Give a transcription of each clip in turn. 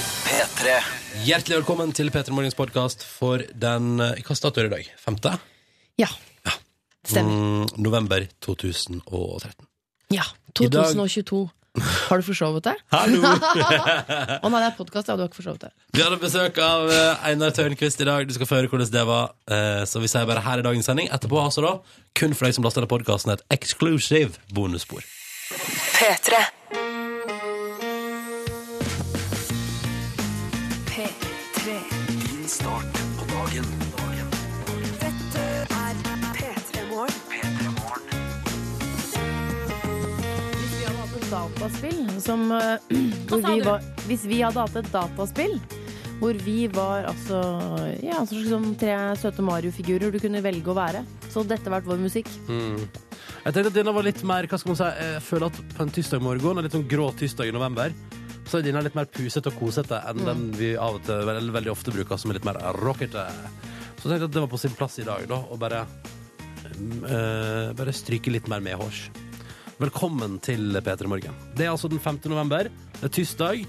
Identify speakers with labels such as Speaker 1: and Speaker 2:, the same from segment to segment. Speaker 1: P3
Speaker 2: Hjertelig velkommen til Peter Morgens podkast for den eh, Hva dato er det i dag? Femte?
Speaker 3: Ja.
Speaker 2: Ja.
Speaker 3: Det stemmer.
Speaker 2: Mm, november 2013.
Speaker 3: Ja.
Speaker 2: I dag-
Speaker 3: 2022. Har du forsovet deg?
Speaker 2: Hallo!
Speaker 3: Å nei, det er podkast, ja. Du har ikke forsovet deg.
Speaker 2: Vi hadde besøk av eh, Einar Tørnquist i dag. Du skal få høre hvordan det var. Eh, Så vi sier bare her i dagens sending. Etterpå har så da, kun for deg som laster ned podkasten, et eksklusiv bonusspor.
Speaker 4: P3 P3
Speaker 1: Din start på dagen
Speaker 4: Dette er P3 Morgen
Speaker 1: P3 morgen
Speaker 3: Hvis vi hadde hatt et dataspill som eh, hvor
Speaker 5: sa
Speaker 3: vi
Speaker 5: du?
Speaker 3: var, Hvis vi hadde hatt et dataspill hvor vi var altså Ja, altså slik som tre søte Mario-figurer du kunne velge å være, så hadde dette vært vår musikk.
Speaker 2: Mm.
Speaker 6: Jeg tenkte at denne var litt mer, hva skal man si, jeg føler at på en tirsdag morgen, en litt sånn grå tirsdag i november, så er denne litt mer pusete og kosete enn den vi av og til, eller veldig ofte bruker, som er litt mer rockete. Så jeg tenkte at det var på sin plass i dag, da, å bare, mm, eh, bare stryke litt mer med hårs. Velkommen til P3 Morgen. Det er altså den 5. november, det er tirsdag,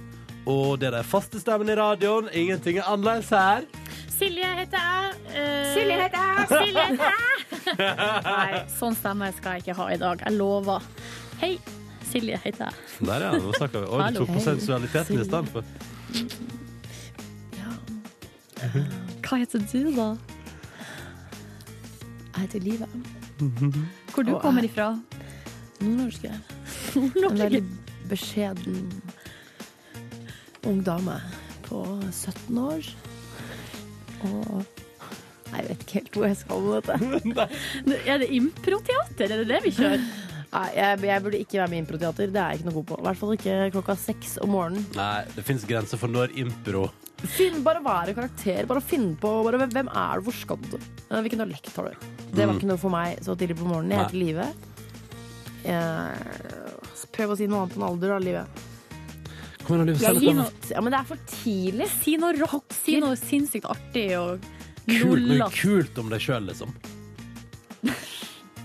Speaker 6: og det er den faste stemmen i radioen, ingenting er annerledes her.
Speaker 5: Silje heter jeg. eh, Silje heter jeg. Nei, sånn stemme skal jeg ikke ha i dag. Jeg lover. Hei, Silje heter jeg.
Speaker 6: Der ja, nå snakker vi. Oi, du
Speaker 5: Hallo.
Speaker 6: tok på sensualiteten i stedet for.
Speaker 5: Hva heter du, da?
Speaker 3: Jeg heter Liv. jeg.
Speaker 5: Hvor du
Speaker 3: Og
Speaker 5: kommer
Speaker 3: jeg-
Speaker 5: ifra?
Speaker 3: Nordnorsk. jeg. En veldig beskjeden ung dame på 17 år. Og jeg vet ikke helt hvor jeg skal med dette.
Speaker 5: Er det improteater? Er det det vi kjører?
Speaker 3: Nei, jeg, jeg burde ikke være med i improteater. Det er jeg ikke noe god på. I hvert fall ikke klokka seks om morgenen.
Speaker 6: Nei, det finnes grenser for når impro
Speaker 3: Finn, bare være karakter. Bare finn på bare, Hvem er du? Hvor skal du? Eh, Hvilken dialekt har du? Det var ikke noe for meg så tidlig på morgenen. Jeg heter Live. Eh, Prøv å si noe annet enn alder, da, Live.
Speaker 6: Kom igjen, Liv.
Speaker 5: Jeg
Speaker 6: send
Speaker 5: gir
Speaker 6: et navn.
Speaker 5: noe,
Speaker 3: Ja, men det er for tidlig.
Speaker 5: si noe rock, si noe sinnssykt artig og
Speaker 6: Kult, noe
Speaker 5: lollete.
Speaker 6: kult om deg sjøl, liksom.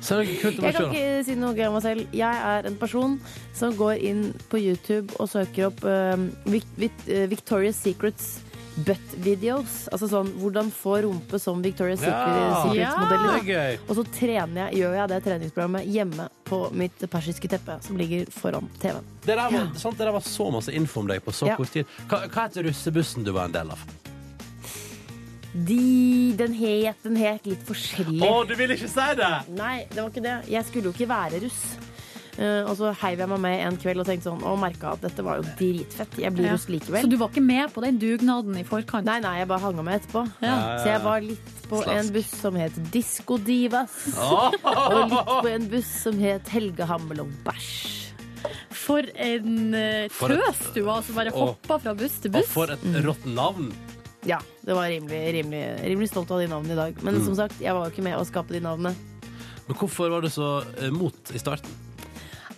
Speaker 6: Si noe kult om
Speaker 3: Jeg
Speaker 6: deg
Speaker 3: kan
Speaker 6: sjøl.
Speaker 3: ikke si noe gøy om meg selv. Jeg er en person som går inn på YouTube og søker opp eh, Vic Vic eh, Victoria's Secrets butt videos. Altså sånn hvordan få rumpe som Victoria's
Speaker 6: Ja.
Speaker 3: Secret- Secrets-modell.
Speaker 6: Det
Speaker 3: liksom.
Speaker 6: er gøy.
Speaker 3: Og så trener jeg, gjør jeg det treningsprogrammet hjemme på mitt persiske teppe som ligger foran TV-en.
Speaker 6: Det der, var, sant, det der var så masse info om deg på så
Speaker 3: Ja.
Speaker 6: kort tid. Hva, hva heter russebussen du var en del av?
Speaker 3: De, den het, den het litt forskjellig.
Speaker 6: Å, du vil ikke si det!
Speaker 3: Nei, det var ikke det. Jeg skulle jo ikke være russ. Eh, og så heiv jeg meg med en kveld og tenkte sånn, og merka at dette var jo dritfett. Jeg blir
Speaker 5: Ja.
Speaker 3: russ likevel.
Speaker 5: Så du var ikke med på den dugnaden i forkant?
Speaker 3: Nei, nei, jeg bare hang meg etterpå.
Speaker 5: Ja.
Speaker 3: Så jeg var litt på en
Speaker 6: Slask.
Speaker 3: buss som het Disco Divas. Og litt på en buss som het Helge Hammelung Bæsj.
Speaker 5: For en eh,
Speaker 6: For et-
Speaker 5: tøs du var som bare
Speaker 6: Å.
Speaker 5: hoppa fra buss til
Speaker 6: Og
Speaker 5: buss.
Speaker 6: for et rått navn.
Speaker 3: Ja, det var rimelig, rimelig, rimelig stolt av de navnene i dag. Men som sagt, jeg var jo ikke med å skape de navnene.
Speaker 6: Men hvorfor var du så eh, mot i starten?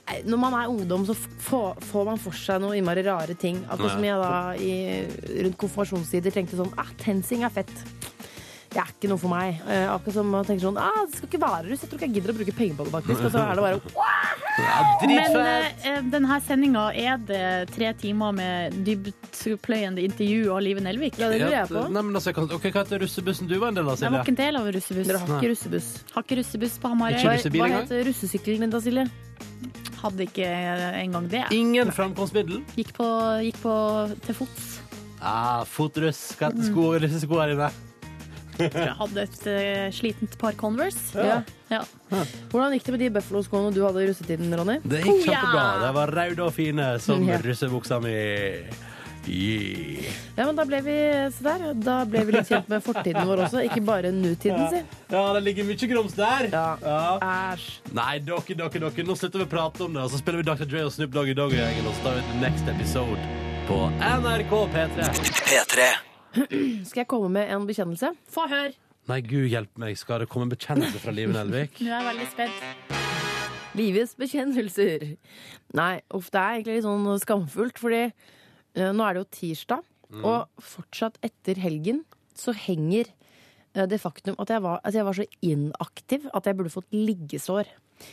Speaker 3: Nei, Når man er ungdom, så f- får, får man for seg noen innmari rare ting. Akkurat som
Speaker 6: Ja.
Speaker 3: jeg da i, rundt konfirmasjonstider tenkte sånn ah, TenSing er fett. Det er ikke noe for meg. Eh, akkurat som man tenker sånn ah, Det skal ikke være russ. Jeg tror ikke jeg gidder å bruke penger på det, faktisk. Og så er det bare
Speaker 6: Ja,
Speaker 5: Men
Speaker 6: Dritfett!
Speaker 5: eh, denne sendinga er det tre timer med dyptpløyende intervju av Live Nelvik.
Speaker 3: Ja, det lurer
Speaker 6: Ja,
Speaker 3: jeg på.
Speaker 6: Nei, men altså, jeg kan, ok, Hva heter russebussen du var en del av,
Speaker 5: Jeg var
Speaker 6: Silje?
Speaker 5: ikke en del av russebuss.
Speaker 3: Dere har ikke russebuss.
Speaker 5: Har ikke russebuss på Hamarøy.
Speaker 6: Ikke
Speaker 3: Hva,
Speaker 6: russebil
Speaker 3: hva
Speaker 6: engang?
Speaker 3: het russesykkelen din da, Silje?
Speaker 5: Hadde ikke engang det.
Speaker 6: Ingen framkomstmiddel.
Speaker 5: Gikk på, gikk på til fots.
Speaker 6: Ah, Fotruss. Hva heter sko, russesko her inne?
Speaker 5: Jeg hadde et eh, slitent par Converse.
Speaker 3: Ja.
Speaker 5: Ja.
Speaker 3: Hvordan gikk det med de Buffalo-skoene du hadde i russetiden, Ronny?
Speaker 6: Det gikk
Speaker 5: Hoja!
Speaker 6: kjempebra. De var raude og fine som
Speaker 3: Ja.
Speaker 6: russebuksa mi. Yeah.
Speaker 3: Ja, men Da ble vi se der, da ble vi litt kjent med fortiden vår også, ikke bare nutiden si.
Speaker 6: Ja, det ligger mye grums der.
Speaker 3: Ja.
Speaker 6: Ja.
Speaker 3: Æsj.
Speaker 6: Nei, dere, dere, dere. Nå slutter vi å prate om det, og så spiller vi Dr. Dre og Snoop Doggy Dogg og gjengen, og så tar vi til next episode på NRK P3.
Speaker 1: P3
Speaker 3: Skal jeg komme med en bekjennelse?
Speaker 5: Få høre.
Speaker 6: Nei, gud hjelpe meg, skal det komme en bekjennelse fra Liven Elvik?
Speaker 5: Nå er jeg veldig spent.
Speaker 3: Livets bekjennelser. Nei, uff, det er egentlig litt sånn skamfullt, fordi eh, nå er det jo tirsdag, og fortsatt etter helgen så henger eh, det faktum at jeg, var, at jeg var så inaktiv at jeg burde fått liggesår.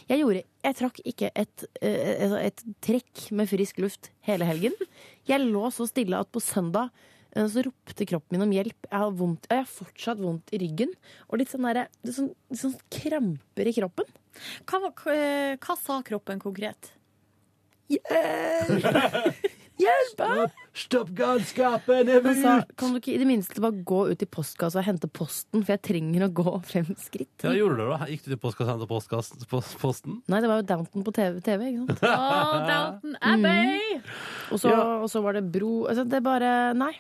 Speaker 3: Jeg gjorde Jeg trakk ikke et, eh, altså et trekk med frisk luft hele helgen. Jeg lå så stille at på søndag
Speaker 7: eh, så ropte kroppen min om hjelp. Jeg har, vondt, jeg har fortsatt vondt i ryggen. Og litt sånn, der, litt sånn, litt sånn kramper i kroppen.
Speaker 8: Hva, var- k- eh, hva sa kroppen konkret?
Speaker 7: Hjelp! hjelp!
Speaker 9: Stopp galskapen! Jeg
Speaker 7: Han sa kan du ikke i det minste bare gå ut i postkassa og hente posten, for jeg trenger å gå fem skritt.
Speaker 9: Ja, gjorde du det, da? Gikk du til postkassa og hentet postkass- post- posten?
Speaker 7: Nei, det var jo Downton på TV, TV ikke sant?
Speaker 8: Å, Downton Abbey!
Speaker 3: Mm.
Speaker 7: Og så,
Speaker 9: Ja.
Speaker 7: og så var det bro altså, Det er bare Nei.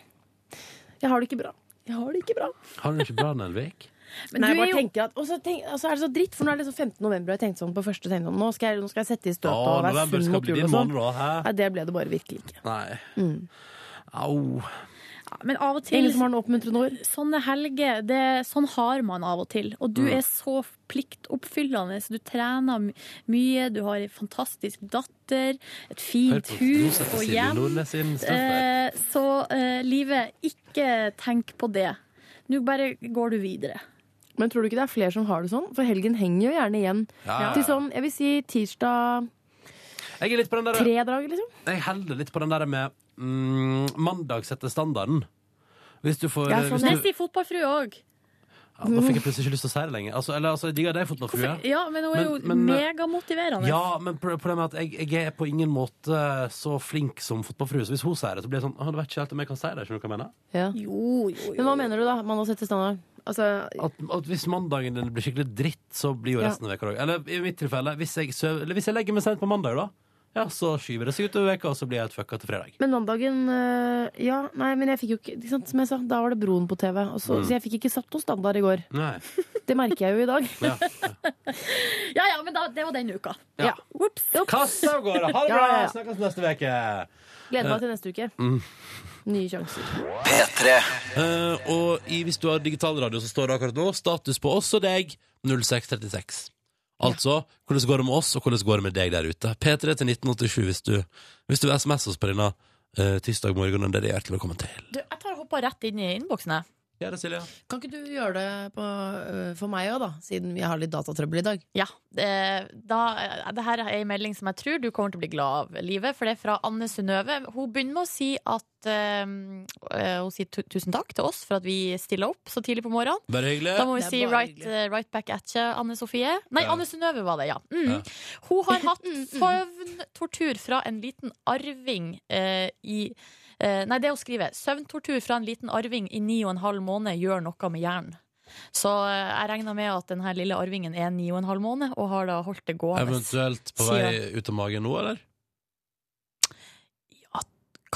Speaker 7: Jeg har det ikke bra. Jeg har det ikke bra.
Speaker 9: Har du det ikke bra, Nelvik?
Speaker 8: Men
Speaker 7: Nei, jeg
Speaker 8: du er
Speaker 7: bare
Speaker 8: jo
Speaker 7: tenker at, og, så tenk, og så er det så dritt, for nå er det liksom 15. november, og jeg tenkte sånn på første tenkte sånn, nå, skal jeg, nå skal jeg sette i støtet
Speaker 9: Å,
Speaker 7: og være
Speaker 9: november
Speaker 7: sunn
Speaker 9: skal
Speaker 7: mot
Speaker 9: bli
Speaker 7: jul
Speaker 9: din
Speaker 7: og
Speaker 3: altså.
Speaker 7: sånn.
Speaker 9: måned, da. Hæ?
Speaker 7: Nei, det ble det bare virkelig ikke.
Speaker 9: Nei. Au.
Speaker 8: Men av og til
Speaker 7: Ingen som har noen oppmuntrende ord?
Speaker 8: Sånne helger, det, sånn har man av og til. Og du
Speaker 9: Mm.
Speaker 8: er så pliktoppfyllende. Du trener my mye, du har en fantastisk datter, et
Speaker 9: Hør
Speaker 8: fint
Speaker 9: på nå
Speaker 8: hus
Speaker 9: setter
Speaker 8: og
Speaker 9: Silje
Speaker 8: hjem.
Speaker 9: Nordnes inn straks der.
Speaker 8: Eh, så eh, livet, ikke tenk på det. Nå bare går du videre.
Speaker 7: Men tror du ikke det er flere som har det sånn? For helgen henger jo gjerne igjen
Speaker 9: Ja, ja, ja.
Speaker 7: til sånn, jeg vil si tirsdag
Speaker 9: Jeg er litt på den der
Speaker 7: tre dager, liksom.
Speaker 9: Jeg holder litt på den der med mm, mandag setter standarden. Hvis du får
Speaker 7: Ja, sånn,
Speaker 9: hvis
Speaker 7: ja.
Speaker 8: Det
Speaker 9: du,
Speaker 8: sier fotballfrue òg.
Speaker 9: ja, Nå fikk jeg plutselig ikke lyst til å si det lenger. Altså, eller, altså, jeg digger deg, fotballfrue.
Speaker 8: Ja, men hun er jo
Speaker 9: Men- men-
Speaker 8: megamotiverende.
Speaker 9: Ja, men pro- problemet er at jeg, jeg er på ingen måte så flink som fotballfrue. Så hvis hun sier det, så blir jeg sånn «Å, Det vet ikke helt om jeg kan si det. Skjønner du hva jeg mener?
Speaker 7: Ja.
Speaker 8: Jo, jo, jo.
Speaker 7: Men hva mener du da? Man har sett i standard? Altså,
Speaker 9: At, at hvis mandagen din blir skikkelig dritt, så blir jo
Speaker 7: Ja.
Speaker 9: resten av veka òg. Eller i mitt tilfelle, hvis jeg, søv, eller hvis jeg legger meg sent på mandag, da. Ja, så skyver det seg utover veka, og så blir jeg helt fucka til fredag.
Speaker 7: men mandagen øh, Ja, nei, men jeg fikk jo ikke ikke sant, Som jeg sa, da var det Broen på TV. Og så, Så jeg fikk ikke satt noe standard i går.
Speaker 9: Nei.
Speaker 7: Det merker jeg jo i dag.
Speaker 9: Ja.
Speaker 8: ja, ja, men da, det var den uka.
Speaker 7: Ja.
Speaker 8: Ops.
Speaker 9: Kast av gårde! Ha det bra!
Speaker 7: Ja, ja, ja.
Speaker 9: Snakkes neste uke!
Speaker 7: Gleder meg til neste uke. Nye sjanser.
Speaker 1: P3
Speaker 6: Eh, og i, hvis du har digitalradio, så står det akkurat nå status på oss og deg 0636. Altså hvordan går det med oss, og hvordan går det med deg der ute. P3 til 1987 hvis du, hvis du SMS oss på denne uh, tirsdag morgenen. Det er du hjertelig velkommen til.
Speaker 5: Du, jeg tar og hopper rett inn i innboksen. jeg.
Speaker 6: Ja, det, Silje.
Speaker 3: Kan ikke du gjøre det på, øh, for meg òg, da? Siden vi har litt datatrøbbel i dag.
Speaker 5: Ja, det, da, eh, det her er en melding som jeg tror du kommer til å bli glad av, livet. For det er fra Anne Synnøve. Hun begynner med å si at eh, eh, Hun sier tu- tusen takk til oss for at vi stiller opp så tidlig på morgenen.
Speaker 6: Bare hyggelig.
Speaker 5: Da må vi
Speaker 3: Det er
Speaker 5: si
Speaker 3: bare
Speaker 5: right,
Speaker 3: hyggelig.
Speaker 5: eh, right back at you, Anne Sofie. Nei,
Speaker 6: Ja.
Speaker 5: Anne Synnøve var det, ja. Mm.
Speaker 6: Ja.
Speaker 5: Hun har hatt
Speaker 3: mm,
Speaker 5: søvntortur fra en liten arving eh, i eh, Nei, det hun skriver. Søvntortur fra en liten arving i ni og en halv måned gjør noe med hjernen. Så eh, jeg regner med at denne lille arvingen er ni og en halv måned, og har da holdt det gående.
Speaker 6: Eventuelt på
Speaker 5: Sier
Speaker 6: vei ut av magen nå, eller?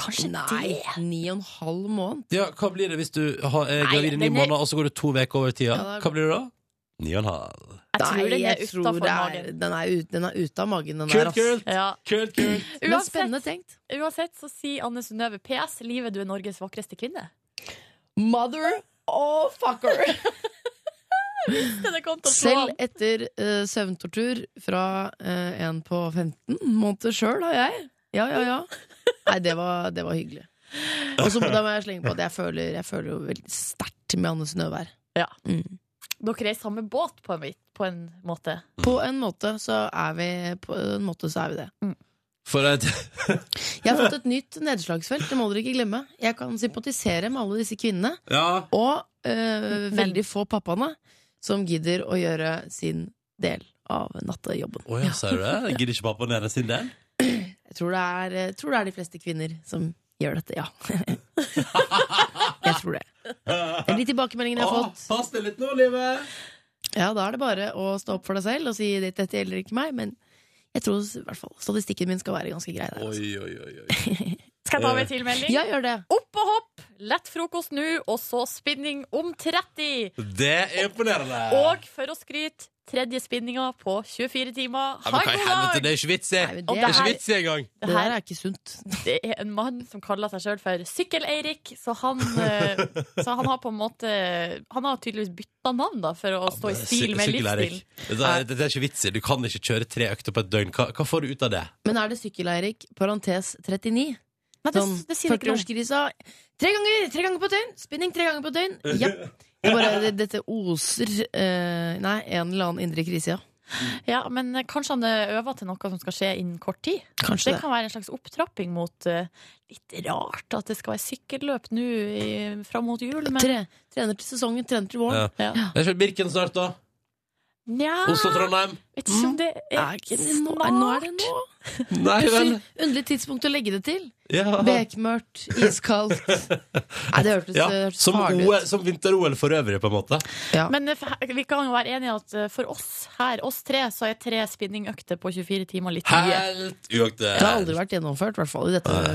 Speaker 5: Kanskje
Speaker 3: Nei,
Speaker 5: det?
Speaker 3: ni og en halv måned.
Speaker 6: Ja, hva blir det hvis du har, er
Speaker 5: Nei,
Speaker 6: gravid i ni
Speaker 5: den er-
Speaker 6: måneder, og så går du to uker over tida?
Speaker 3: Ja, da-
Speaker 6: Hva blir det da? Ni og en halv.
Speaker 5: Jeg tror den er
Speaker 3: jeg tror
Speaker 5: utafor
Speaker 3: det er-
Speaker 5: magen.
Speaker 3: Den er, ut, den er ute av magen, den
Speaker 6: Kult,
Speaker 3: der. ass.
Speaker 6: kult!
Speaker 5: Ja.
Speaker 6: Kult, kult!
Speaker 3: Men
Speaker 5: Uansett,
Speaker 3: spennende tenkt.
Speaker 5: uansett så sier Anne Synnøve PS. Livet, du er Norges vakreste kvinne.
Speaker 3: Mother of fucker!
Speaker 5: Det kom til å slå
Speaker 3: Selv
Speaker 5: an.
Speaker 3: etter eh, søvntortur fra eh, en på 15 måneder sjøl har jeg. Ja, ja, ja. Nei, det var, det var hyggelig. Og så må- da må jeg slenge på at jeg føler, jeg føler jo veldig sterkt med Anne Synnøve her.
Speaker 5: Ja.
Speaker 3: Mm.
Speaker 5: Dere er i samme båt, på en, vit- på en måte.
Speaker 3: På en måte så er vi På en måte så er vi det.
Speaker 6: For et
Speaker 3: Jeg har fått et nytt nedslagsfelt, det må dere ikke glemme. Jeg kan sympatisere med alle disse kvinnene,
Speaker 6: Ja.
Speaker 3: og eh, veldig få pappaene som gidder å gjøre sin del av nattejobben.
Speaker 6: Å ja, sier du det? Jeg Gidder ikke pappa nede sin del?
Speaker 3: Jeg tror det er, jeg tror det er de fleste kvinner som gjør dette, ja. jeg tror det. Det er de tilbakemeldingene jeg har fått.
Speaker 6: pass deg litt nå, livet!
Speaker 3: Ja, da er det bare å stå opp for deg selv og si at dette gjelder ikke meg, men jeg tror i hvert fall statistikken min skal være ganske grei der. Altså.
Speaker 6: Oi, oi, oi, oi.
Speaker 5: Skal jeg ta med
Speaker 6: Eh.
Speaker 5: en tilmelding?
Speaker 3: Ja, gjør det.
Speaker 5: Opp og hopp, lett frokost nå, og så spinning om 30.
Speaker 6: Det er imponerende!
Speaker 5: Og for å skryte, tredje spinninga på 24
Speaker 6: Ja,
Speaker 5: timer. Ha
Speaker 6: men hva i
Speaker 5: en
Speaker 6: helvete,
Speaker 5: god
Speaker 6: det
Speaker 5: dag!
Speaker 6: er ikke vits i!
Speaker 3: Nei, men det,
Speaker 5: Og det
Speaker 6: Det er
Speaker 3: er,
Speaker 6: ikke
Speaker 5: her-
Speaker 6: vits i engang!
Speaker 3: det her er ikke sunt.
Speaker 5: Det er en mann som kaller seg sjøl for Sykkel-Eirik, så, han, eh, så han har på en måte Han har tydeligvis bytta navn, da, for å stå i stil med livsstilen.
Speaker 6: Det er ikke vits i. Du kan ikke kjøre tre økter på et døgn. Hva, hva får du ut av det?
Speaker 3: Men er det sykkel-Eirik, parentes 39?
Speaker 5: Nei, det,
Speaker 3: Sånn
Speaker 5: det sier ikke noe.
Speaker 3: 40-årskrisa. Tre ganger tre ganger på et døgn! Spinning tre ganger på et døgn. Ja. Det er bare, det, dette oser eh, Nei, en eller annen indre krise, ja.
Speaker 5: Ja, men eh, kanskje han eh, øver til noe som skal skje innen kort tid.
Speaker 3: Kanskje
Speaker 5: Det
Speaker 3: det.
Speaker 5: kan være en slags opptrapping mot eh, litt rart at det skal være sykkelløp nå i- fram mot jul, men
Speaker 3: Tre, trener til sesongen, trener til våren.
Speaker 6: Ja.
Speaker 5: ja.
Speaker 6: Jeg kjører Birken snart, da.
Speaker 5: Nja,
Speaker 6: Oslo-Trondheim.
Speaker 5: vet ikke om det
Speaker 3: Er
Speaker 5: er
Speaker 3: Mm. ikke det nå? Er, nå er det nå.
Speaker 6: Nei vel.
Speaker 3: Pussig. Underlig tidspunkt å legge det til.
Speaker 6: Ja.
Speaker 3: Bekmørkt, iskaldt. Nei, det hørtes,
Speaker 6: Ja,
Speaker 3: det hørtes
Speaker 6: som
Speaker 3: farlig
Speaker 6: OL
Speaker 3: ut.
Speaker 6: som vinter-OL for øvrig, på en måte.
Speaker 5: Men eh, for- vi kan jo være enige i at eh, for oss her, oss tre, så er tre spinningøkter på 24 timer litt mye.
Speaker 6: Helt uaktuelt.
Speaker 3: Det har aldri vært gjennomført, i hvert fall i dette,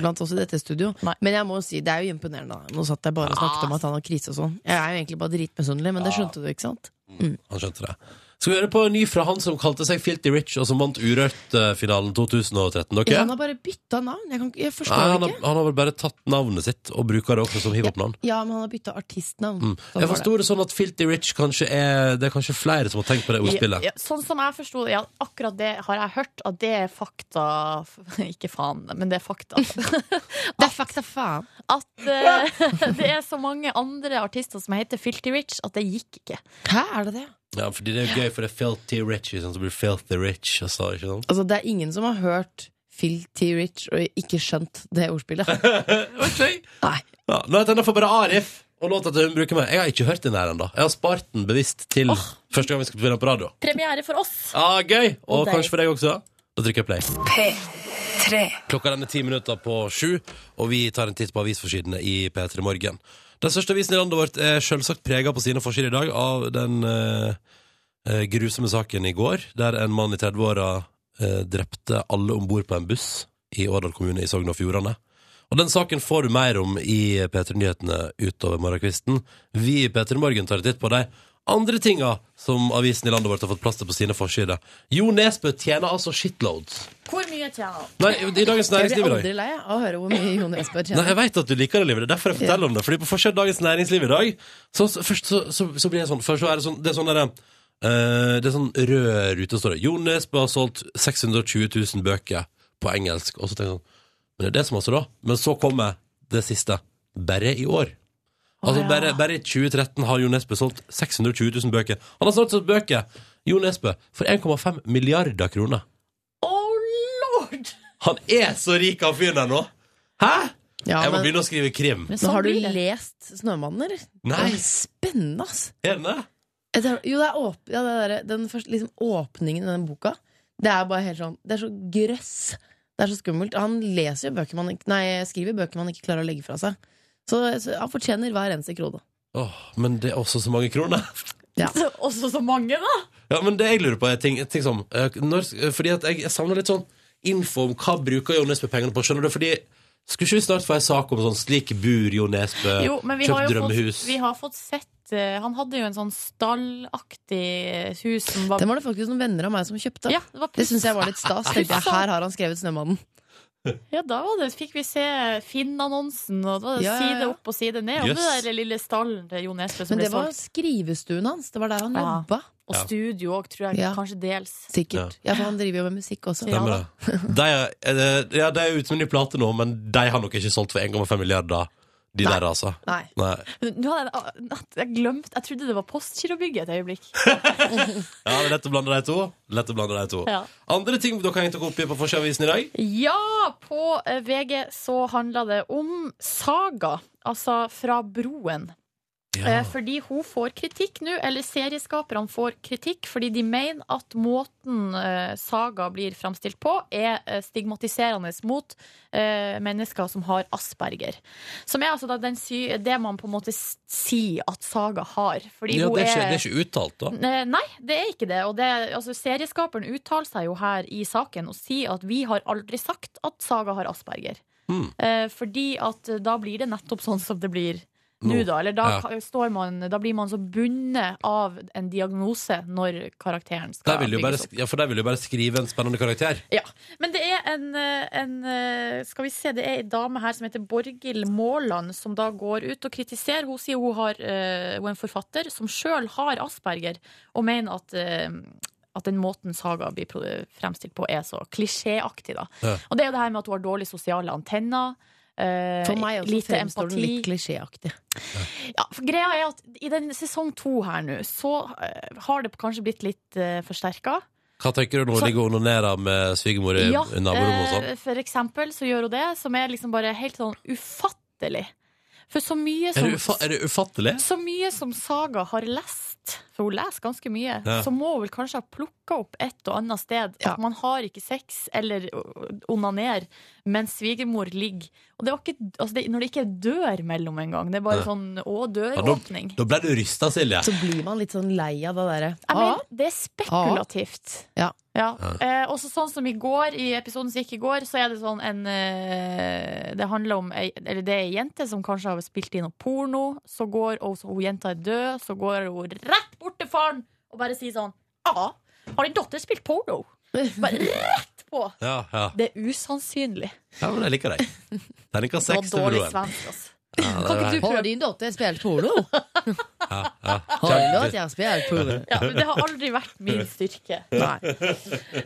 Speaker 3: blant oss i dette studio.
Speaker 5: Nei.
Speaker 3: Men jeg må jo si, det er jo imponerende. da. Nå satt jeg bare og snakket om at han har krise og sånn. Jeg er jo egentlig bare dritmisunnelig, men det skjønte du, ikke sant?
Speaker 6: Han skjønte det. Skal vi høre på en ny fra han som kalte seg Filty Rich, og som vant Urørt-finalen 2013? Dere?
Speaker 3: Ja, han har bare bytta navn. Jeg, kan, ikke- jeg
Speaker 6: Nei,
Speaker 3: forstår
Speaker 6: han,
Speaker 3: det
Speaker 6: har,
Speaker 3: ikke.
Speaker 6: han har vel bare tatt navnet sitt og bruker det også som hiphop-navn.
Speaker 3: Ja, men han har bytta artistnavn.
Speaker 6: Mm.
Speaker 3: Sånn
Speaker 6: Jeg
Speaker 3: var det.
Speaker 6: forsto det sånn at Filty Rich kanskje er Det er kanskje flere som har tenkt på det ordspillet.
Speaker 5: Ja, ja, sånn som jeg forsto det, ja, akkurat det har jeg hørt, at det er fakta Ikke faen, men det er fakta.
Speaker 3: Det er fakta faen.
Speaker 5: At eh, det er så mange andre artister som heter Filty Rich, at det gikk ikke.
Speaker 3: Hæ, er det det?
Speaker 6: Ja, fordi det er gøy, for det er Filty Rich, sånn, så blir det Filthy Rich. Og så, ikke sant?
Speaker 3: Altså, det er ingen som har hørt Phil T. Rich og ikke skjønt det ordspillet.
Speaker 6: Ok.
Speaker 3: Nei.
Speaker 6: Ja, nå er denne for bare Arif og låta til hun bruker meg. Jeg har ikke hørt den her ennå. Jeg har spart den bevisst til første gang vi skal spille den på radio.
Speaker 5: Premiere for oss!
Speaker 6: Ja, gøy! Og,
Speaker 5: Og deg.
Speaker 6: kanskje for deg også. Da trykker jeg play.
Speaker 4: P3
Speaker 6: Klokka den er ti minutter på sju, og vi tar en titt på avisforsidene i P3 Morgen. Den største avisen i landet vårt er selvsagt prega på sine forsider i dag av den eh, eh, grusomme saken i går, der en mann i 30-åra eh, drepte alle om bord på en buss i Årdal kommune i Sogn og Fjordane. Og den saken får du mer om i P3 Nyhetene utover morgenkvisten. Vi i P3 Morgen tar en titt på de andre tinga som avisen i landet vårt har fått plass til på sine forsider. Jo Nesbø tjener altså shitloads.
Speaker 5: Hvor mye tjener han?
Speaker 6: Nei, i Dagens
Speaker 3: Jeg
Speaker 6: Næringsliv i
Speaker 3: blir
Speaker 6: dag.
Speaker 3: aldri lei av å høre hvor mye Jon Esberg
Speaker 6: Nei,
Speaker 3: tjener.
Speaker 6: jeg vet at du liker det livet. Det er derfor jeg forteller om det. Fordi på forskjell Dagens Næringsliv i dag, så, så, først så, så, så blir jeg sånn Først så er det sånn Det er sånn derre eh, Det er sånn rød rute, står det. Jon Nesbø har solgt 620 000 bøker på engelsk. Og så tenker jeg sånn Men det er det som altså, da. Men så kommer det siste. Bare i år. Altså, bare, bare i 2013 har Jon Nesbø solgt 620 000 bøker. Han har solgt sånne bøker, Jon Nesbø, for 1,5 milliarder kroner.
Speaker 5: Oh lord!
Speaker 6: Han er så rik, han fyren der nå! Hæ?!
Speaker 3: Ja,
Speaker 6: Jeg må
Speaker 3: men,
Speaker 6: begynne å skrive krim.
Speaker 5: Men
Speaker 3: men
Speaker 5: sånn
Speaker 3: har du
Speaker 5: blir det.
Speaker 3: lest 'Snømannen', eller?
Speaker 6: Nei.
Speaker 3: Det er spennende, ass.
Speaker 6: Er den det?
Speaker 3: Jeg tror- Jo, det er åp ja, det derre- den første liksom, åpningen i den boka. Det er bare helt sånn Det er så grøss. Det er så skummelt. Han leser jo bøker man ikke Nei, skriver bøker man ikke klarer å legge fra seg. Så, så han fortjener hver eneste krone.
Speaker 6: Åh, men det er også så mange kroner.
Speaker 5: Også så mange, da!
Speaker 6: Ja, men det jeg lurer på, er ting, ting som eh, når, Fordi at jeg savner litt sånn info om hva bruker Jo Nesbø pengene på. Skjønner du? Fordi skulle ikke vi snart få en sak om sånn slik bur Jo Nesbø,
Speaker 5: Jo, men vi
Speaker 6: kjøpt
Speaker 5: har jo fått,
Speaker 6: drømmehus
Speaker 5: vi har fått sett eh, Han hadde jo en sånn stallaktig eh, hus som var
Speaker 3: Den var det faktisk noen venner av meg som kjøpte.
Speaker 5: ja, det, var
Speaker 3: Det syns jeg var litt stas. Tenkte jeg, her har han skrevet 'Snømannen'.
Speaker 5: ja, da var det, fikk vi se Finn-annonsen, og det var
Speaker 3: Ja, ja, ja.
Speaker 5: side opp og side ned. Og
Speaker 6: Jøss.
Speaker 5: det der lille stallen til Jo Nesbø som
Speaker 3: Men
Speaker 5: ble
Speaker 3: det var
Speaker 5: solgt.
Speaker 3: skrivestuen hans. Det var der han
Speaker 5: Ja.
Speaker 3: jobba.
Speaker 5: Og
Speaker 6: Ja.
Speaker 5: studio òg, tror jeg.
Speaker 3: Ja.
Speaker 5: Kanskje dels.
Speaker 3: Sikkert. Ja, for han driver jo med musikk også.
Speaker 5: Ja.
Speaker 6: Stemmer det. De er, er det- ja, de er ute med ny plate nå, men de har nok ikke solgt for 1,5 milliarder, de
Speaker 3: Nei.
Speaker 6: der, altså.
Speaker 3: Nei.
Speaker 6: Nei.
Speaker 5: Nå hadde jeg, jeg glemt Jeg trodde det var Postgirobygget et øyeblikk.
Speaker 6: Ja, det er lett å blande de to. Lett å blande de to.
Speaker 5: Ja.
Speaker 6: Andre ting dere har hengt dere opp i på Forsida-avisen i dag?
Speaker 5: Ja, på eh, VG så handla det om Saga, altså Fra broen. Eh, Fordi hun får kritikk nå, eller serieskaperne får kritikk, fordi de mener at måten eh, Saga blir framstilt på, er eh, stigmatiserende mot eh, mennesker som har asperger. Som er altså da den sy det man på en måte s- sier at Saga har. Fordi
Speaker 6: Ja,
Speaker 5: hun
Speaker 6: det, er ikke,
Speaker 5: er
Speaker 6: det er ikke uttalt, da.
Speaker 5: Eh, Nei, det er ikke det. Og det altså, serieskaperen uttaler seg jo her i saken og sier at vi har aldri sagt at Saga har Asperger.
Speaker 6: Mm.
Speaker 5: Eh, fordi at eh, da blir det nettopp sånn som det blir nå,
Speaker 6: Nå.
Speaker 5: da. Eller da,
Speaker 6: Ja.
Speaker 5: ka- står man, da blir man så bundet av en diagnose når karakteren
Speaker 6: De
Speaker 5: skal
Speaker 6: vil jo bare,
Speaker 5: bygges opp.
Speaker 6: sk- ja, for de vil jo bare skrive en spennende karakter.
Speaker 5: Men det er en, eh, en eh, Skal vi se, det er ei dame her som heter Borghild Maaland, som da går ut og kritiserer. Hun sier hun, har, eh, hun er en forfatter som sjøl har asperger, og mener at eh, at den måten Saga blir pro- fremstilt på, er så klisjéaktig. da.
Speaker 6: Ja.
Speaker 5: Og det er jo det her med at hun har dårlige sosiale antenner. eh,
Speaker 3: For meg også
Speaker 5: lite
Speaker 3: fremstår den
Speaker 5: empati.
Speaker 3: litt klisjéaktig.
Speaker 5: Ja, for greia er at i den sesong to her nå, så eh, har det kanskje blitt litt uh, forsterka.
Speaker 6: Hva tenker du når hun
Speaker 5: Så-
Speaker 6: ligger og onanerer med svigermor i
Speaker 5: Ja,
Speaker 6: naborommet og sånn?
Speaker 5: eh, for eksempel så gjør hun det, som er liksom bare helt sånn ufattelig. For så mye
Speaker 6: Er
Speaker 5: som
Speaker 6: det, ufa er det ufattelig?
Speaker 5: Så mye som Saga har lest, for hun leser ganske mye,
Speaker 6: Ja.
Speaker 5: så må hun vel kanskje ha plukka opp et og annet sted
Speaker 3: Ja.
Speaker 5: at man har ikke sex eller onaner mens svigermor ligger. Og det er jo ikke, altså det, når det ikke er dør mellom engang, det er bare
Speaker 6: Ja.
Speaker 5: sånn å,
Speaker 6: Ja, nå-
Speaker 5: døråpning.
Speaker 6: Da ble du rysta, Silje.
Speaker 3: Så blir man litt sånn lei av det derre
Speaker 5: Jeg mener, det er spekulativt.
Speaker 3: Ah. Ja.
Speaker 5: Eh, også sånn som i går, i episoden som gikk i går, så er det sånn en eh, Det handler om ei, Eller det er ei jente som kanskje har spilt inn noe porno, så går og så, hun jenta er død, så går hun rett bort til faren og bare sier sånn Ja, har din datter spilt porno? Bare rett på!
Speaker 6: Ja, ja.
Speaker 5: Det er usannsynlig.
Speaker 6: ja, men jeg liker deg. Terningkast
Speaker 5: Det var
Speaker 6: seks til
Speaker 5: dårlig
Speaker 6: broren.
Speaker 5: svensk, altså.
Speaker 6: Ja, det
Speaker 3: Har
Speaker 6: er-
Speaker 3: ikke du prøvd din datter spilt porno?
Speaker 6: ja, ja.
Speaker 3: Har du lov til å spille porno?
Speaker 5: Ja, men det har aldri vært min styrke.
Speaker 3: Nei.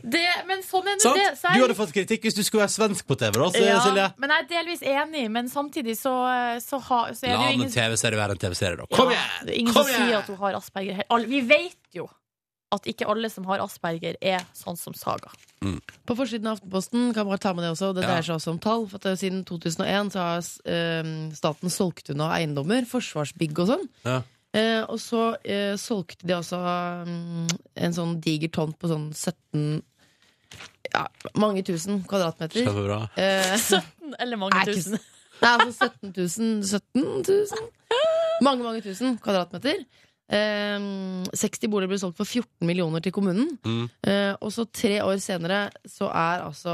Speaker 5: Det, men sånn er nå
Speaker 6: Sant?
Speaker 5: det. så jeg-
Speaker 6: Du hadde fått kritikk hvis du skulle være svensk på TV, da,
Speaker 5: Ja,
Speaker 6: Silje.
Speaker 5: men jeg er delvis enig, men samtidig så, så, har- så er
Speaker 6: La
Speaker 5: det
Speaker 6: en
Speaker 5: jo ingen,
Speaker 6: TV-serie være en TV-serie, da.
Speaker 5: Ja,
Speaker 6: Kom igjen!
Speaker 5: det er ingen
Speaker 6: Kom
Speaker 5: som sier
Speaker 6: igjen!
Speaker 5: at hun har asperger. Alle- Vi vet jo at ikke alle som har asperger, er sånn som Saga.
Speaker 3: På forsiden av Aftenposten kan bare ta med det også. Det dreier seg også om tall. For at eh, Siden 2001 så har eh, staten solgt unna eiendommer, forsvarsbygg og sånn.
Speaker 6: Ja.
Speaker 3: Eh, og så eh, solgte de også mm, en sånn diger tomt på sånn 17 ja, mange tusen kvadratmeter.
Speaker 6: Kjempebra.
Speaker 3: Eh,
Speaker 5: 17 eller mange
Speaker 3: Nei, ikke
Speaker 5: tusen.
Speaker 3: Nei, altså 17 000, 17 000. Mange, mange tusen kvadratmeter. Ehm, 60 boliger ble solgt for 14 millioner til kommunen.
Speaker 6: Mm.
Speaker 3: Eh, og så tre år senere så er altså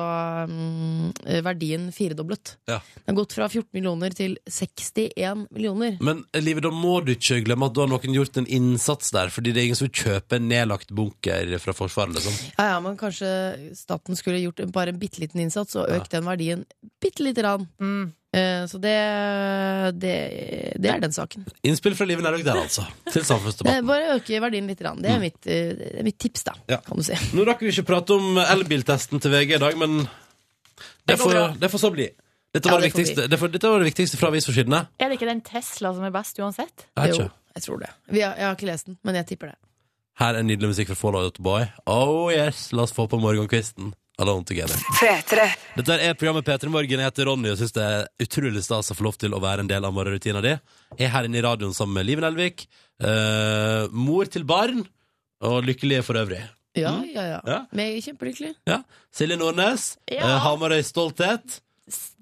Speaker 3: mm, eh, verdien firedoblet.
Speaker 6: Ja.
Speaker 3: Den har gått fra 14 millioner til 61 millioner.
Speaker 6: Men Live, da må du ikke glemme at da har noen gjort en innsats der, fordi det er ingen som kjøper en nedlagt bunker fra Forsvaret, liksom.
Speaker 3: Ja, ja, men kanskje staten skulle gjort en- bare en bitte liten innsats og økt den verdien bitte lite grann.
Speaker 5: Mm.
Speaker 3: Eh, så det, det, det er den saken.
Speaker 6: Innspill fra Live Nærøk der, altså. Til
Speaker 3: Eh,
Speaker 6: samfunnsdebatten.
Speaker 3: bare øke verdien litt. Grann. Det, er mitt, eh, det er mitt tips, da,
Speaker 6: Mm. Ja.
Speaker 3: kan du si.
Speaker 6: Nå rakk vi ikke prate om elbiltesten til VG i dag, men det
Speaker 5: Det går
Speaker 6: får,
Speaker 5: bra.
Speaker 6: det får så bli. Dette
Speaker 3: Ja,
Speaker 6: var, det,
Speaker 3: det får
Speaker 6: viktigste, det får, dette var det viktigste fra avisforsidene.
Speaker 5: Er det ikke den Tesla som er best uansett?
Speaker 6: Jeg vet
Speaker 3: Jo,
Speaker 6: ikke.
Speaker 3: jeg tror det. Vi har, jeg har ikke lest den, men jeg tipper det.
Speaker 6: Her er nydelig musikk fra Fall Out Boy. Oh yes, la oss få på morgenkvisten. Alone together.
Speaker 4: P3.
Speaker 6: Dette er programmet P3 Morgen. Jeg heter Ronny og syns det er utrolig stas å få lov til å være en del av morgenrutina di. Jeg er her inne i radioen sammen med Liven Elvik. eh, mor til barn, og lykkelige for øvrig.
Speaker 3: Ja, ja, ja.
Speaker 6: Mm. Ja.
Speaker 3: Men jeg er kjempelykkelig.
Speaker 6: Ja. Silje Nordnes,
Speaker 5: Ja.
Speaker 6: eh, Hamarøy stolthet.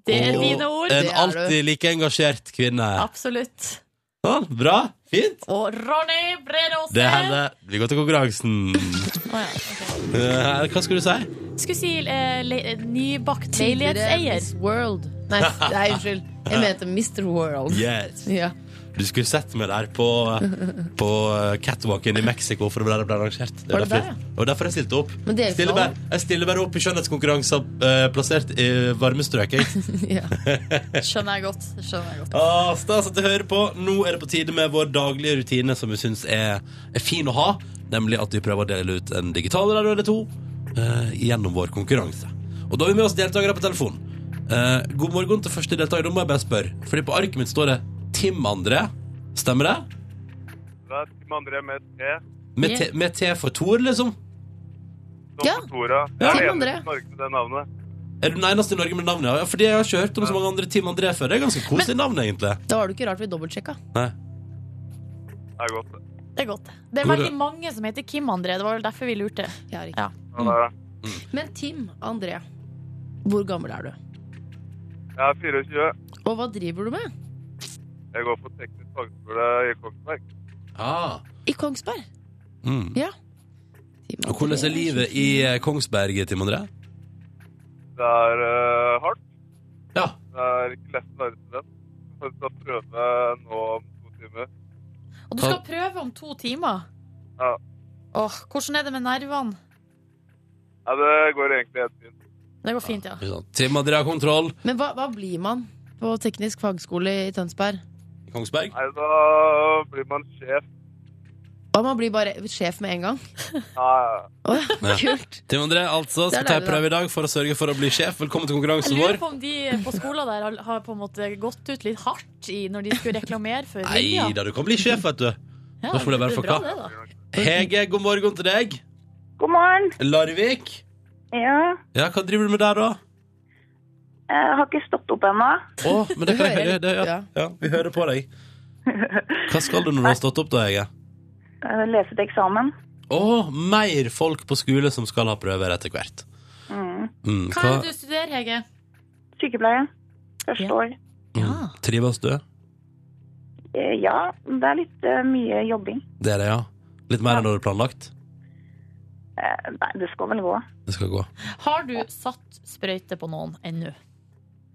Speaker 5: Det er
Speaker 6: og
Speaker 5: mine ord.
Speaker 6: En
Speaker 3: Det er
Speaker 6: alltid like engasjert kvinne.
Speaker 5: Absolutt.
Speaker 6: Sånn, bra, fint.
Speaker 5: Og Ronny Bredåse.
Speaker 6: Det hender. Vi går til konkurransen.
Speaker 5: Å ja, ok.
Speaker 6: Eh, hva skulle du si?
Speaker 5: Skulle si eh, le- nybakt leilighetseier.
Speaker 3: Miss World. Nei, s- nei, unnskyld. Jeg mente Mr. World.
Speaker 6: Yes.
Speaker 3: Ja.
Speaker 6: Du skulle sett meg der på, på catwalken i Mexico for det ble, det ble arrangert. Det
Speaker 3: Var det
Speaker 6: derfor, og derfor jeg stilte opp.
Speaker 3: Men det er jo
Speaker 6: Stiller
Speaker 3: ikke
Speaker 6: bare, jeg stiller bare opp i skjønnhetskonkurranser eh, plassert i varme strøk. jeg.
Speaker 3: ja.
Speaker 5: Skjønner jeg godt. Skjønner jeg godt.
Speaker 6: Ah, Stas at du hører på. Nå er det på tide med vår daglige rutine, som vi syns er, er fin å ha. Nemlig at vi prøver å dele ut en digital radio eller to eh, gjennom vår konkurranse. Og da har vi med oss deltakere på telefon. Eh, god morgen til første deltaker. Da må jeg bare spørre, fordi på arket mitt står det Tim André. Stemmer det?
Speaker 10: Det er Tim André med T.
Speaker 6: Med, te, med T for Tor, liksom?
Speaker 10: Som
Speaker 3: Ja.
Speaker 10: på Tora.
Speaker 6: Ja.
Speaker 10: Jeg er
Speaker 3: Tim
Speaker 10: enig
Speaker 3: André.
Speaker 10: i Norge med det navnet.
Speaker 6: Er du den eneste i Norge med navnet? Ja, fordi jeg har ikke hørt om så mange andre Team André før. Det er ganske koselig navn, egentlig.
Speaker 3: Da var det ikke rart vi dobbeltsjekka.
Speaker 10: Det er godt.
Speaker 5: Det er godt. Det er
Speaker 6: Hvor-
Speaker 5: veldig mange som heter Kim André. Det var vel derfor vi lurte.
Speaker 3: Jeg har ikke.
Speaker 5: Ja.
Speaker 10: Ja, det er det.
Speaker 3: Men Tim André, hvor gammel er du?
Speaker 10: Jeg er 24.
Speaker 3: Og hva driver du med?
Speaker 10: Jeg går på teknisk fagskole i Kongsberg.
Speaker 6: Ah.
Speaker 3: I Kongsberg.
Speaker 6: Mm.
Speaker 3: Tim
Speaker 6: Og hvordan
Speaker 3: André
Speaker 6: er livet i eh, Kongsberg, Team André?
Speaker 10: Det er eh, hardt.
Speaker 6: Ja.
Speaker 10: Det er ikke lett å være student. Jeg skal prøve nå om to timer.
Speaker 5: Og du skal prøve om to timer.
Speaker 10: Ja.
Speaker 5: Åh, hvordan er det med nervene?
Speaker 10: Nei, det går egentlig helt fint.
Speaker 5: Det går fint, ja.
Speaker 6: Ikke sant. Team André har kontroll.
Speaker 3: Men hva, hva blir man på teknisk fagskole i Tønsberg?
Speaker 6: Kongsberg?
Speaker 10: Nei, da blir man sjef.
Speaker 3: Og man blir bare sjef med en gang.
Speaker 10: Ja, ja.
Speaker 3: Å ja, kult.
Speaker 6: Tim André altså,
Speaker 3: Der
Speaker 6: skal ta
Speaker 3: lærer
Speaker 6: en prøve i dag for å sørge for å bli sjef. Velkommen til konkurransen
Speaker 5: Jeg lurer
Speaker 6: vår.
Speaker 5: på om de på skolen der har- har på en måte gått ut litt hardt i når de skulle reklamere for
Speaker 6: Nei
Speaker 5: linja.
Speaker 6: da, du kan bli sjef, vet du.
Speaker 5: Ja,
Speaker 6: Da får det være
Speaker 5: er
Speaker 6: for
Speaker 5: bra,
Speaker 6: hva.
Speaker 5: det, da.
Speaker 6: Hege, god morgen til deg.
Speaker 11: God morgen.
Speaker 6: Larvik.
Speaker 11: Ja,
Speaker 6: Ja, hva driver du med der, da?
Speaker 11: jeg Eh, har ikke stått opp ennå.
Speaker 6: Å, men det
Speaker 3: Du
Speaker 6: kan jeg høre.
Speaker 3: hører.
Speaker 6: Det, ja.
Speaker 3: Ja.
Speaker 6: Ja, vi hører på deg. Hva skal du når du har stått opp, da, Hege?
Speaker 11: Jeg Eh, leser til eksamen.
Speaker 6: Å, mer folk på skole som skal ha prøver etter hvert.
Speaker 11: Mm.
Speaker 6: Mm,
Speaker 5: Hva
Speaker 6: hva
Speaker 5: er det du studerer, Hege?
Speaker 11: Sykepleie. Første
Speaker 5: Ja.
Speaker 11: år.
Speaker 5: Ja.
Speaker 6: mm, trives du?
Speaker 11: Eh, Ja, det er litt eh, mye jobbing.
Speaker 6: Det er det, ja. Litt mer enn du hadde planlagt?
Speaker 11: Eh, Nei, det skal vel gå.
Speaker 6: Det skal gå.
Speaker 5: Har du satt sprøyte på noen ennå?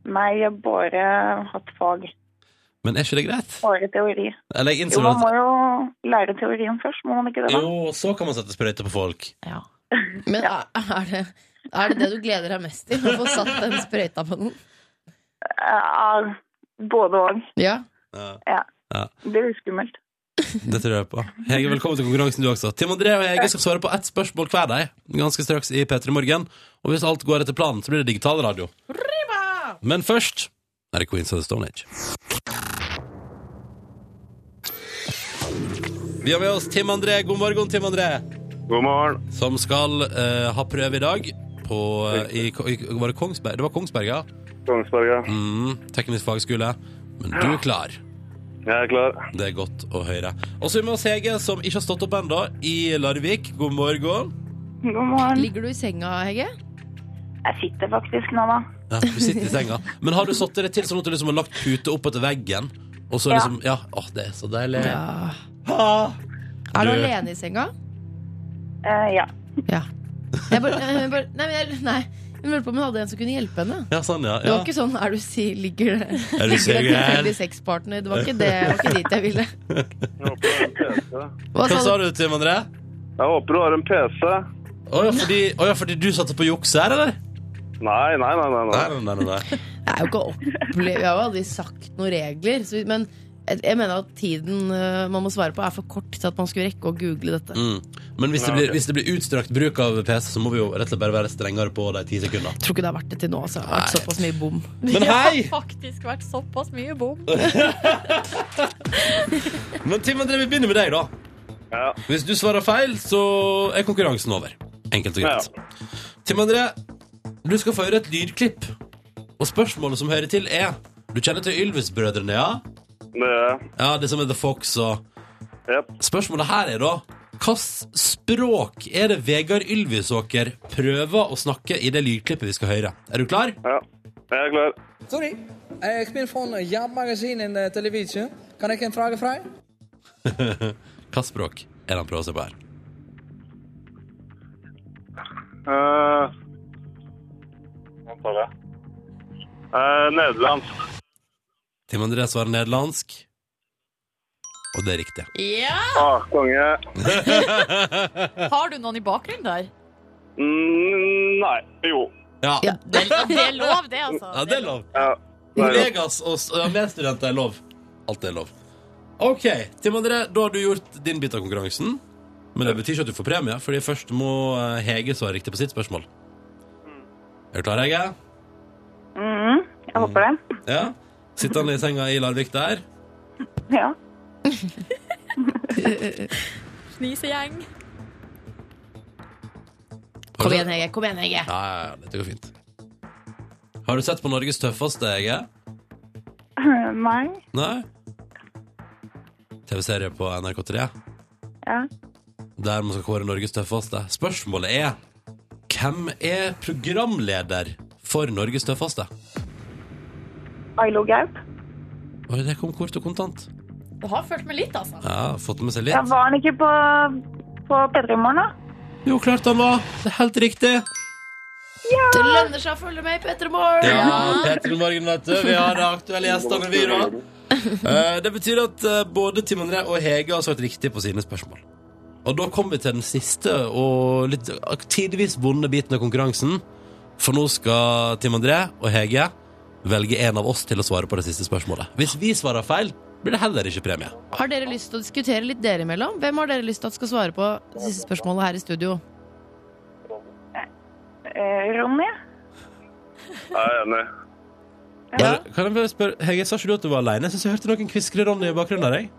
Speaker 11: Nei, jeg har bare hatt fag.
Speaker 6: Men er ikke det greit?
Speaker 11: Bare teori.
Speaker 6: Eller jeg
Speaker 11: Jo,
Speaker 6: innser
Speaker 11: man
Speaker 6: at
Speaker 11: må jo lære teorien først, må man ikke det? da?
Speaker 6: Jo, så kan man sette sprøyte på folk.
Speaker 5: Ja.
Speaker 3: Men er, er, det, er det det du gleder deg mest til? Å få satt den sprøyta på noen?
Speaker 11: Eh, Både og.
Speaker 3: Ja.
Speaker 6: Ja,
Speaker 11: Det blir skummelt.
Speaker 6: det tror jeg på. Hege, velkommen til konkurransen du også. Tim André og Hege skal svare på ett spørsmål hver deg, ganske straks i P3 Morgen. Og hvis alt går etter planen, så blir det digital radio. Men først er det Queens of the Stone Age. Vi har med oss Tim André. God morgen, Tim André.
Speaker 10: God morgen.
Speaker 6: Som skal eh, ha prøve i dag på eh, i, i, Var det Kongsberg? Det var Kongsberg, ja.
Speaker 10: Kongsberget.
Speaker 6: Mm, teknisk fagskole. Men du er klar.
Speaker 10: Jeg er klar.
Speaker 6: Det er godt å høre. Og så er vi med oss Hege, som ikke har stått opp ennå, i Larvik. God morgen.
Speaker 11: God morgen.
Speaker 3: Ligger du i senga, Hege?
Speaker 11: Jeg sitter faktisk nå, da.
Speaker 6: Ja, du sitter i senga. Men har du satt det til sånn at du liksom har lagt pute opp etter veggen? Og så
Speaker 11: Ja.
Speaker 6: liksom Ja, åh, det er så deilig.
Speaker 3: Ja.
Speaker 6: Ha!
Speaker 3: Er du
Speaker 6: Du-
Speaker 3: alene i senga?
Speaker 11: Eh, Ja.
Speaker 3: Jeg bare, jeg bare, nei, men jeg, nei. Hun lurte på om hun hadde en som kunne hjelpe henne.
Speaker 6: Ja, sånn, ja.
Speaker 3: Det
Speaker 6: ja.
Speaker 3: var ikke sånn 'er du si, ligger det
Speaker 6: Er du
Speaker 3: ligger
Speaker 6: singel?
Speaker 3: det en tilfeldig sexpartner'? Det var ikke det, det var ikke dit jeg ville.
Speaker 10: Jeg håper du har en PC.
Speaker 3: Hva
Speaker 6: Hva
Speaker 3: sa
Speaker 6: sa
Speaker 3: du?
Speaker 6: du, Tim André?
Speaker 10: Jeg håper du har en PC.
Speaker 6: Å ja, fordi, å, ja, fordi du satte på jukse her, eller?
Speaker 10: Nei, nei, nei. nei, nei.
Speaker 6: nei, nei, nei.
Speaker 3: Jeg er jo ikke opple- Jeg har jo aldri sagt noen regler. Så, men jeg, jeg mener at tiden øh, man må svare på, er for kort til at man skulle rekke å google dette.
Speaker 6: Mm. Men hvis det,
Speaker 10: Ja,
Speaker 6: blir,
Speaker 10: ok.
Speaker 6: hvis det blir utstrakt bruk av PC, så må vi jo rett og slett bare være strengere på de ti sekundene.
Speaker 3: Jeg tror ikke det har vært det til nå. Altså. Det har vært
Speaker 6: Nei.
Speaker 3: såpass mye bom.
Speaker 6: Men hei!
Speaker 5: Det har faktisk vært såpass mye bom.
Speaker 6: Men Tim André, vi begynner med deg, da.
Speaker 10: Ja.
Speaker 6: Hvis du svarer feil, så er konkurransen over. Enkelt og greit. Tim André, du skal få høre et lydklipp. Og spørsmålet som hører til, er Du kjenner til Ylvis-brødrene, ja?
Speaker 10: Det er
Speaker 6: Ja, Det som heter Fox og
Speaker 10: Jep.
Speaker 6: Spørsmålet her er da Hvilket språk er det Vegard Ylvisåker prøver å snakke i det lydklippet vi skal høre? Er du klar?
Speaker 10: Ja. Jeg er klar.
Speaker 12: Sorry, jeg spiller for Jobbmagasinet eh, Television. Kan jeg ikke en frage fra deg?
Speaker 6: Hvilket språk er det han prøver seg på her?
Speaker 10: Eh, Hva tar jeg? Eh, Nederland.
Speaker 6: Tim André svarer nederlandsk. Og det er riktig.
Speaker 10: Ah, konge.
Speaker 5: Har du noen i bakgrunnen der?
Speaker 10: Mm, nei. Jo.
Speaker 6: Ja, ja
Speaker 5: Det er, det er lov, det, altså.
Speaker 6: det er lov.
Speaker 10: Ja. Det er godt.
Speaker 6: Kollegas og s- ja, medstudenter er lov. Alt er lov. OK, Tim André, da har du gjort din bit av konkurransen. Men det betyr ikke at du får premie, fordi først må eh, Hege svare riktig på sitt spørsmål. Er du klar, Hege?
Speaker 11: Mhm. Jeg håper det.
Speaker 6: Ja? Sitter han i senga i Larvik der?
Speaker 11: Ja.
Speaker 5: Fnisegjeng.
Speaker 3: Kom igjen, Hege. Kom igjen, Hege.
Speaker 6: Ja, ja, ja, dette går fint. Har du sett på Norges tøffeste, Hege?
Speaker 11: Mm, Nei.
Speaker 6: Nei? TV-serie på NRK3?
Speaker 11: Ja.
Speaker 6: der man skal kåre Norges tøffeste. Spørsmålet er hvem er programleder for Norges tøffeste?
Speaker 11: Ailo Gaup.
Speaker 6: Oi, det kom kort og kontant.
Speaker 5: Du har fulgt med litt, altså.
Speaker 6: Ja, Fått med seg
Speaker 11: Ja,
Speaker 6: litt.
Speaker 11: var han ikke på, på P3 i morgen, da?
Speaker 6: Jo, klart han var! Det er helt riktig.
Speaker 3: Det lønner seg å følge med i Petter Morgen.
Speaker 6: Ja, Petter Morgen, vet du. Vi har de aktuelle gjestene, vi, da. Eh, Det betyr at eh, både Tim André og Hege har svart riktig på sine spørsmål. Og da kommer vi til den siste og litt eh, tidvis vonde biten av konkurransen. For nå skal Tim André og Hege velge en av oss til å svare på det siste spørsmålet. Hvis vi svarer feil, blir det heller ikke premie.
Speaker 3: Har dere lyst til å diskutere litt dere imellom? Hvem har dere lyst til at skal svare på det siste spørsmålet her i studio?
Speaker 11: Eh, Ronny?
Speaker 10: Jeg er enig.
Speaker 6: Bare, kan jeg bare spørre, Hege, sa ikke du at du var alene? Jeg synes jeg hørte noen kviskre Ronny i bakgrunnen der, jeg.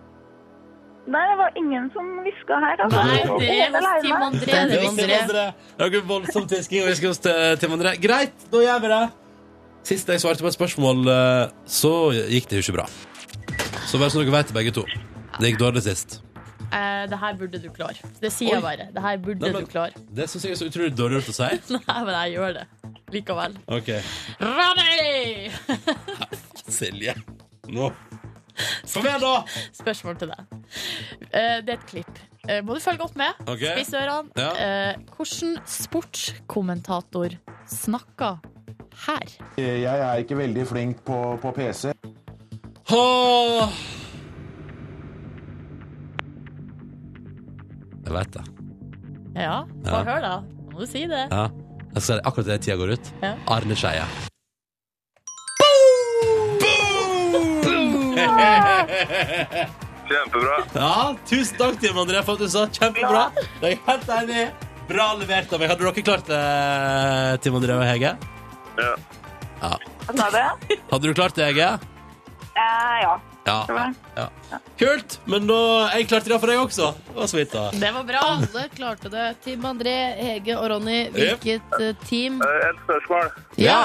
Speaker 11: Nei, det var ingen som hviska her. Altså.
Speaker 6: Nei,
Speaker 5: det er
Speaker 11: Helt
Speaker 5: hos
Speaker 11: alene.
Speaker 5: Team André. Det er
Speaker 6: Det var Tim André. Det var voldsomt hvisking og hvisking hos eh, Tim André. Greit, da gjør vi det. Sist jeg svarte på et spørsmål, eh, så gikk det jo ikke bra. Så bare så dere vet det, begge to. Det gikk dårlig sist.
Speaker 5: Eh, det her burde du klare. Det sier jeg bare. Det her burde
Speaker 6: Nei, men-
Speaker 5: du klare.
Speaker 6: Det syns jeg er så utrolig dårlig gjort å si.
Speaker 5: Nei, men jeg gjør det likevel.
Speaker 6: Ok,
Speaker 5: Ronny!
Speaker 6: Silje. Nå. Kom igjen, da!
Speaker 5: Spørsmål til deg. Eh, det er et klipp. Eh, må du følge godt med.
Speaker 6: Ok.
Speaker 5: Spiss ørene.
Speaker 6: Ja.
Speaker 5: Eh, hvordan sportskommentator snakker her?
Speaker 13: Eh, Jeg er ikke veldig flink på, på PC.
Speaker 6: Åh. Jeg vet det.
Speaker 5: Ja,
Speaker 6: Ja.
Speaker 5: få høre, da. Må du si det?
Speaker 6: Ja. Jeg skal, akkurat det tida går ut.
Speaker 5: Ja.
Speaker 6: Arne Skeie.
Speaker 10: Kjempebra.
Speaker 6: Ja, tusen takk Tim André for at du sa kjempebra. Det er jeg helt enig. i. Bra levert av meg. Hadde dere klart det, Tim André og Hege?
Speaker 10: Ja.
Speaker 11: Hva sa du?
Speaker 6: Hadde du klart det, Hege?
Speaker 11: Eh, ja.
Speaker 6: Ja.
Speaker 11: Det var-
Speaker 6: ja. Kult, men da, jeg klarte det for deg også. Det var så vidt, da.
Speaker 5: Det var bra.
Speaker 3: Alle klarte det. Tim André, Hege og Ronny, hvilket eh, team?
Speaker 10: Eh, Et spørsmål.
Speaker 3: Ja.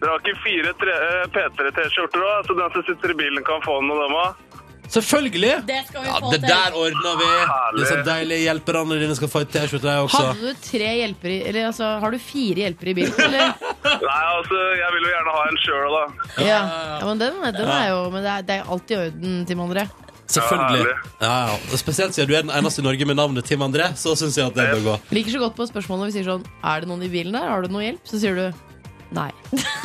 Speaker 10: Dere har ikke fire tre- eh, P3-T-skjorter òg, så den som sitter i bilen, kan få noen av dem òg?
Speaker 6: Selvfølgelig.
Speaker 5: Det skal vi
Speaker 6: Ja,
Speaker 5: få
Speaker 6: det
Speaker 5: til.
Speaker 6: der ordner vi. Det er så deilig. Hjelperne dine skal få et T-skjorte, jeg også.
Speaker 3: Hadde du tre hjelpere i Eller altså, har du fire hjelpere i bilen, eller?
Speaker 10: Nei, altså, jeg vil jo gjerne ha en sjøl, da.
Speaker 3: Ja, ja men den, den er jo Men det er, det er alltid i orden, Tim André.
Speaker 6: Selvfølgelig. Ja, ja. Og spesielt siden du er den eneste i Norge med navnet Tim André, så syns jeg at det bør gå.
Speaker 3: Liker så godt på spørsmålet når vi sier sånn Er det noen i bilen der? Har du noe hjelp? Så sier du nei.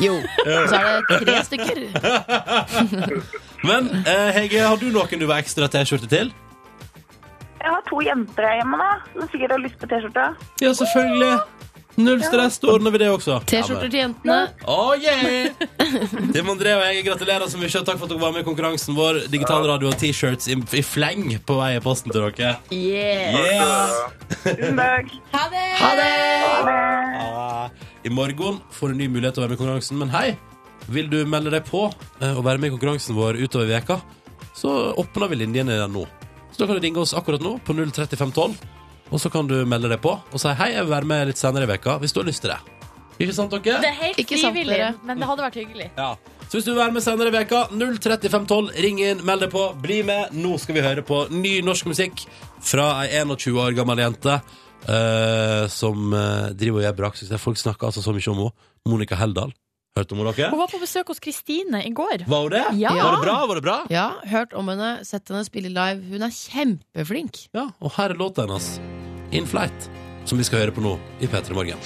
Speaker 3: Jo. Så er det tre stykker.
Speaker 6: Men eh, Hege, har du noen du var ekstra T-skjorte til?
Speaker 11: Jeg har to jenter her hjemme, da. Som sikkert har lyst på T-skjorte.
Speaker 6: Ja, selvfølgelig. Null stress, da ordner vi det også.
Speaker 3: T-skjorter til jentene.
Speaker 6: Oh, yeah! Tim André og jeg gratulerer så mye, og takk for at dere var med i konkurransen vår. Digital radio og T-shirts i, i fleng på vei i posten til dere.
Speaker 5: Yeah.
Speaker 6: Yeah!
Speaker 11: Tusen takk.
Speaker 5: Ha det!
Speaker 6: Ah, I morgen får du en ny mulighet til å være med i konkurransen. Men hei, vil du melde deg på eh, og være med i konkurransen vår utover veka, så åpner vi linjene igjen nå. Så da kan du ringe oss akkurat nå på 03512, og så kan du melde deg på og si hei, jeg vil være med litt senere i veka hvis du har lyst til det. Ikke sant, dere?
Speaker 5: Det er helt
Speaker 3: Ikke sant,
Speaker 5: frivillig,
Speaker 3: dere?
Speaker 5: men det hadde vært hyggelig.
Speaker 6: Ja. Så hvis du vil være med senere i veka, 03512, ring inn, meld deg på, bli med. Nå skal vi høre på ny norsk musikk fra ei 21 år gammel jente eh, som eh, driver og gjør braksuksess. Folk snakker altså så mye om henne. Monica Heldal. Hørte om henne,
Speaker 5: Hun
Speaker 6: dere?
Speaker 5: var på besøk hos Kristine i går.
Speaker 6: Var hun det?
Speaker 5: Ja.
Speaker 6: Var det bra? Var det bra?
Speaker 3: Ja, hørt om henne, sett henne spille live. Hun er kjempeflink.
Speaker 6: Ja, og her er låta hennes In Flight Som vi skal høre på nå i P3 Morgen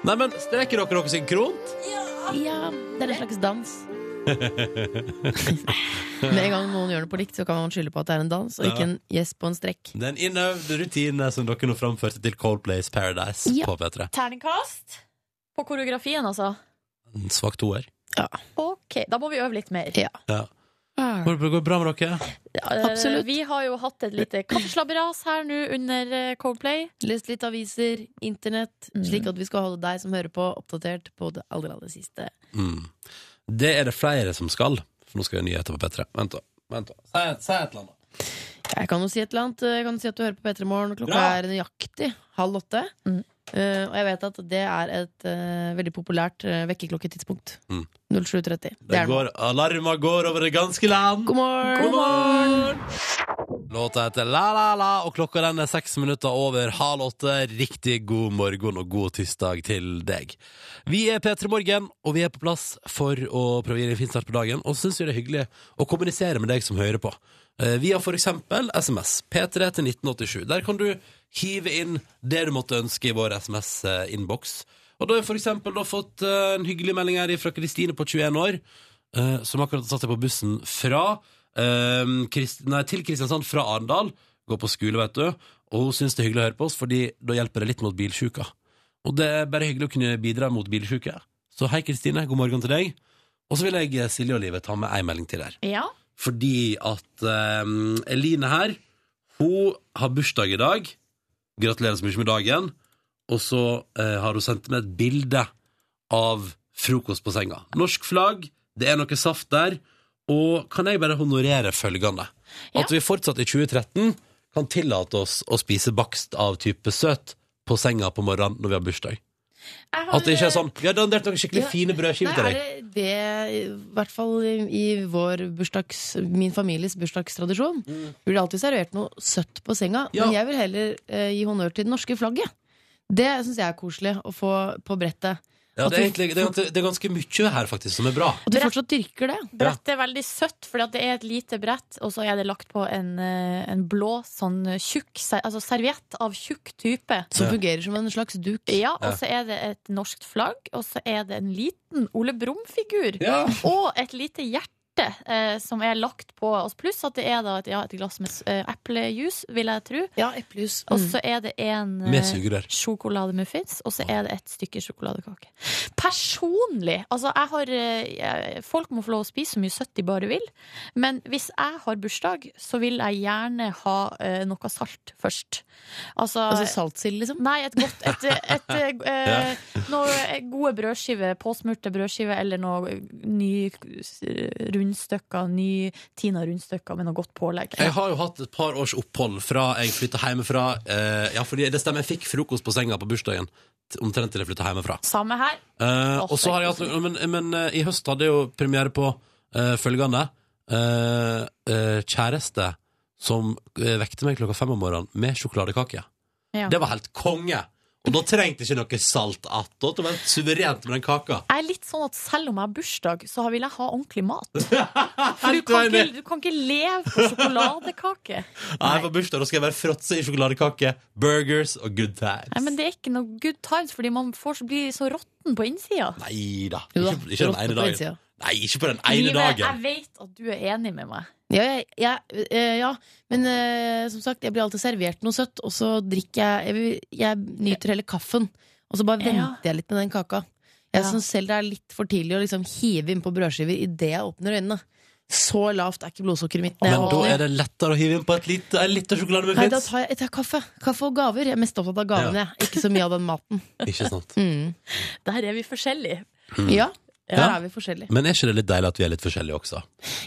Speaker 6: Neimen, streker dere dere synkront?
Speaker 3: Ja, det er en slags dans. Med en gang noen gjør det på likt, så kan man skylde på at det er en dans, og ikke en gjesp og en strekk.
Speaker 6: Den innøvde rutine som dere nå framførte til Coldplays Paradise
Speaker 3: Ja.
Speaker 6: på P3
Speaker 5: Terningkast på koreografien, altså.
Speaker 6: En svak toer
Speaker 5: Ok, Da må vi øve litt mer.
Speaker 3: Ja.
Speaker 6: ja. Går det går det bra med dere?
Speaker 5: Eh,
Speaker 3: Absolutt.
Speaker 5: Vi har jo hatt et lite kaffeslabberas her nå under eh, Coldplay.
Speaker 3: Lest litt aviser, internett, slik at vi skal holde deg som hører på, oppdatert på det aller, aller siste.
Speaker 6: Mm. Det er det flere som skal For nå skal jeg ha nyheter på P3 Vent da, vent da Si et, si et eller annet
Speaker 3: Jeg kan jo si et eller annet. eh, Jeg kan si at du hører på P3 Morgen. Klokka
Speaker 6: Bra.
Speaker 3: er nøyaktig halv åtte.
Speaker 5: Mm.
Speaker 3: Eh, og jeg vet at det er et eh, veldig populært uh, vekkerklokketidspunkt.
Speaker 6: Mm.
Speaker 3: 07.30. Det
Speaker 6: Det
Speaker 3: er det.
Speaker 6: går, alarma går over det ganske land
Speaker 3: God morgen!
Speaker 6: God morgen! Låta heter La La La, og klokka den er seks minutter over halv åtte. Riktig god morgen og god tirsdag til deg. Vi er P3 Morgen, og vi er på plass for å prøve å gi deg en fin start på dagen. Og syns jo det er hyggelig å kommunisere med deg som hører på. Eh, Via for eksempel SMS P3 til 1987. Der kan du hive inn det du måtte ønske i vår SMS-innboks. eh, Og da har jeg for eksempel da fått eh, en hyggelig melding her fra Kristine på 21 år eh, som akkurat har satt seg på bussen fra eh, Krist nei, til Kristiansand fra Arendal. Går på skole, vet du. Og hun syns det er hyggelig å høre på oss, Fordi da hjelper det litt mot bilsjuka. Og det er bare hyggelig å kunne bidra mot bilsjuke. Så hei, Kristine. God morgen til deg. Og så vil jeg, eh, Silje og Livet, ta med ei melding til her.
Speaker 5: Ja.
Speaker 6: Fordi at eh, Eline her, hun har bursdag i dag. Gratulerer så mye med dagen. Og så eh, har hun sendt meg et bilde av frokost på senga. Norsk flagg, det er noe saft der. Og kan jeg bare honorere følgende? At vi fortsatt i 2013 kan tillate oss å spise bakst av type søt på senga på morgenen når vi har bursdag.
Speaker 3: Jeg har-
Speaker 6: At det ikke er sånn Vi har dandert noen skikkelig
Speaker 3: Ja.
Speaker 6: fine brødskiver til
Speaker 3: Nei,
Speaker 6: deg.
Speaker 3: Er det det, i hvert fall i i vår bursdags, min families bursdagstradisjon,
Speaker 6: Mm.
Speaker 3: blir det alltid servert noe søtt på senga. Men jeg vil heller eh, gi honnør til det norske flagget. Det syns jeg er koselig å få på brettet.
Speaker 6: Ja,
Speaker 3: At
Speaker 6: det, er
Speaker 3: du-
Speaker 6: egentlig, det, er, ganske- det er ganske mye her faktisk som er bra.
Speaker 3: At du fortsatt dyrker det.
Speaker 5: Brettet eh, er veldig søtt, for det er et lite brett, og så er det lagt på en, eh, en blå sånn tjukk ser- altså serviett av tjukk type.
Speaker 3: Som fungerer som en slags duk. Ja.
Speaker 5: Ja, og så er det et norskt flagg, og så er det en liten Ole Brumm-figur.
Speaker 6: Ja.
Speaker 5: Og et lite hjerte eh, som er lagt på oss, pluss at det er da et, ja, et glass med s- eh, eplejus, vil jeg tro.
Speaker 3: Ja, eplejus. Mm.
Speaker 5: Og så er det en eh,
Speaker 6: Med sugerør.
Speaker 5: sjokolademuffins, og så er det et stykke sjokoladekake. Personlig, altså jeg har eh, jeg- Folk må få lov å spise så mye søtt de bare vil, men hvis jeg har bursdag, så vil jeg gjerne ha eh, noe salt først. Altså,
Speaker 3: Altså saltsild, liksom?
Speaker 5: Nei, et godt et, et, eh, noe gode brødskiver, påsmurte brødskiver, eller noe ny eh, rundstykker, ny Tina rundstykker med noe godt pålegg.
Speaker 6: Jeg har jo hatt et par års opphold fra jeg flytta hjemmefra. Eh, ja, fordi det stemmer, jeg fikk frokost på senga på bursdagen t- omtrent til jeg flytta hjemmefra.
Speaker 5: Samme her.
Speaker 6: Eh, og så har jeg hatt noe- men, men eh, i høst hadde jeg jo premiere på eh, følgende eh, eh, Kjæreste som eh, vekte meg klokka fem om morgenen med sjokoladekake.
Speaker 5: Ja.
Speaker 6: Det var helt konge! Og da trengte jeg ikke noe salt attåt. Det var helt suverent med den kaka.
Speaker 5: Jeg er litt sånn at selv om jeg har bursdag, så vil jeg ha ordentlig mat. For du kan ikke, du kan ikke leve på sjokoladekake.
Speaker 6: Nei, på bursdag da skal jeg være fråtse i sjokoladekake, burgers og good times.
Speaker 5: Nei, men det er ikke noe good times, fordi man får, blir så råtten på innsida.
Speaker 6: Nei da.
Speaker 5: Jo da,
Speaker 6: Ikke, ikke den
Speaker 5: råtne
Speaker 6: ene
Speaker 5: på
Speaker 6: dagen.
Speaker 5: innsida.
Speaker 6: Nei, ikke på den ene
Speaker 5: Livet, Jeg
Speaker 6: dagen.
Speaker 5: vet at du er enig med meg.
Speaker 3: Ja, jeg, jeg, eh, ja, men eh, som sagt, jeg blir alltid servert noe søtt, og så drikker jeg Jeg, vil- jeg nyter heller kaffen, og så bare
Speaker 14: Ja.
Speaker 3: venter jeg litt med den kaka. Jeg
Speaker 14: Ja.
Speaker 3: syns selv det er litt for tidlig å liksom hive innpå brødskiver idet jeg åpner øynene. Så lavt er ikke blodsukkeret mitt. når jeg
Speaker 6: Men da
Speaker 3: våkner.
Speaker 6: er det lettere å hive inn på et lite, en liten sjokolade med
Speaker 3: Nei, da
Speaker 6: fins.
Speaker 3: tar jeg, jeg tar kaffe. Kaffe og gaver. Jeg er mest opptatt av gavene,
Speaker 6: Ja.
Speaker 3: jeg. Ikke så mye av den maten.
Speaker 6: Ikke sant.
Speaker 3: Mm.
Speaker 5: Der er vi forskjellige.
Speaker 6: Mm.
Speaker 3: Ja, der
Speaker 6: Ja.
Speaker 3: er vi forskjellige.
Speaker 6: Men er ikke det litt deilig at vi er litt forskjellige også?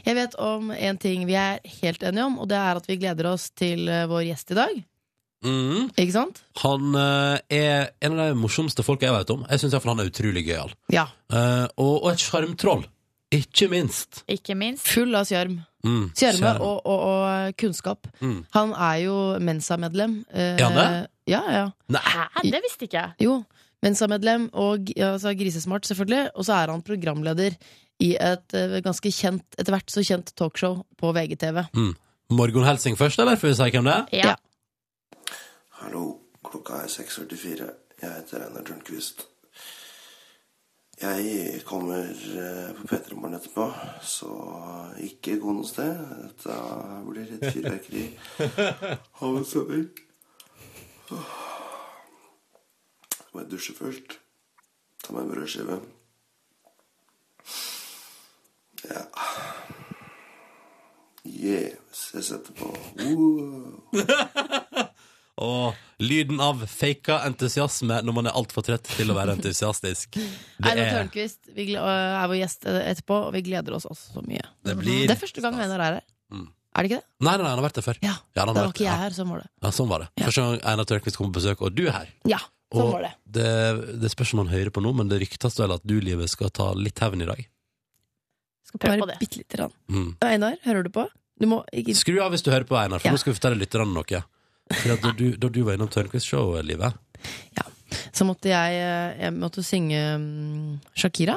Speaker 3: Jeg vet om en ting vi er helt enige om, og det er at vi gleder oss til eh, vår gjest i dag.
Speaker 6: Mm.
Speaker 3: Ikke sant?
Speaker 6: Han eh, er en av de morsomste folka jeg vet om. Jeg syns iallfall han er utrolig gøyal.
Speaker 3: Ja.
Speaker 6: Eh, og, og et sjarmtroll. Ikke minst.
Speaker 5: Ikke minst.
Speaker 3: Full av sjarm.
Speaker 6: Mm,
Speaker 3: Sjarme
Speaker 6: sjarm.
Speaker 3: og, og, og kunnskap.
Speaker 6: Mm.
Speaker 3: Han er jo Mensa-medlem. Eh,
Speaker 6: Er han det?
Speaker 3: Ja, ja.
Speaker 5: Hæ, det visste ikke jeg.
Speaker 3: Jo. Mensa-medlem og ja, altså, grisesmart, selvfølgelig. Og så er han programleder i et eh, ganske kjent, etter hvert så kjent talkshow på VGTV.
Speaker 6: Mm. Morgenhelsing først, eller? Før vi sier hvem det er?
Speaker 3: Ja.
Speaker 15: Hallo, klokka er 6.44. Jeg heter Einar Tørnquist. Jeg kommer eh, på P3 Morgen etterpå, så ikke gå noe sted. Dette blir litt fyrverkeri. Ha det så vel. Åh. Må jeg dusje først? Ta meg en brødskive. Ja. Yes, jeg setter på. Uh. Wow.
Speaker 6: Og lyden av faka entusiasme når man er altfor trett til å være entusiastisk. Det
Speaker 3: Einar
Speaker 6: er
Speaker 3: Tørnquist vi gle- øh, er vår gjest eh, etterpå, og vi gleder oss også så mye.
Speaker 6: Det blir
Speaker 3: er første gang Einar er her.
Speaker 6: Mm.
Speaker 3: Er det ikke det?
Speaker 6: Nei, nei, nei, han har vært der før. Ja, han
Speaker 3: Da
Speaker 6: har
Speaker 3: var
Speaker 6: vært-
Speaker 3: ikke jeg
Speaker 6: ja.
Speaker 3: her, sånn var det.
Speaker 6: Ja, sånn var det. Første gang Einar Tørkvist kom på besøk, og du er her.
Speaker 3: Ja, sånn
Speaker 6: Og
Speaker 3: var det.
Speaker 6: det, det spørs om han hører på nå, men det ryktes vel at du, Livet, skal ta litt hevn i dag.
Speaker 3: Skal prøve på det. Bitte lite grann.
Speaker 6: Mm.
Speaker 3: Einar, hører du på? Du må ikke
Speaker 6: Skru av hvis du hører på, Einar, for
Speaker 3: Ja.
Speaker 6: nå skal vi fortelle lytterne noe. Fordi at Da du, da du var innom Tørnquist-showet, Livet
Speaker 3: så måtte jeg, eh, jeg måtte synge mm, Shakira.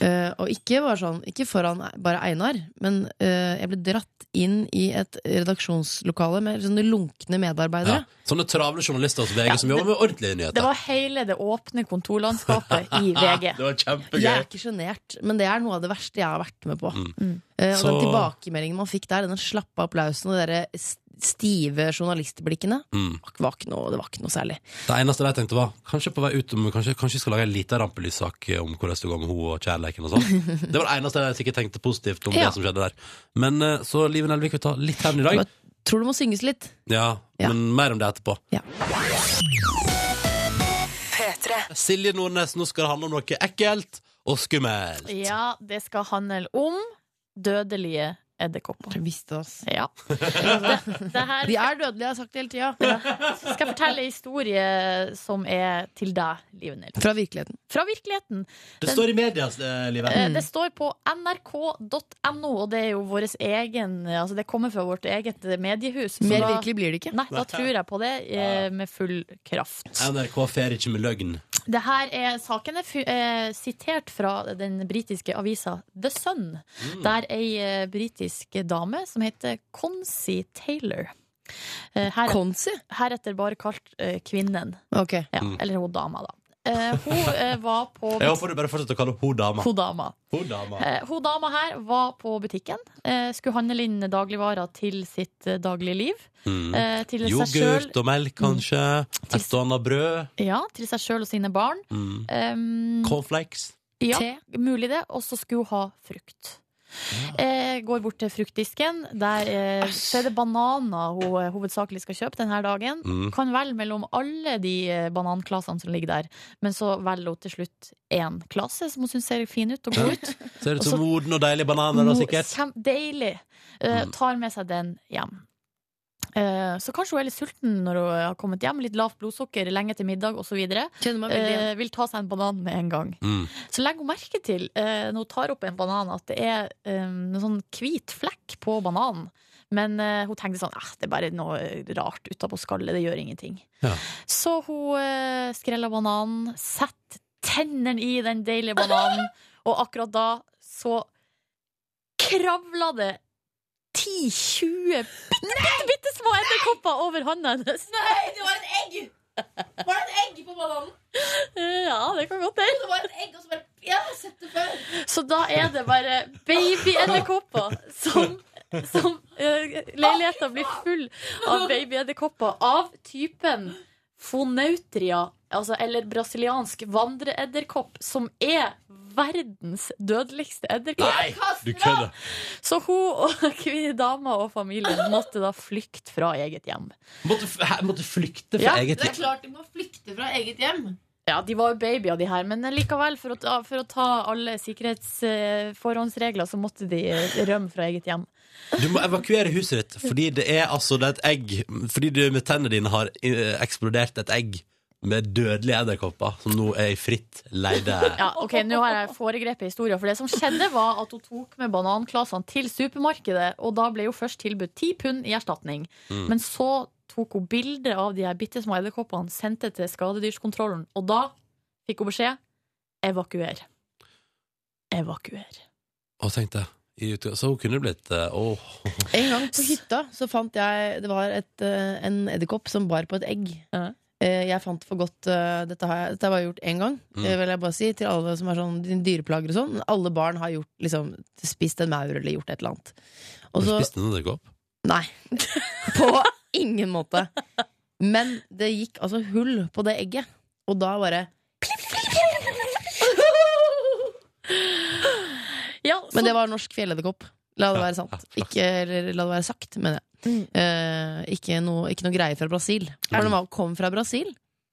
Speaker 3: Eh, og ikke, bare sånn, ikke foran bare Einar, men eh, jeg ble dratt inn i et redaksjonslokale med sånne lunkne medarbeidere.
Speaker 6: ja. Sånne travle journalister hos VG som jobber med ordentlige nyheter.
Speaker 5: Det var hele det åpne kontorlandskapet i VG.
Speaker 6: det var kjempegøy.
Speaker 3: Jeg er ikke sjenert, men det er noe av det verste jeg har vært med på.
Speaker 6: Mm.
Speaker 3: Eh, og
Speaker 6: Så-
Speaker 3: den tilbakemeldingen man fikk der, den slappe applausen og det derre s- stive journalistblikkene.
Speaker 6: Mm.
Speaker 3: Det var ikke noe, det var ikke noe særlig.
Speaker 6: Det eneste jeg tenkte var Kanskje på vei ut om, kanskje, kanskje jeg skal lage en liten rampelyssak om hvordan det går med henne og kjærleiken og sånn. Det var det eneste jeg sikkert tenkte positivt om
Speaker 3: Ja.
Speaker 6: det som skjedde der. Men eh, så Liv Nelvik vil ta litt hevn i dag.
Speaker 3: Tror det må synges litt.
Speaker 6: Ja, men mer om det etterpå. Silje Nordnes, nå skal det handle om noe ekkelt og skummelt.
Speaker 5: Ja, det skal handle om dødelige edderkopper.
Speaker 3: Jeg visste det, ass.
Speaker 5: Ja.
Speaker 3: De er dødelige, jeg har sagt det hele tida.
Speaker 5: Skal jeg fortelle en historie som er til deg, Liv Nilsen?
Speaker 3: Fra virkeligheten.
Speaker 5: Fra virkeligheten.
Speaker 6: Det står i medias, eh, Live.
Speaker 5: Eh, Det står på nrk.no, og det er jo vår egen Altså det kommer fra vårt eget mediehus. så
Speaker 6: Mer
Speaker 5: da-
Speaker 6: virkelig blir det ikke.
Speaker 5: Nei, da tror jeg på det eh, med full kraft.
Speaker 6: NRK fer ikke med løgn.
Speaker 5: Det her er, saken er fu- eh, sitert fra den britiske avisa The Sun,
Speaker 6: Mm.
Speaker 5: der ei eh, britisk dame som heter Concy Taylor eh, her, Heretter bare kalt eh, kvinnen.
Speaker 3: Ok.
Speaker 5: Ja,
Speaker 6: Mm.
Speaker 5: Eller hun dama, da. Eh, hun eh, var på
Speaker 6: Jeg håper du bare fortsetter å kalle henne dama.
Speaker 5: Hun dama.
Speaker 6: Hun dama.
Speaker 5: Eh, Hun dama her var på butikken. eh, Skulle handle inn dagligvarer til sitt eh, daglige liv.
Speaker 6: Mm.
Speaker 5: eh, til seg Mm.
Speaker 6: Yoghurt og melk, kanskje. Et og annet brød.
Speaker 5: Ja, til seg sjøl og sine barn.
Speaker 6: Mm.
Speaker 5: Um,
Speaker 6: Cornflakes.
Speaker 5: Ja, mulig det. Og så skulle hun ha frukt. Eh, går bort til fruktdisken. Der eh, så er det bananer hun eh, hovedsakelig skal kjøpe denne dagen.
Speaker 8: Mm.
Speaker 5: Kan velge mellom alle de eh, bananklasene som ligger der. Men så velger hun til slutt én klase som hun syns ser fin ut og god ut.
Speaker 6: Ser ut
Speaker 5: Og
Speaker 6: som
Speaker 5: så-
Speaker 6: moden og deilige bananer, da, sikkert. Mm.
Speaker 5: Kjem- Deilig. Eh, tar med seg den hjem. Eh, så kanskje hun er litt sulten når hun har kommet hjem. Litt lavt blodsukker lenge til middag osv.
Speaker 3: meg veldig igjen.
Speaker 5: Uh, vil ta seg en banan med en gang.
Speaker 6: Mm.
Speaker 5: Så legger hun merke til eh, når hun tar opp en banan, at det er eh, en sånn hvit flekk på bananen. Men eh, hun tenkte sånn eh, det er bare noe rart utapå skallet, det gjør ingenting.
Speaker 6: Ja.
Speaker 5: Så hun eh, skreller bananen, setter tennene i den deilige bananen, og akkurat da så kravla det 10-20 bitte, bitte små edderkopper over hånda hennes.
Speaker 16: Nei, det var et egg! Var det et egg på bananen?
Speaker 5: Ja, det kan godt
Speaker 16: Det var et egg, og så bare Jeg har sett det før.
Speaker 5: Så da er det bare babyedderkopper som, som uh, Leiligheta blir full av babyedderkopper av typen fonautria, altså, eller brasiliansk vandreedderkopp, som er verdens dødeligste edderkopp.
Speaker 6: Du kødder.
Speaker 5: Så hun og kvinne, dama og familien måtte da flykte fra eget hjem.
Speaker 6: Måtte, f- her måtte flykte fra eget liv.
Speaker 5: klart de må flykte Eh, fra eget hjem. Ja, De var jo babyer, de her, men likevel, for å ta, for å ta alle sikkerhetsforhåndsregler, så måtte de eh, rømme fra eget hjem.
Speaker 6: Du må evakuere huset ditt, fordi det er altså det er et egg Fordi du med tennene dine har eh, eksplodert et egg med dødelige edderkopper, som nå er i fritt leide.
Speaker 5: Ja, ok, Nå har jeg foregrepet historien. For det som skjedde, var at hun tok med bananklasene til supermarkedet, og da ble jo først tilbudt 10 pund i erstatning.
Speaker 8: Mm.
Speaker 5: Men så tok hun bilde av de her bitte små edderkoppene, sendte til skadedyrskontrollen, og da fikk hun beskjed evakuer. Evakuer.
Speaker 6: Og tenkte jeg, i utgang- Så hun kunne blitt eh, Åh
Speaker 3: En gang på hytta så fant jeg Det var et, eh, en edderkopp som bar på et egg. Eh, Jeg fant for godt eh, Dette har jeg, dette har jeg gjort én gang,
Speaker 6: Mm.
Speaker 3: eh, vil jeg bare si, til alle som er sånn dyreplager og sånn. Alle barn har gjort, liksom, spist en maur eller gjort et eller annet. Og
Speaker 6: Har du
Speaker 3: så-
Speaker 6: spist en edderkopp?
Speaker 3: Nei. På ingen måte. Men det gikk altså hull på det egget, og da bare Men det var norsk fjelledderkopp. La det være sant. Ikke, eller la det være sagt, mener jeg. Eh, ikke, noe, ikke noe greie fra Brasil. For den var- kom fra Brasil.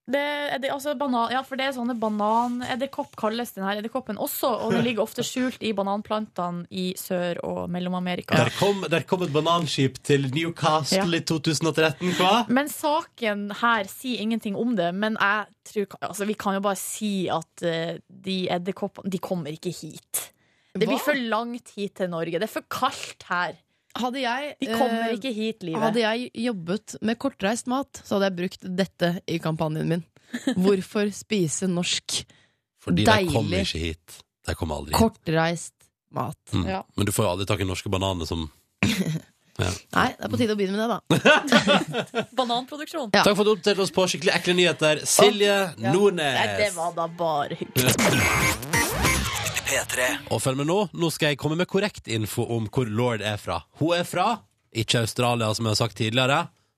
Speaker 5: Det, er det, altså banan, ja, for det er sånne bananedderkopp kalles denne edderkoppen også, og den ligger ofte skjult i bananplantene i Sør- og Mellom-Amerika.
Speaker 6: Der, kom, der kom et bananskip til Newcastle i 2013, hva?
Speaker 5: Men saken her sier ingenting om det, men jeg tror, altså, vi kan jo bare si at eh, de edderkoppene De kommer ikke hit. Det blir
Speaker 3: Hva?
Speaker 5: for langt hit til Norge. Det er for kaldt her.
Speaker 3: Hadde jeg
Speaker 5: De kommer
Speaker 3: eh,
Speaker 5: ikke hit, livet.
Speaker 3: Hadde jeg jobbet med kortreist mat, så hadde jeg brukt dette i kampanjen min. Hvorfor spise norsk?
Speaker 6: Fordi de kommer
Speaker 3: deilig,
Speaker 6: ikke hit. De kommer aldri hit.
Speaker 3: kortreist mat.
Speaker 6: Mm. Men du får jo aldri tak i norske bananer som ja.
Speaker 3: Nei, det er på tide å begynne med det, da.
Speaker 5: Bananproduksjon.
Speaker 6: Takk for at du oppdaterte oss på skikkelig ekle nyheter. Silje
Speaker 5: Ja. Nei, det
Speaker 6: Nordnes.
Speaker 5: var da bare hyggelig.
Speaker 6: Og følg med nå. Nå skal jeg komme med korrekt info om hvor Lord er fra. Hun er fra Ikke Australia, som jeg har sagt tidligere,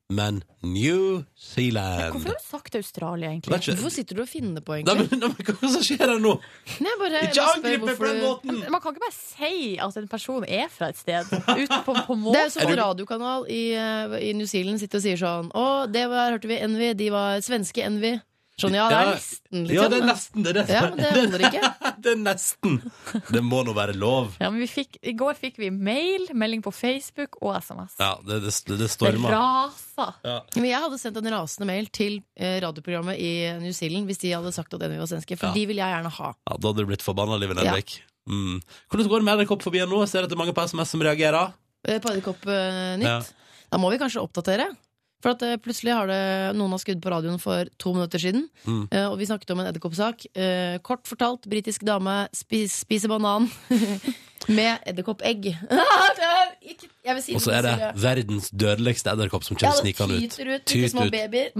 Speaker 6: men New Zealand.
Speaker 5: Hvorfor har du sagt Australia, egentlig?
Speaker 6: Vet ikke. Hvorfor
Speaker 5: sitter du og finner på,
Speaker 6: Nei, men, nei, men hva som skjer her nå?
Speaker 3: Nei, jeg bare,
Speaker 6: Ikke
Speaker 3: jeg bare spør
Speaker 6: angrip meg på den
Speaker 3: hvorfor-
Speaker 5: Men Man kan ikke bare si at en person er fra et sted, uten på, på måten.
Speaker 3: Det er jo som en radiokanal i, eh, i New Zealand sitter og sier sånn Å, det var, hørte vi Envy, de var svenske Envy. Sånn, ja, det er nesten, liksom.
Speaker 6: Ja, det er nesten det. det.
Speaker 3: Ja, men det holder ikke.
Speaker 6: det er nesten. Det må nå være lov.
Speaker 5: Ja, men vi fikk, I går fikk vi mail, melding på Facebook og SMS.
Speaker 6: Ja, det, det, det, det
Speaker 5: Det
Speaker 6: stormer.
Speaker 5: rasa!
Speaker 6: Ja.
Speaker 3: Men jeg hadde sendt en rasende mail til eh, radioprogrammet i New Zealand hvis de hadde sagt at Envy var svenske, for
Speaker 6: Ja.
Speaker 3: de vil jeg gjerne ha.
Speaker 6: Ja, da hadde du blitt forbanna, Liv Nelvik. Mm. Hvordan går det med edderkopp forbi nå? Jeg ser at det er mange på SMS som reagerer.
Speaker 3: Eh, På Edderkopp
Speaker 6: Ja.
Speaker 3: eh, Nytt. Da må vi kanskje oppdatere. For at eh, plutselig har det noen har skrudd på radioen for to minutter siden.
Speaker 6: Mm.
Speaker 3: Eh, og vi snakket om en edderkoppsak. Eh, kort fortalt, britisk dame spis, spiser banan med edderkoppegg. Ikke- jeg vil si
Speaker 6: Og så er det verdens dødeligste edderkopp som kommer snikende ut.
Speaker 5: tyter ut,
Speaker 6: Tyter ut.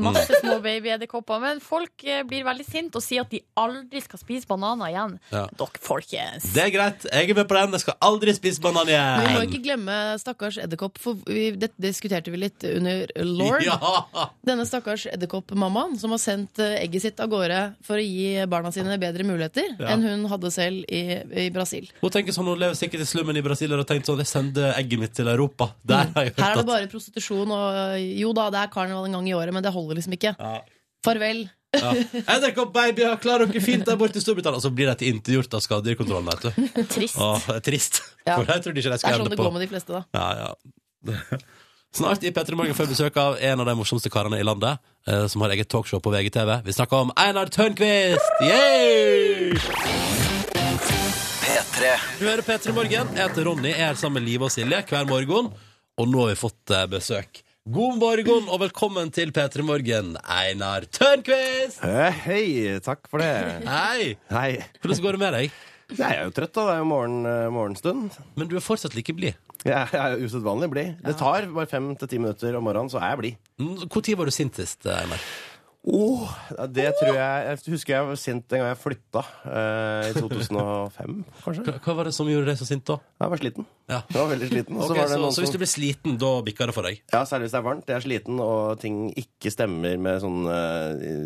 Speaker 5: Masse små babyedderkopper. Men folk eh, blir veldig sinte og sier at de aldri skal spise bananer igjen.
Speaker 6: Ja.
Speaker 5: Dere, folkens.
Speaker 6: Det er greit. Jeg er med på den. Jeg skal aldri spise banan
Speaker 3: Men vi må
Speaker 6: igjen.
Speaker 3: ikke glemme stakkars edderkopp, for vi, dette diskuterte vi litt under Lord.
Speaker 6: Ja.
Speaker 3: Denne stakkars edderkoppmammaen som har sendt eh, egget sitt av gårde for å gi barna sine bedre muligheter
Speaker 6: Ja.
Speaker 3: enn hun hadde selv i, i Brasil.
Speaker 6: Hun tenker sånn, hun lever sikkert i slummen i Brasil og har tenkt sånn, jeg sender egget mitt til Europa. Der har jeg
Speaker 3: Mm.
Speaker 6: hørt
Speaker 3: Her er det
Speaker 6: at
Speaker 3: bare prostitusjon og eh, Jo da, det er karneval en gang i året, men det holder liksom ikke. Farvel.
Speaker 6: ja. Edderkopp-babyer, klarer dere fint der borte i Storbritannia? Og så blir de intergjort av skadedyrkontrollen, vet du.
Speaker 3: Trist.
Speaker 6: Åh, det er trist.
Speaker 3: Ja.
Speaker 6: For jeg trodde ikke de
Speaker 3: Det er
Speaker 6: skulle
Speaker 3: sånn
Speaker 6: ende
Speaker 3: det går
Speaker 6: på.
Speaker 3: med de fleste, da.
Speaker 6: Ja, ja. Snart i P3 Morgen får vi besøk av en av de morsomste karene i landet, eh, som har eget talkshow på VGTV. Vi snakker om Einar Tørnquist! Yay!
Speaker 1: P3.
Speaker 6: Du hører P3 Morgen. Jeg heter Ronny, jeg er sammen med Live og Silje hver morgen, og nå har vi fått eh, besøk. God morgen og velkommen til P3 Morgen, Einar Tørnquist!
Speaker 15: Eh, Hei, takk for det.
Speaker 6: Hei! Hvordan går det med deg?
Speaker 15: Jeg er jo trøtt, da. Det er jo morgen, eh, morgenstund.
Speaker 6: Men du er fortsatt like blid?
Speaker 15: Jeg er jo usedvanlig blid. Det tar bare fem til ti minutter om morgenen, så er jeg blid.
Speaker 6: Når var du sint sist, Einar? Oh.
Speaker 15: Åh, det tror jeg Jeg husker jeg var sint en gang jeg flytta, eh, i 2005, kanskje.
Speaker 6: Hva var det som gjorde deg så sint da?
Speaker 15: Jeg var sliten.
Speaker 6: Ja.
Speaker 15: Jeg var veldig sliten. og
Speaker 6: Ok,
Speaker 15: var det
Speaker 6: så,
Speaker 15: noen
Speaker 6: så hvis
Speaker 15: som-
Speaker 6: du blir sliten, da bikker det for deg?
Speaker 15: Ja, særlig hvis det er varmt. Jeg er sliten, og ting ikke stemmer med sånn, sånne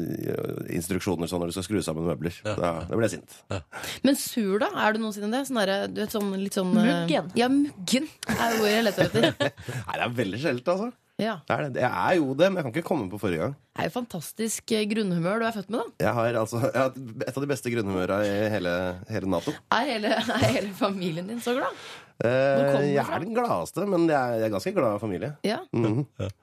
Speaker 15: eh, instruksjoner sånn når du skal skru sammen møbler. Da, da blir jeg sint.
Speaker 3: Men sur, da? Er du noensinne det? Sånn derre- du vet, sånn, litt sånn eh,
Speaker 15: Muggen.
Speaker 3: Ja, muggen er ordet jeg leter etter.
Speaker 15: Nei, det er veldig sjeldent, altså.
Speaker 3: Ja.
Speaker 15: Det er, det. Jeg er jo det, men jeg kan ikke komme på forrige gang.
Speaker 3: Det er jo fantastisk eh, grunnhumør du er født med, da.
Speaker 15: Jeg har altså jeg har hatt et av de beste grunnhumøra i hele, hele Nato.
Speaker 3: Er hele, er hele familien din så glad?
Speaker 15: Eh,
Speaker 3: kommer det
Speaker 15: jeg
Speaker 3: fra?
Speaker 15: er den gladeste, men jeg er, jeg er ganske glad familie.
Speaker 3: Ja.
Speaker 15: Mhm.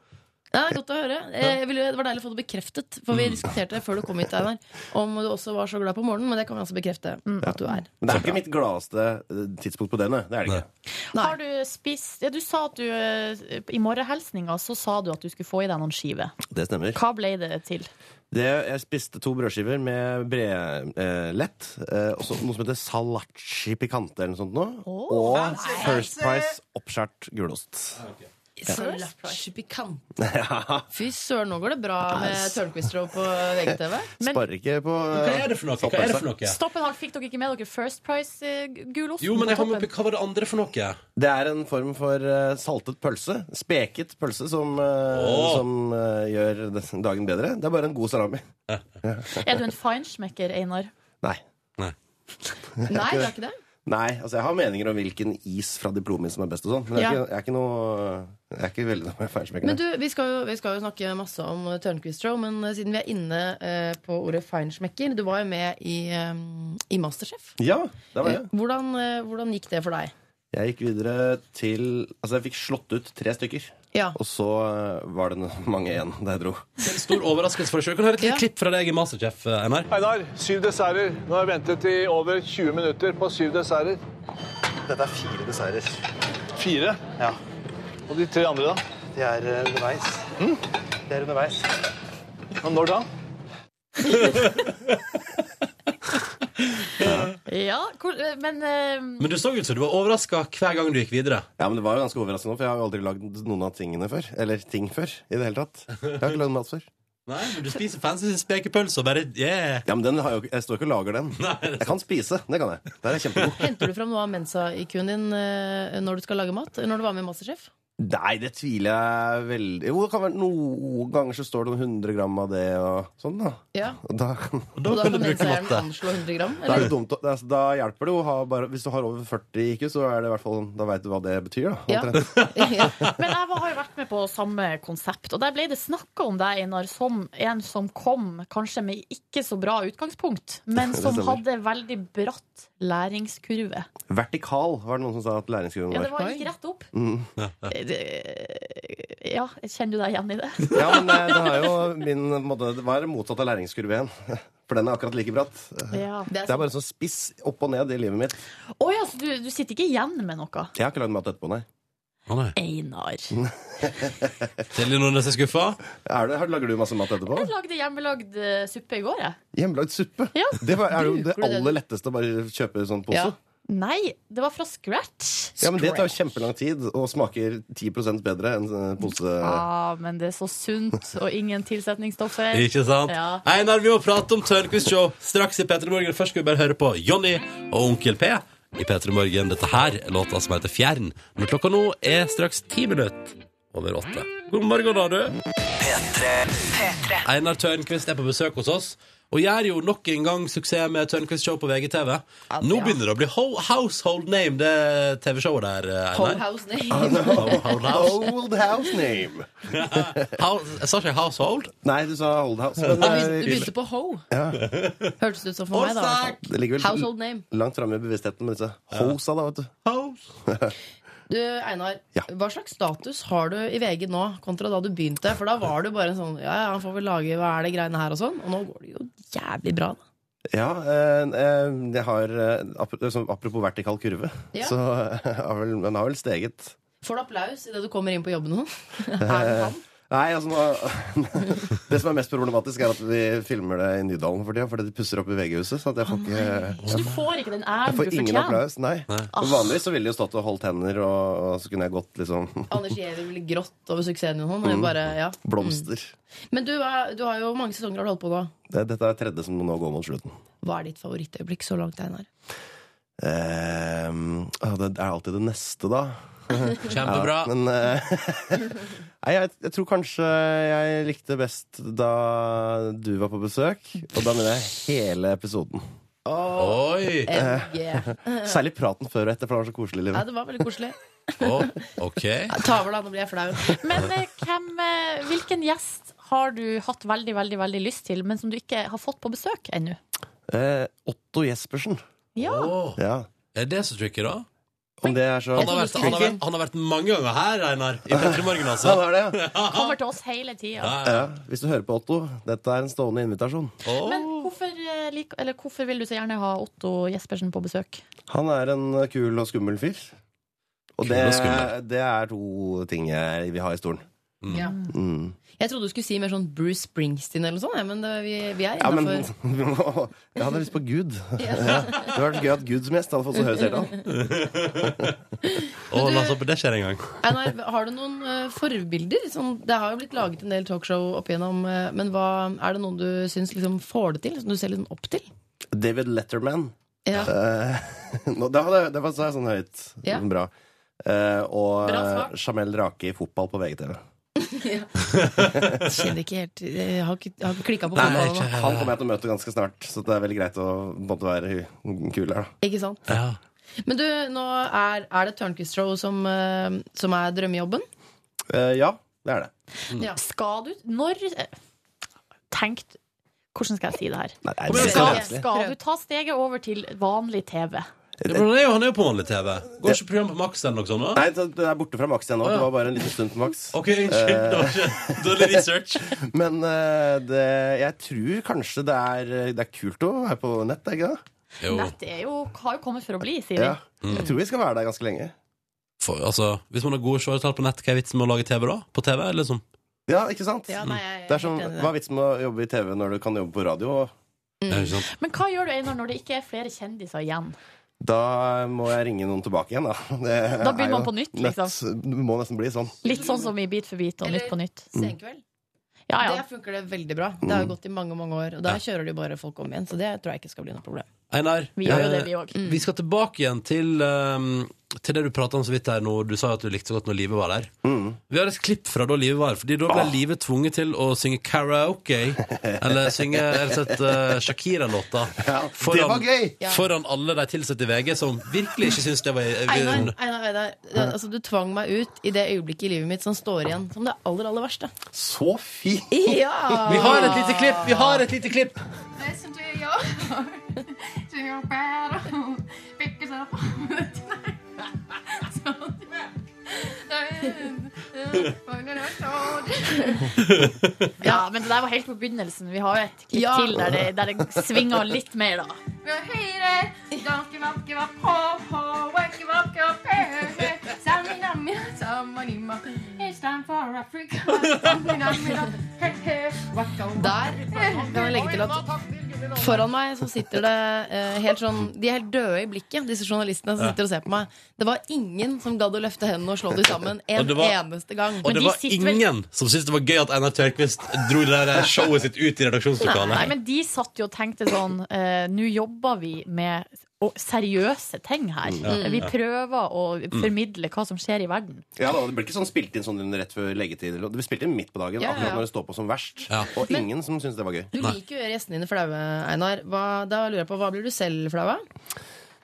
Speaker 3: Ja, det er godt å høre. Eh, Jeg ville, det var deilig å få det bekreftet. For
Speaker 15: Mm.
Speaker 3: vi diskuterte det før du kom hit, Einar, om du også var så glad på morgenen. Men det kan vi altså bekrefte at du er.
Speaker 15: Men det er ikke mitt gladeste eh, tidspunkt på den. eh. Det er det ikke.
Speaker 5: Har du spist ja, Du sa at du eh, I morgenhilsninga så sa du at du skulle få i deg noen skiver.
Speaker 15: Det stemmer.
Speaker 5: Hva ble det til?
Speaker 15: Det, jeg spiste to brødskiver med bredlett, eh, lett, eh, og så noe som heter salacci picante eller noe sånt nå. og
Speaker 3: Fancy,
Speaker 15: First
Speaker 3: fancy!
Speaker 15: Price oppskjært gulost.
Speaker 3: First pikant.
Speaker 15: Ja.
Speaker 3: Fy søren, nå går det bra med Tørnquist-show på VGTV.
Speaker 15: Sparer ikke på eh,
Speaker 6: Hva er det for noe? Hva er det for noe?
Speaker 5: Stopp en halv, fikk dere ikke med dere First eh, Price-gulosten?
Speaker 6: Jo, men jeg har med oppi, hva var det andre for noe?
Speaker 15: Det er en form for eh, saltet pølse. Speket pølse som, eh,
Speaker 6: Åh.
Speaker 15: som eh, gjør des- dagen bedre. Det er bare en god salami.
Speaker 5: Er du en feinschmecker, Einar?
Speaker 15: Nei.
Speaker 6: Nei.
Speaker 5: Nei, du er ikke det?
Speaker 15: Nei, altså Jeg har meninger om hvilken is fra Diplomis som er best, og sånn men jeg
Speaker 3: Ja.
Speaker 15: er, ikke, jeg er ikke noe Jeg er ikke veldig
Speaker 3: Men
Speaker 15: feinschmecker.
Speaker 3: du, vi skal, jo, vi skal jo snakke masse om eh, Tørnquist-show, men eh, siden vi er inne eh, på ordet feinschmecker Du var jo med i, eh, i Masterchef.
Speaker 15: Ja, det var det.
Speaker 3: Eh, Hvordan, eh, hvordan gikk det for deg?
Speaker 15: Jeg gikk videre til Altså, jeg fikk slått ut tre stykker.
Speaker 3: Ja.
Speaker 15: Og så eh, var det no- mange igjen da jeg dro.
Speaker 6: Stor overraskelse for deg sjøl. Kan du høre et lite klipp fra deg i Masterchef, eh, Einar?
Speaker 10: Einar, syv desserter. Nå har jeg ventet i over 20 minutter på syv desserter. Dette er fire desserter. Fire? Ja. Og de tre andre, da? De er underveis. De er underveis. Og når da?
Speaker 5: Ja, hvor, eh, men eh,
Speaker 6: Men du så ut som du var overraska hver gang du gikk videre.
Speaker 15: Ja, men Det var jo ganske overraskende, for jeg har jo aldri lagd noen av tingene før. Eller ting før. i det hele tatt. Jeg har ikke lagd mat før.
Speaker 6: Nei, men du spiser fancy spekepølse og bare yeah.
Speaker 15: Ja, men den har jo, Jeg står ikke og lager den. jeg kan spise. Det kan jeg. Der er jeg kjempegod.
Speaker 3: Henter du fram noe av mensa-IQ-en din eh, når du skal lage mat? Når du var med i Masterchef?
Speaker 15: Nei, det tviler jeg veldig Jo, det kan være noen ganger så står det noen 100 gram av det og sånn, da.
Speaker 3: Ja.
Speaker 15: Og da kan,
Speaker 3: Og da kan menseieren anslå 100 gram?
Speaker 15: Da, er
Speaker 3: Eller?
Speaker 15: det dumt, å- det er- altså, da hjelper det jo å ha bare Hvis du har over 40 IQ, så er det i hvert fall sånn Da veit du hva det betyr, da.
Speaker 5: Ja.
Speaker 15: omtrent.
Speaker 5: Men jeg var- har jo vært med på samme konsept, og der ble det snakka om deg, Einar, som en som kom kanskje med ikke så bra utgangspunkt, men
Speaker 15: Det
Speaker 5: som
Speaker 15: stemmer.
Speaker 5: hadde veldig bratt læringskurve.
Speaker 15: Vertikal var det noen som sa at læringskurven
Speaker 5: Ja,
Speaker 15: var.
Speaker 5: det var gikk rett opp.
Speaker 15: Mm.
Speaker 5: Ja, kjenner du deg igjen i det?
Speaker 15: Ja, men eh, det, har jo min, på en måte, det var motsatt av læringskurve igjen. For den er akkurat like bratt.
Speaker 5: Ja.
Speaker 15: Det er bare sånn spiss opp og ned i livet mitt.
Speaker 5: Å ja, så du, du sitter ikke igjen med noe?
Speaker 15: Jeg har ikke lagd mat etterpå, nei.
Speaker 5: Einar.
Speaker 15: Silje Nordnes er skuffa. Lager du masse mat etterpå?
Speaker 5: Jeg lagde hjemmelagd eh, suppe i går, jeg.
Speaker 15: Hjemmelagd suppe? Det var, er jo det
Speaker 5: Bruker du den?
Speaker 15: aller letteste å bare kjøpe sånn pose. Ja.
Speaker 5: Nei, det var fra scratch.
Speaker 15: men Det tar jo kjempelang tid og smaker 10 bedre enn eh, pose.
Speaker 5: Ja, men det er så sunt, og ingen tilsetningsstoffer.
Speaker 6: Ikke sant?
Speaker 5: Ja.
Speaker 6: Einar, vi må prate om Tørnquist Show straks i P3 Morgen. Først skal vi bare høre på Jonny og Onkel P i P3 Morgen. Dette her er låta som heter Fjern. Men klokka nå er straks ti minutter over åtte. God morgen, da, du. Einar Tørnquist er på besøk hos oss. Og gjør jo nok en gang suksess med Tørnquist Show på VGTV. Nå begynner det å bli ho household name, det TV-showet der. eh,
Speaker 3: Whole
Speaker 6: Einar.
Speaker 3: house
Speaker 6: Ah, no.
Speaker 3: name.
Speaker 6: Hold house.
Speaker 15: Old house name.
Speaker 6: House- Sa ikke jeg household?
Speaker 15: Nei, du sa old house.
Speaker 3: Du begynte, du begynte på ho.
Speaker 15: ja.
Speaker 3: Hørtes det ut som for meg, da.
Speaker 15: Det ligger vel
Speaker 3: Household name.
Speaker 15: langt framme i bevisstheten med disse hosa, da, vet du.
Speaker 3: Du, Einar, hva slags status har du i VG nå kontra da du begynte? For da var du bare en sånn Ja, ja, han får vel lage hva er det greiene her og sånn. Og nå går det jo jævlig bra, da.
Speaker 15: Ja, eh, eh, jeg har eh, ap- sånn, Apropos vertikal kurve,
Speaker 3: Ja.
Speaker 15: så eh, har vel, den har vel steget.
Speaker 3: Får du applaus idet du kommer inn på jobben sånn? nå?
Speaker 15: Eh, Nei, altså nå, Det som er mest problematisk, er at vi filmer det i Nydalen for tida, fordi de pusser opp i VG-huset. Så at jeg får
Speaker 5: Så
Speaker 15: ikke
Speaker 5: du får ikke den
Speaker 15: Jeg
Speaker 5: æren du
Speaker 15: får ingen
Speaker 5: fortjener.
Speaker 15: applaus. Nei.
Speaker 5: Ah.
Speaker 15: Vanligvis så ville de jo stått og holdt hender, og, og så kunne jeg gått liksom
Speaker 3: Anders Giæver ville grått over suksessen din. og
Speaker 15: Mm.
Speaker 3: Bare, ja.
Speaker 15: Blomster.
Speaker 3: Men du, er- du har jo mange sesonger du har holdt på nå.
Speaker 15: Det, dette er tredje som nå går mot slutten.
Speaker 3: Hva er ditt favorittøyeblikk så langt, Einar?
Speaker 15: Eh, ah, det er alltid det neste, da.
Speaker 6: Kjempebra.
Speaker 15: Ja, men eh, Nei, jeg, jeg tror kanskje jeg likte best da du var på besøk. Og da mener jeg hele episoden.
Speaker 6: Oi!
Speaker 15: Eh, Særlig praten før og etter, for det var så koselig.
Speaker 3: Ja,
Speaker 15: Livet.
Speaker 3: det var veldig koselig.
Speaker 6: ok
Speaker 3: Ta over, da. Nå blir jeg flau.
Speaker 5: Men eh, hvem, eh, hvilken gjest har du hatt veldig, veldig, veldig lyst til, men som du ikke har fått på besøk ennå?
Speaker 15: Eh, Otto Jespersen.
Speaker 5: Ja.
Speaker 15: Ja.
Speaker 6: Er det så tricky, da?
Speaker 15: Om det er så
Speaker 6: Han har vært, han har vært, han har vært mange ganger her, Einar. I Petter Morgen, altså.
Speaker 15: Han har det, ja.
Speaker 5: Kommer til oss hele
Speaker 6: Ah.
Speaker 5: tida.
Speaker 15: Ja, hvis du hører på, Otto, dette er en stående invitasjon.
Speaker 5: Men hvorfor, eh, lik, eller hvorfor vil du så gjerne ha Otto Jespersen på besøk?
Speaker 15: Han er en kul og skummel fyr. Og
Speaker 6: Kul
Speaker 15: det,
Speaker 6: og skummel.
Speaker 15: det er to ting jeg vil ha i stolen.
Speaker 3: Ja.
Speaker 15: Mm.
Speaker 3: Jeg trodde du skulle si mer sånn Bruce Springsteen eller noe sånt. Ja, men det, vi, vi er
Speaker 15: Ja, men
Speaker 3: innafor.
Speaker 15: vi må, Jeg hadde lyst på Gud. Ja. Det hadde vært gøy at Guds mest hadde fått så høy seertall.
Speaker 6: Å, la oss håpe det skjer en gang.
Speaker 3: Einar, har du noen eh, forbilder? Sånn, det har jo blitt laget en del talkshow opp igjennom, eh, men hva, er det noen du syns liksom får det til? Som du ser liksom opp til?
Speaker 15: David Letterman.
Speaker 3: Ja.
Speaker 15: Eh, nå, det, hadde, det var sa jeg sånn høyt.
Speaker 3: Ja.
Speaker 15: Bra. Eh, og
Speaker 3: Bra svar.
Speaker 15: Jamel Rake i fotball på VGTV.
Speaker 3: Kjenner ikke helt Jeg har ikke, jeg har ikke klikka på
Speaker 15: Nei,
Speaker 3: fotballen
Speaker 15: ikke-
Speaker 3: nå.
Speaker 15: han kommer jeg til å møte ganske snart, så det er veldig greit å på en måte, være kul her.
Speaker 3: Ikke sant?
Speaker 15: Da.
Speaker 3: Men du, nå er, er det Tørnquist Show som, eh, som er drømmejobben?
Speaker 15: Eh, ja, det er det.
Speaker 5: Skal du Når eh, Tenk Hvordan skal jeg si det her?
Speaker 15: det er
Speaker 5: skal,
Speaker 6: vanskelig.
Speaker 5: skal du ta steget over til vanlig TV?
Speaker 6: Ja, men han er jo, han er jo på vanlig TV. Går ikke program på Max eller noe sånt? da?
Speaker 15: Nei, det det er borte fra Max igjen nå. Det var bare en liten stund på Max.
Speaker 6: Ok, unnskyld.
Speaker 15: Eh.
Speaker 6: Det var ikke dårlig research.
Speaker 15: Men eh, det, jeg tror kanskje det er, det er kult å være på nett, er det ikke det?
Speaker 5: Nett er jo, har jo kommet for å bli, sier
Speaker 15: Ja.
Speaker 5: vi.
Speaker 15: Jeg tror vi skal være der ganske lenge.
Speaker 6: For, altså, hvis man har gode seertall på nett, hva er vitsen med å lage TV da? På TV, eller sånn?
Speaker 15: Ja, ikke sant?
Speaker 5: Ja, nei, jeg er
Speaker 15: det er som,
Speaker 5: helt enig i det.
Speaker 15: hva er vitsen med å jobbe i TV når du kan jobbe på radio? Mm.
Speaker 5: Men hva gjør du, Einar, når det ikke er flere kjendiser igjen?
Speaker 15: Da må jeg ringe noen tilbake igjen, da. Det
Speaker 5: Da begynner
Speaker 15: er
Speaker 5: man
Speaker 15: jo
Speaker 5: på nytt,
Speaker 15: nett-
Speaker 5: liksom.
Speaker 15: Det må nesten bli sånn.
Speaker 5: Litt sånn som i Bit for bit og Nytt på nytt.
Speaker 6: Mm.
Speaker 3: Senkveld.
Speaker 6: Ah,
Speaker 5: Ja, ja.
Speaker 3: Der funker det veldig bra. Det har jo gått i mange mange år. Og der kjører de bare folk om igjen, så det tror jeg ikke skal bli noe problem.
Speaker 6: Einar,
Speaker 3: Vi gjør
Speaker 6: eh,
Speaker 3: jo det, vi òg.
Speaker 6: vi skal tilbake igjen til um, til det du prata om så vidt her nå, du sa jo at du likte så godt når Live var der.
Speaker 15: Mm.
Speaker 6: Vi har et klipp fra da Live var her, fordi da
Speaker 15: Ah.
Speaker 6: ble Live tvunget til å synge karaoke. Eller synge rett og slett eh, Shakira-låta.
Speaker 15: det var gøy!
Speaker 3: Ja.
Speaker 6: Foran alle de tilsatte i VG, som virkelig ikke syns det var eh,
Speaker 3: Einar, Einar, Einar. Det, altså, du tvang meg ut i det øyeblikket i livet mitt som står igjen som det aller, aller verste.
Speaker 15: Så fint!
Speaker 3: Ja!
Speaker 6: Vi har et lite klipp! Vi har et lite klipp!
Speaker 17: Listen to your to your battle. Pick us up on the tonight. So
Speaker 5: Ja, men det der var helt på begynnelsen. Vi har jo et klipp
Speaker 17: Ja.
Speaker 5: til der det, eh, der det svinger litt mer, da.
Speaker 17: We're heated. Don't give up, give up, ho, ho. Won't give up, give up, hey, hey. Sammy, nammy, sammy, ma. It's time for Africa. Sammy, nammy, da. Hey, hey. Waka, waka.
Speaker 3: Der kan jeg legge til at foran meg så sitter det eh, helt sånn De er helt døde i blikket, disse journalistene som
Speaker 6: Ja.
Speaker 3: sitter og ser på meg. Det var ingen som gadd å løfte hendene og slå dem
Speaker 6: Og
Speaker 3: sammen en
Speaker 6: det var-
Speaker 3: eneste gang.
Speaker 6: Og det var ingen som syntes det var gøy at Einar Tørkvist dro det der showet sitt ut i
Speaker 5: Nei,
Speaker 6: redaksjonslokalet.
Speaker 5: men de satt jo og tenkte sånn eh, Nå jobber vi med å- seriøse ting her.
Speaker 15: Mm.
Speaker 5: Vi
Speaker 15: Ja.
Speaker 5: prøver å formidle hva som skjer i verden.
Speaker 15: Ja, da, Det blir ikke sånn spilt inn sånn rett før leggetid. eller- Det blir spilt inn midt på dagen,
Speaker 3: Ja, ja, ja.
Speaker 15: akkurat når det står på som verst. Og ingen som syns det var gøy.
Speaker 3: Du liker jo å gjøre gjestene dine flaue, Einar. Hva, da lurer jeg på, hva blir du selv flau av?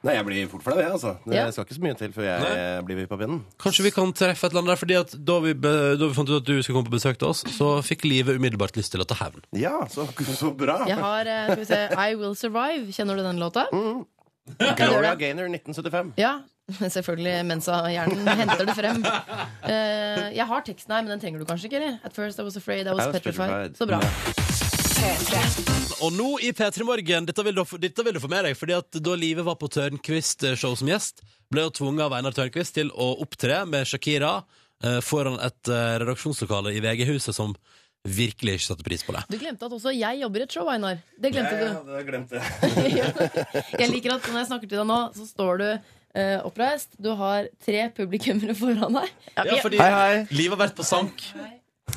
Speaker 15: Nei, jeg blir fort flau, jeg, altså. Det
Speaker 3: Ja.
Speaker 15: skal ikke så mye til før jeg blir vippet av pinnen.
Speaker 6: Kanskje vi kan treffe et eller annet der, fordi at da vi, be, da vi fant ut at du skulle komme på besøk til oss, så fikk livet umiddelbart lyst til å ta hevn.
Speaker 15: Ja, så, bra.
Speaker 3: Jeg har eh, skal vi se, I Will Survive. Kjenner du den låta?
Speaker 15: Gloria Gaynor 1975.
Speaker 3: Ja, selvfølgelig. Mensa-hjernen henter det frem. Eh, jeg har teksten her, men den trenger du kanskje ikke? eller? At first I was afraid, I was, petrified. Så bra.
Speaker 6: Og nå i P3 Morgen, dette vil, du, få- dette vil du få med deg, fordi at da Live var på Tørnquist show som gjest, ble hun tvunget av Einar Tørnquist til å opptre med Shakira eh, foran et eh, redaksjonslokale i VG-huset som virkelig ikke satte pris på det.
Speaker 3: Du glemte at også jeg jobber i et show, Einar. Det glemte
Speaker 15: jeg,
Speaker 3: du.
Speaker 15: hadde glemt det.
Speaker 3: Jeg liker at når jeg snakker til deg nå, så står du eh, oppreist. Du har tre publikummere foran deg.
Speaker 6: Ja, fordi
Speaker 3: Jeg
Speaker 6: Liv har vært på sank.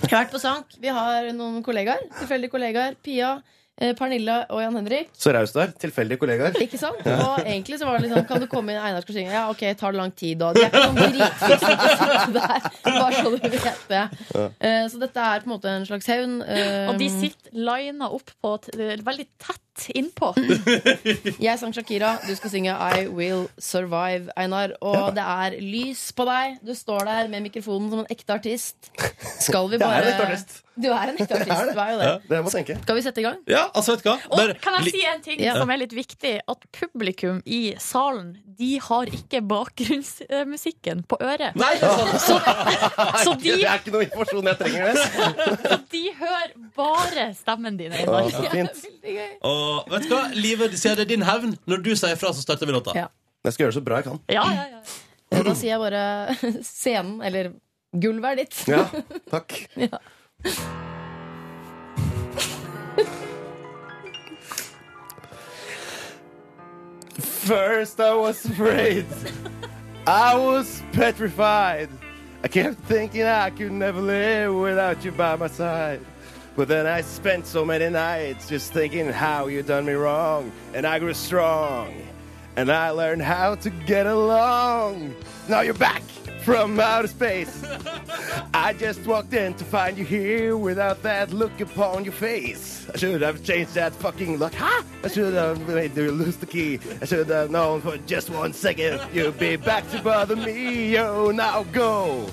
Speaker 3: har vært på sank. Vi har noen kollegaer. Tilfeldige kollegaer. Pia, eh, Pernille og Jan Henrik.
Speaker 15: Så raust der. Tilfeldige kollegaer.
Speaker 3: Ikke sant? Og egentlig så var det litt sånn Kan du komme inn, Einar skal synge? Ja, ok, tar det lang tid da? De er ikke noen dritfyr som sitter der. Bare så du vet det. Eh, Så dette er på en måte en slags hevn. Eh,
Speaker 5: Og de sitter lina opp på t veldig tett innpå.
Speaker 3: Jeg sang Shakira, du skal synge I Will Survive, Einar. Og det er lys på deg. Du står der med mikrofonen som en ekte artist. Skal vi
Speaker 15: Jeg
Speaker 3: bare
Speaker 15: er en ekte artist.
Speaker 3: Du er en ekte artist. Du er jo det.
Speaker 15: Ja, det må jeg tenke.
Speaker 3: Skal vi sette i gang?
Speaker 6: Ja, altså, vet du hva?
Speaker 5: Og
Speaker 6: Bare-
Speaker 5: kan jeg
Speaker 6: li-
Speaker 5: si en ting
Speaker 6: Ja.
Speaker 5: som er litt viktig? At publikum i salen De har ikke bakgrunnsmusikken på øret.
Speaker 15: Nei, det er
Speaker 5: så, så de,
Speaker 15: Det er ikke noe informasjon jeg trenger. Det.
Speaker 5: de hører bare stemmen din.
Speaker 6: Å, så fint. Og vet du hva? Livet sier det er din hevn. Når du sier fra, så starter vi låta.
Speaker 3: Ja.
Speaker 15: Jeg skal gjøre det så bra jeg kan.
Speaker 5: Ja, ja, ja.
Speaker 3: Ja, Da sier jeg bare scenen, eller gulvet er ditt.
Speaker 15: Ja, takk.
Speaker 3: Ja.
Speaker 15: First, I was afraid. I was petrified. I kept thinking I could never live without you by my side. But then I spent so many nights just thinking how you done me wrong. And I grew strong. And I learned how to get along. Now you're back from outer space. I just walked in to find you here without that look upon your face. I should have changed that fucking look. Huh? I should have made you lose the key. I should have known for just one second you'd be back to bother me. Yo, now go.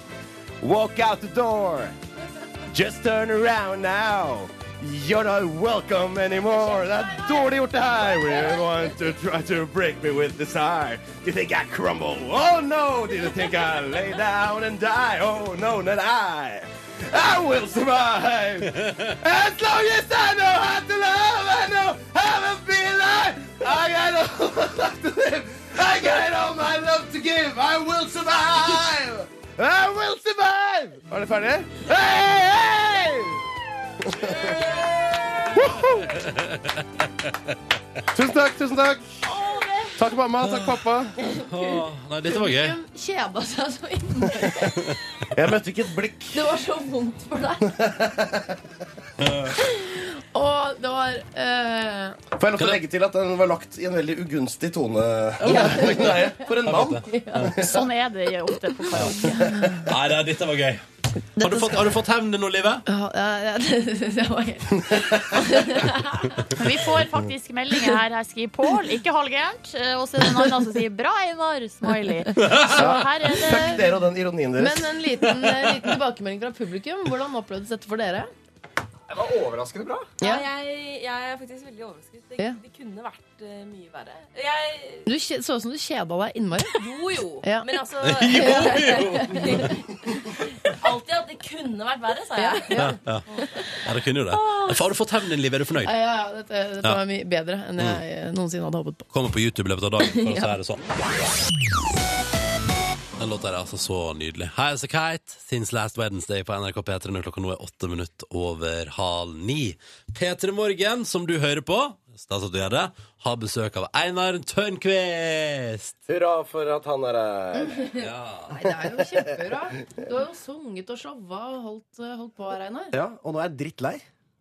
Speaker 15: Walk out the door. Just turn around now. You're not welcome anymore. That door they Everyone want to try to break me with desire. Do you think I crumble? Oh no! Do you think I lay down and die? Oh no, not I. I will survive. as long as I know how to love, I know how to be alive. I got all my life to live. I got all my love to give. I will survive. I will Ah, survive. Var det ferdig? Hey, hey! Tusen takk, tusen takk. Takk, mamma. Takk, pappa.
Speaker 6: Nei, dette var gøy.
Speaker 3: Publikum kjeda seg så innmari.
Speaker 15: Jeg møtte ikke et blikk.
Speaker 3: Det var så vondt for deg. Og det var eh,
Speaker 15: Får jeg lov til å legge til at den var lagt i en veldig ugunstig tone? Nei, For en mann!
Speaker 5: Sånn er det ofte på karaoke.
Speaker 6: Nei, nei, dette var gøy. Har du fått, har du fått hevn nå, Live?
Speaker 7: Ja, ja, ja, det, det var helt
Speaker 5: Men vi får faktisk meldinger her. Her skriver Pål, ikke halvgærent. Eh, Og så er det en annen som sier 'bra, Einar', smiley. Så her er
Speaker 15: Fuck
Speaker 5: det
Speaker 15: dere og den ironien deres.
Speaker 3: Men en liten, eh, liten tilbakemelding fra publikum. Hvordan opplevdes dette for dere?
Speaker 18: Det var overraskende bra.
Speaker 3: Ja.
Speaker 16: jeg, jeg er faktisk veldig overrasket. Det,
Speaker 3: Ja.
Speaker 16: det kunne vært eh, mye verre. Jeg
Speaker 3: Du kje- så ut som du kjeda deg innmari.
Speaker 16: Jo, jo.
Speaker 3: Ja.
Speaker 16: Men altså
Speaker 3: Jo,
Speaker 16: Alltid at det kunne vært verre, sa jeg.
Speaker 6: Ja, ja. ja det kunne jo det.
Speaker 15: Ah.
Speaker 6: Har du fått hevnen din, Liv? Er du fornøyd?
Speaker 3: Ja, ja, ja, dette, dette
Speaker 6: Ja.
Speaker 3: var mye bedre enn jeg
Speaker 15: Mm.
Speaker 3: eh, noensinne hadde håpet på.
Speaker 6: Kommer på YouTube i løpet av dagen for å
Speaker 3: Ja.
Speaker 6: si det sånn. Den låta er altså så nydelig. Hi, it's a kite. Since last Wednesday på NRK P3 når klokka nå er åtte minutter over halv ni. P3 Morgen, som du hører på, stas at du gjør det, har besøk av Einar Tørnquist.
Speaker 15: Hurra for at han er her.
Speaker 3: Nei, det er jo kjempebra. Du har jo sunget og showa og holdt, eh, holdt på her, Einar.
Speaker 15: Ja, og nå er jeg drittlei.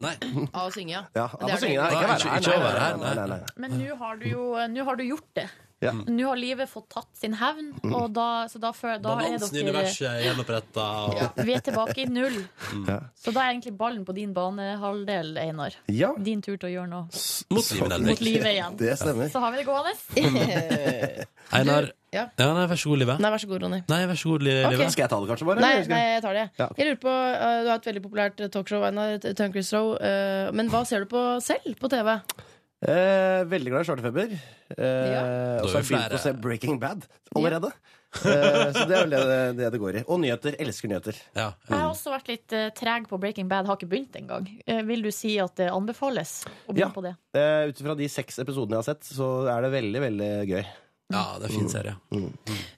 Speaker 3: Av å synge, ja.
Speaker 15: Ja,
Speaker 3: Det
Speaker 15: av
Speaker 3: er
Speaker 15: å
Speaker 3: det.
Speaker 15: synge. Nei, ikke være her.
Speaker 6: Ikke- ikke
Speaker 15: Nei,
Speaker 6: være her,
Speaker 15: nei, nei, nei, nei.
Speaker 5: Men nå har du jo nå har du gjort det.
Speaker 15: Ja.
Speaker 5: Nå har livet fått tatt sin hevn, og da, så da, fø- da er
Speaker 6: Balansen i universet
Speaker 5: dere
Speaker 6: er gjenoppretta. Og...
Speaker 5: Vi er tilbake i null.
Speaker 15: Mm.
Speaker 6: Ja.
Speaker 5: Så da er egentlig ballen på din banehalvdel, Einar.
Speaker 15: Ja.
Speaker 5: Din tur til å gjøre noe.
Speaker 6: Mot livet, Nelvik.
Speaker 5: Mot livet igjen.
Speaker 6: Det stemmer.
Speaker 5: Så har vi det gående.
Speaker 6: Einar
Speaker 3: Ja.
Speaker 6: ja, nei, Vær så god, Live.
Speaker 3: Nei, vær så god, Ronny.
Speaker 6: Nei, vær så god, Li-
Speaker 3: Ok.
Speaker 6: Live.
Speaker 3: Skal jeg
Speaker 15: ta det, kanskje,
Speaker 3: Nei, nei, jeg tar det.
Speaker 15: Ja,
Speaker 3: Jeg lurer på, eh, Du har et veldig populært talkshow, Einar. et Tørnquist Show. eh, Men hva ser du på selv på TV?
Speaker 15: Eh, veldig glad i svartefeber. Eh, Og
Speaker 6: Da er
Speaker 15: så har jeg begynt
Speaker 6: vi flere.
Speaker 15: å se Breaking Bad allerede. eh, så det er vel det det, det går i. Og nyheter. Elsker nyheter.
Speaker 5: Jeg har også vært litt eh, treg på Breaking Bad, har ikke begynt engang. Eh, vil du si at det anbefales å begynne
Speaker 15: Ja.
Speaker 5: på det?
Speaker 15: Eh, Ut ifra de seks episodene jeg har sett, så er det veldig, veldig gøy.
Speaker 6: Ja, det er en fin serie.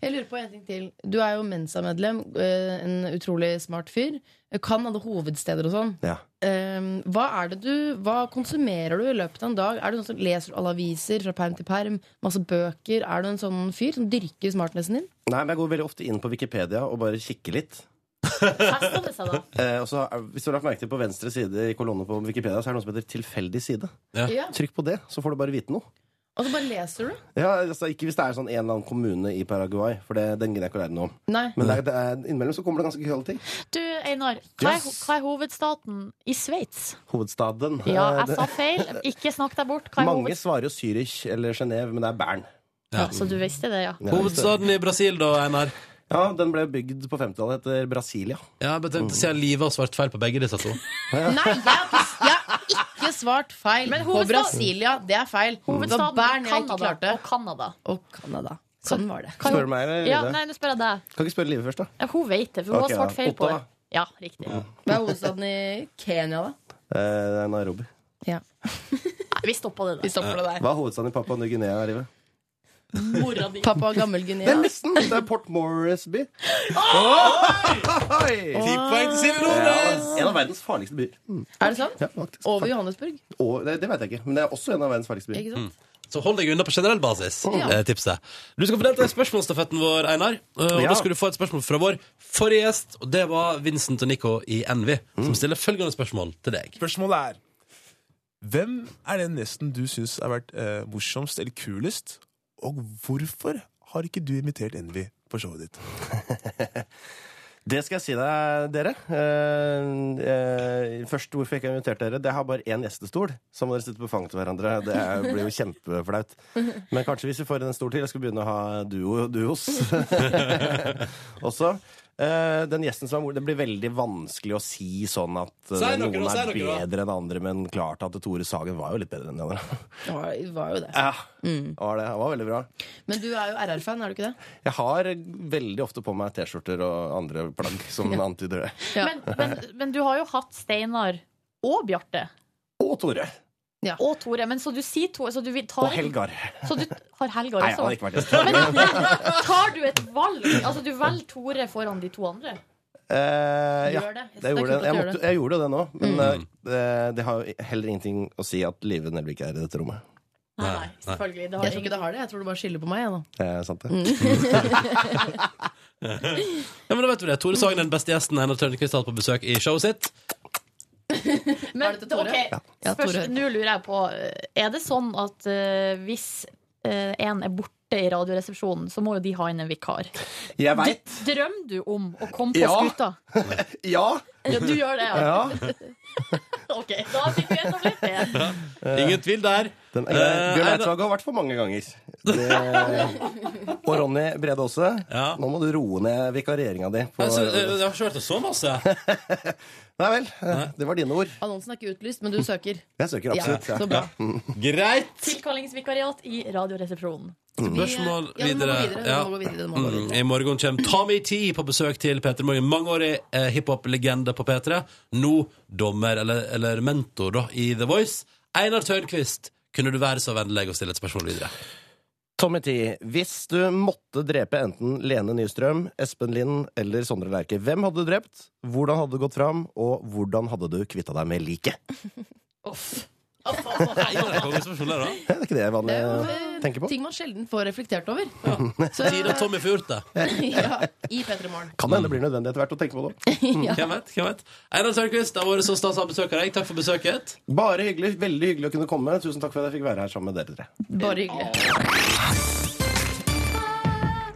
Speaker 3: Jeg lurer på en ting til. Du er jo Mensa-medlem. eh, En utrolig smart fyr. Eh, Kan alle hovedsteder og sånn.
Speaker 15: Ja.
Speaker 3: Eh, Hva er det du Hva konsumerer du i løpet av en dag? Er du noen som leser alle aviser fra perm til perm? Masse bøker? Er du en sånn fyr som dyrker smartnessen din?
Speaker 15: Nei, men jeg går veldig ofte inn på Wikipedia og bare kikker litt. Eh, og så, er- hvis du har lagt merke til på venstre side i kolonna på Wikipedia, så er det noe som heter tilfeldig side.
Speaker 3: Ja. Ja.
Speaker 15: Trykk på det, så får du bare vite noe.
Speaker 3: Og så bare leser du?
Speaker 15: Ja, altså, ikke hvis det er sånn en eller annen kommune i Paraguay, for det, den gidder jeg ikke å lære noe om.
Speaker 3: Nei.
Speaker 15: Men det er, det er, innimellom så kommer det ganske gøyale ting.
Speaker 5: Du, Einar, hva er,
Speaker 15: Yes.
Speaker 5: hva er hovedstaten i Sveits?
Speaker 15: Hovedstaden.
Speaker 5: Ja,
Speaker 15: eh,
Speaker 5: jeg
Speaker 15: det-
Speaker 5: sa feil. Ikke snakk deg bort. Hva er
Speaker 15: Mange
Speaker 5: hovedstaten?
Speaker 15: svarer jo Zürich eller Genève, men det er Bern.
Speaker 5: Ja, så du visste det, ja.
Speaker 6: Hovedstaden i Brasil, da, Einar?
Speaker 15: Ja, den ble bygd på 50-tallet etter Brasilia.
Speaker 6: Ja, jeg tenkte å si at livet har svart feil på begge disse to.
Speaker 3: Nei, jeg har ikke- jeg har ikke svart feil. Men
Speaker 5: hovedstad-
Speaker 3: På Brasilia, det er feil.
Speaker 5: Hovedstaden
Speaker 3: Bern jeg ikke
Speaker 5: Canada
Speaker 3: klarte.
Speaker 5: og Canada.
Speaker 3: Og Canada. Sånn var det.
Speaker 15: Kan- Spør du meg, eller
Speaker 5: Ja,
Speaker 15: Ida?
Speaker 5: nei, nå spør jeg deg.
Speaker 15: Kan ikke spørre livet først, da.
Speaker 5: Ja, Hun vet det, for hun
Speaker 15: Ok,
Speaker 5: har svart
Speaker 15: ja.
Speaker 5: feil på det.
Speaker 15: Ottawa.
Speaker 5: Ja, riktig.
Speaker 3: Hva er hovedstaden i Kenya, da?
Speaker 15: Eh, det er Nairobi.
Speaker 5: Nei, vi stoppa det der.
Speaker 3: Vi stopper det
Speaker 15: Hva er hovedstaden i Papua Ny-Guinea? Livet?
Speaker 5: der. Mora di.
Speaker 3: Pappa gammel
Speaker 15: Det er
Speaker 3: Guinea.
Speaker 15: nesten! Det er Port Morrisby. Oi!
Speaker 3: Ti poeng til Silje Nordnes!
Speaker 15: Ja, En av verdens farligste byer.
Speaker 3: Er det sant?
Speaker 15: Ja, faktisk.
Speaker 3: Over Johannesburg?
Speaker 15: Og, det, det vet jeg ikke, men det er også en av verdens farligste
Speaker 3: Ikke
Speaker 15: byer.
Speaker 3: sant?
Speaker 6: Så hold deg unna på generell basis,
Speaker 15: Ja.
Speaker 6: eh, tipset. Du skal få delta i spørsmålsstafetten vår, Einar. eh, Og
Speaker 15: Ja.
Speaker 6: da skal du få et spørsmål fra vår forrige gjest, og det var Vincent og Nico i Envy,
Speaker 15: Mm.
Speaker 6: som stiller følgende spørsmål til deg.
Speaker 19: Spørsmålet er Hvem er den gjesten du syns har vært eh, morsomst eller kulest, og hvorfor har ikke du invitert Envy på showet ditt?
Speaker 15: Det skal jeg si deg, dere. Eh, eh, først hvorfor jeg ikke har invitert dere. Det har bare én gjestestol, så må dere sitte på fanget til hverandre. Det er- blir jo kjempeflaut. Men kanskje hvis vi får en stol til, jeg skal begynne å ha duo, duos også. eh, den gjesten som er mor, det blir veldig vanskelig å si sånn at eh,
Speaker 6: Si noe da,
Speaker 15: noen
Speaker 6: si
Speaker 15: er
Speaker 6: noe da.
Speaker 15: bedre enn andre, men klart at Tore Sagen var jo litt bedre enn de andre.
Speaker 3: Det var, det var jo det.
Speaker 15: Ja, var det. Han var veldig bra.
Speaker 3: Men du er jo RR-fan, er du ikke det?
Speaker 15: Jeg har veldig ofte på meg T-skjorter og andre plagg som antyder det.
Speaker 5: Men, men, men du har jo hatt Steinar og Bjarte.
Speaker 15: Og Tore.
Speaker 5: Og Tore. Men så du sier Tore så du vil, tar,
Speaker 15: Og Helgar.
Speaker 5: Så du har Helgar
Speaker 15: Nei, han
Speaker 5: også?
Speaker 15: har ikke vært gjest.
Speaker 5: Men tar du et valg? Altså, du velger Tore foran de to andre?
Speaker 15: Eh, ja,
Speaker 5: Gjør det. Jeg synes det er
Speaker 15: jeg gjorde
Speaker 5: kult at
Speaker 15: det.
Speaker 5: du
Speaker 15: Jeg,
Speaker 5: gjør det.
Speaker 15: måtte,
Speaker 5: Mm.
Speaker 15: jeg gjorde jo det nå, men eh, det, det har jo heller ingenting å si at Live Nelvik er i dette rommet.
Speaker 5: Nei, nei, selvfølgelig. Det
Speaker 3: Jeg tror ikke det har det. Jeg tror du bare skylder på meg. Jeg, nå.
Speaker 15: Det er Eh, sant, det.
Speaker 6: Ja, men da vet vi det. Tore Sagen er den beste gjesten Einar Tørnquist har hatt på besøk i showet sitt.
Speaker 5: Men det
Speaker 3: Tore?
Speaker 5: ok,
Speaker 3: Ja. Ja, Tore.
Speaker 5: spørs- nå lurer jeg på Er det sånn at eh, hvis eh, en er borte i radioresepsjonen, så må jo de ha inn en vikar?
Speaker 10: Jeg vet.
Speaker 5: D- Drømmer du om å komme på
Speaker 10: Ja.
Speaker 5: skuta?
Speaker 10: Ja.
Speaker 5: Ja, du gjør det, ja. ok, da fikk vi etablert det.
Speaker 6: Ingen tvil der.
Speaker 15: Eh, Den er grei. Bjørn
Speaker 6: Eh,
Speaker 15: Eidsvåg har vært for mange ganger. Det... Og Ronny Brede også. Nå må du roe ned vikareringa di. På...
Speaker 6: Altså, eh, jeg har ikke hørt det så masse.
Speaker 15: Nei vel. eh, Det var dine ord.
Speaker 3: Annonsen er ikke utlyst, men du søker.
Speaker 15: Jeg søker absolutt.
Speaker 3: Ja, så bra.
Speaker 6: Greit.
Speaker 5: Tilkallingsvikariat i Radioresepsjonen.
Speaker 6: Spørsmål
Speaker 5: Ja, du må gå
Speaker 6: videre.
Speaker 5: videre, du må gå videre, du må gå
Speaker 6: Mm, I morgen kommer Tommy T på besøk til P3 Morgen. Mangeårig eh, hiphop-legende på P3. Nå dommer, eller, eller mentor, da, i The Voice. Einar Tørnquist, kunne du være så vennlig å stille et spørsmål videre?
Speaker 15: Tommy T, hvis du måtte drepe enten Lene Nystrøm, Espen Lind eller Sondre Lerche, hvem hadde du drept? Hvordan hadde du gått fram, og hvordan hadde du kvitta deg med liket?
Speaker 6: Det
Speaker 15: er ikke det jeg vanlig tenker på.
Speaker 3: Eh, Ting man sjelden får reflektert over.
Speaker 6: Siden Tommy får gjort det.
Speaker 3: ja, I P3 Morgen.
Speaker 15: Kan hende det blir nødvendig etter hvert å tenke på det.
Speaker 3: Ja.
Speaker 6: Hvem vet? hvem vet Einar Tørnquist, det har vært så stas å ha besøk av deg. Takk for besøket.
Speaker 15: Bare hyggelig. Veldig hyggelig å kunne komme. Tusen takk for at jeg fikk være her sammen med dere tre.
Speaker 3: Bare hyggelig.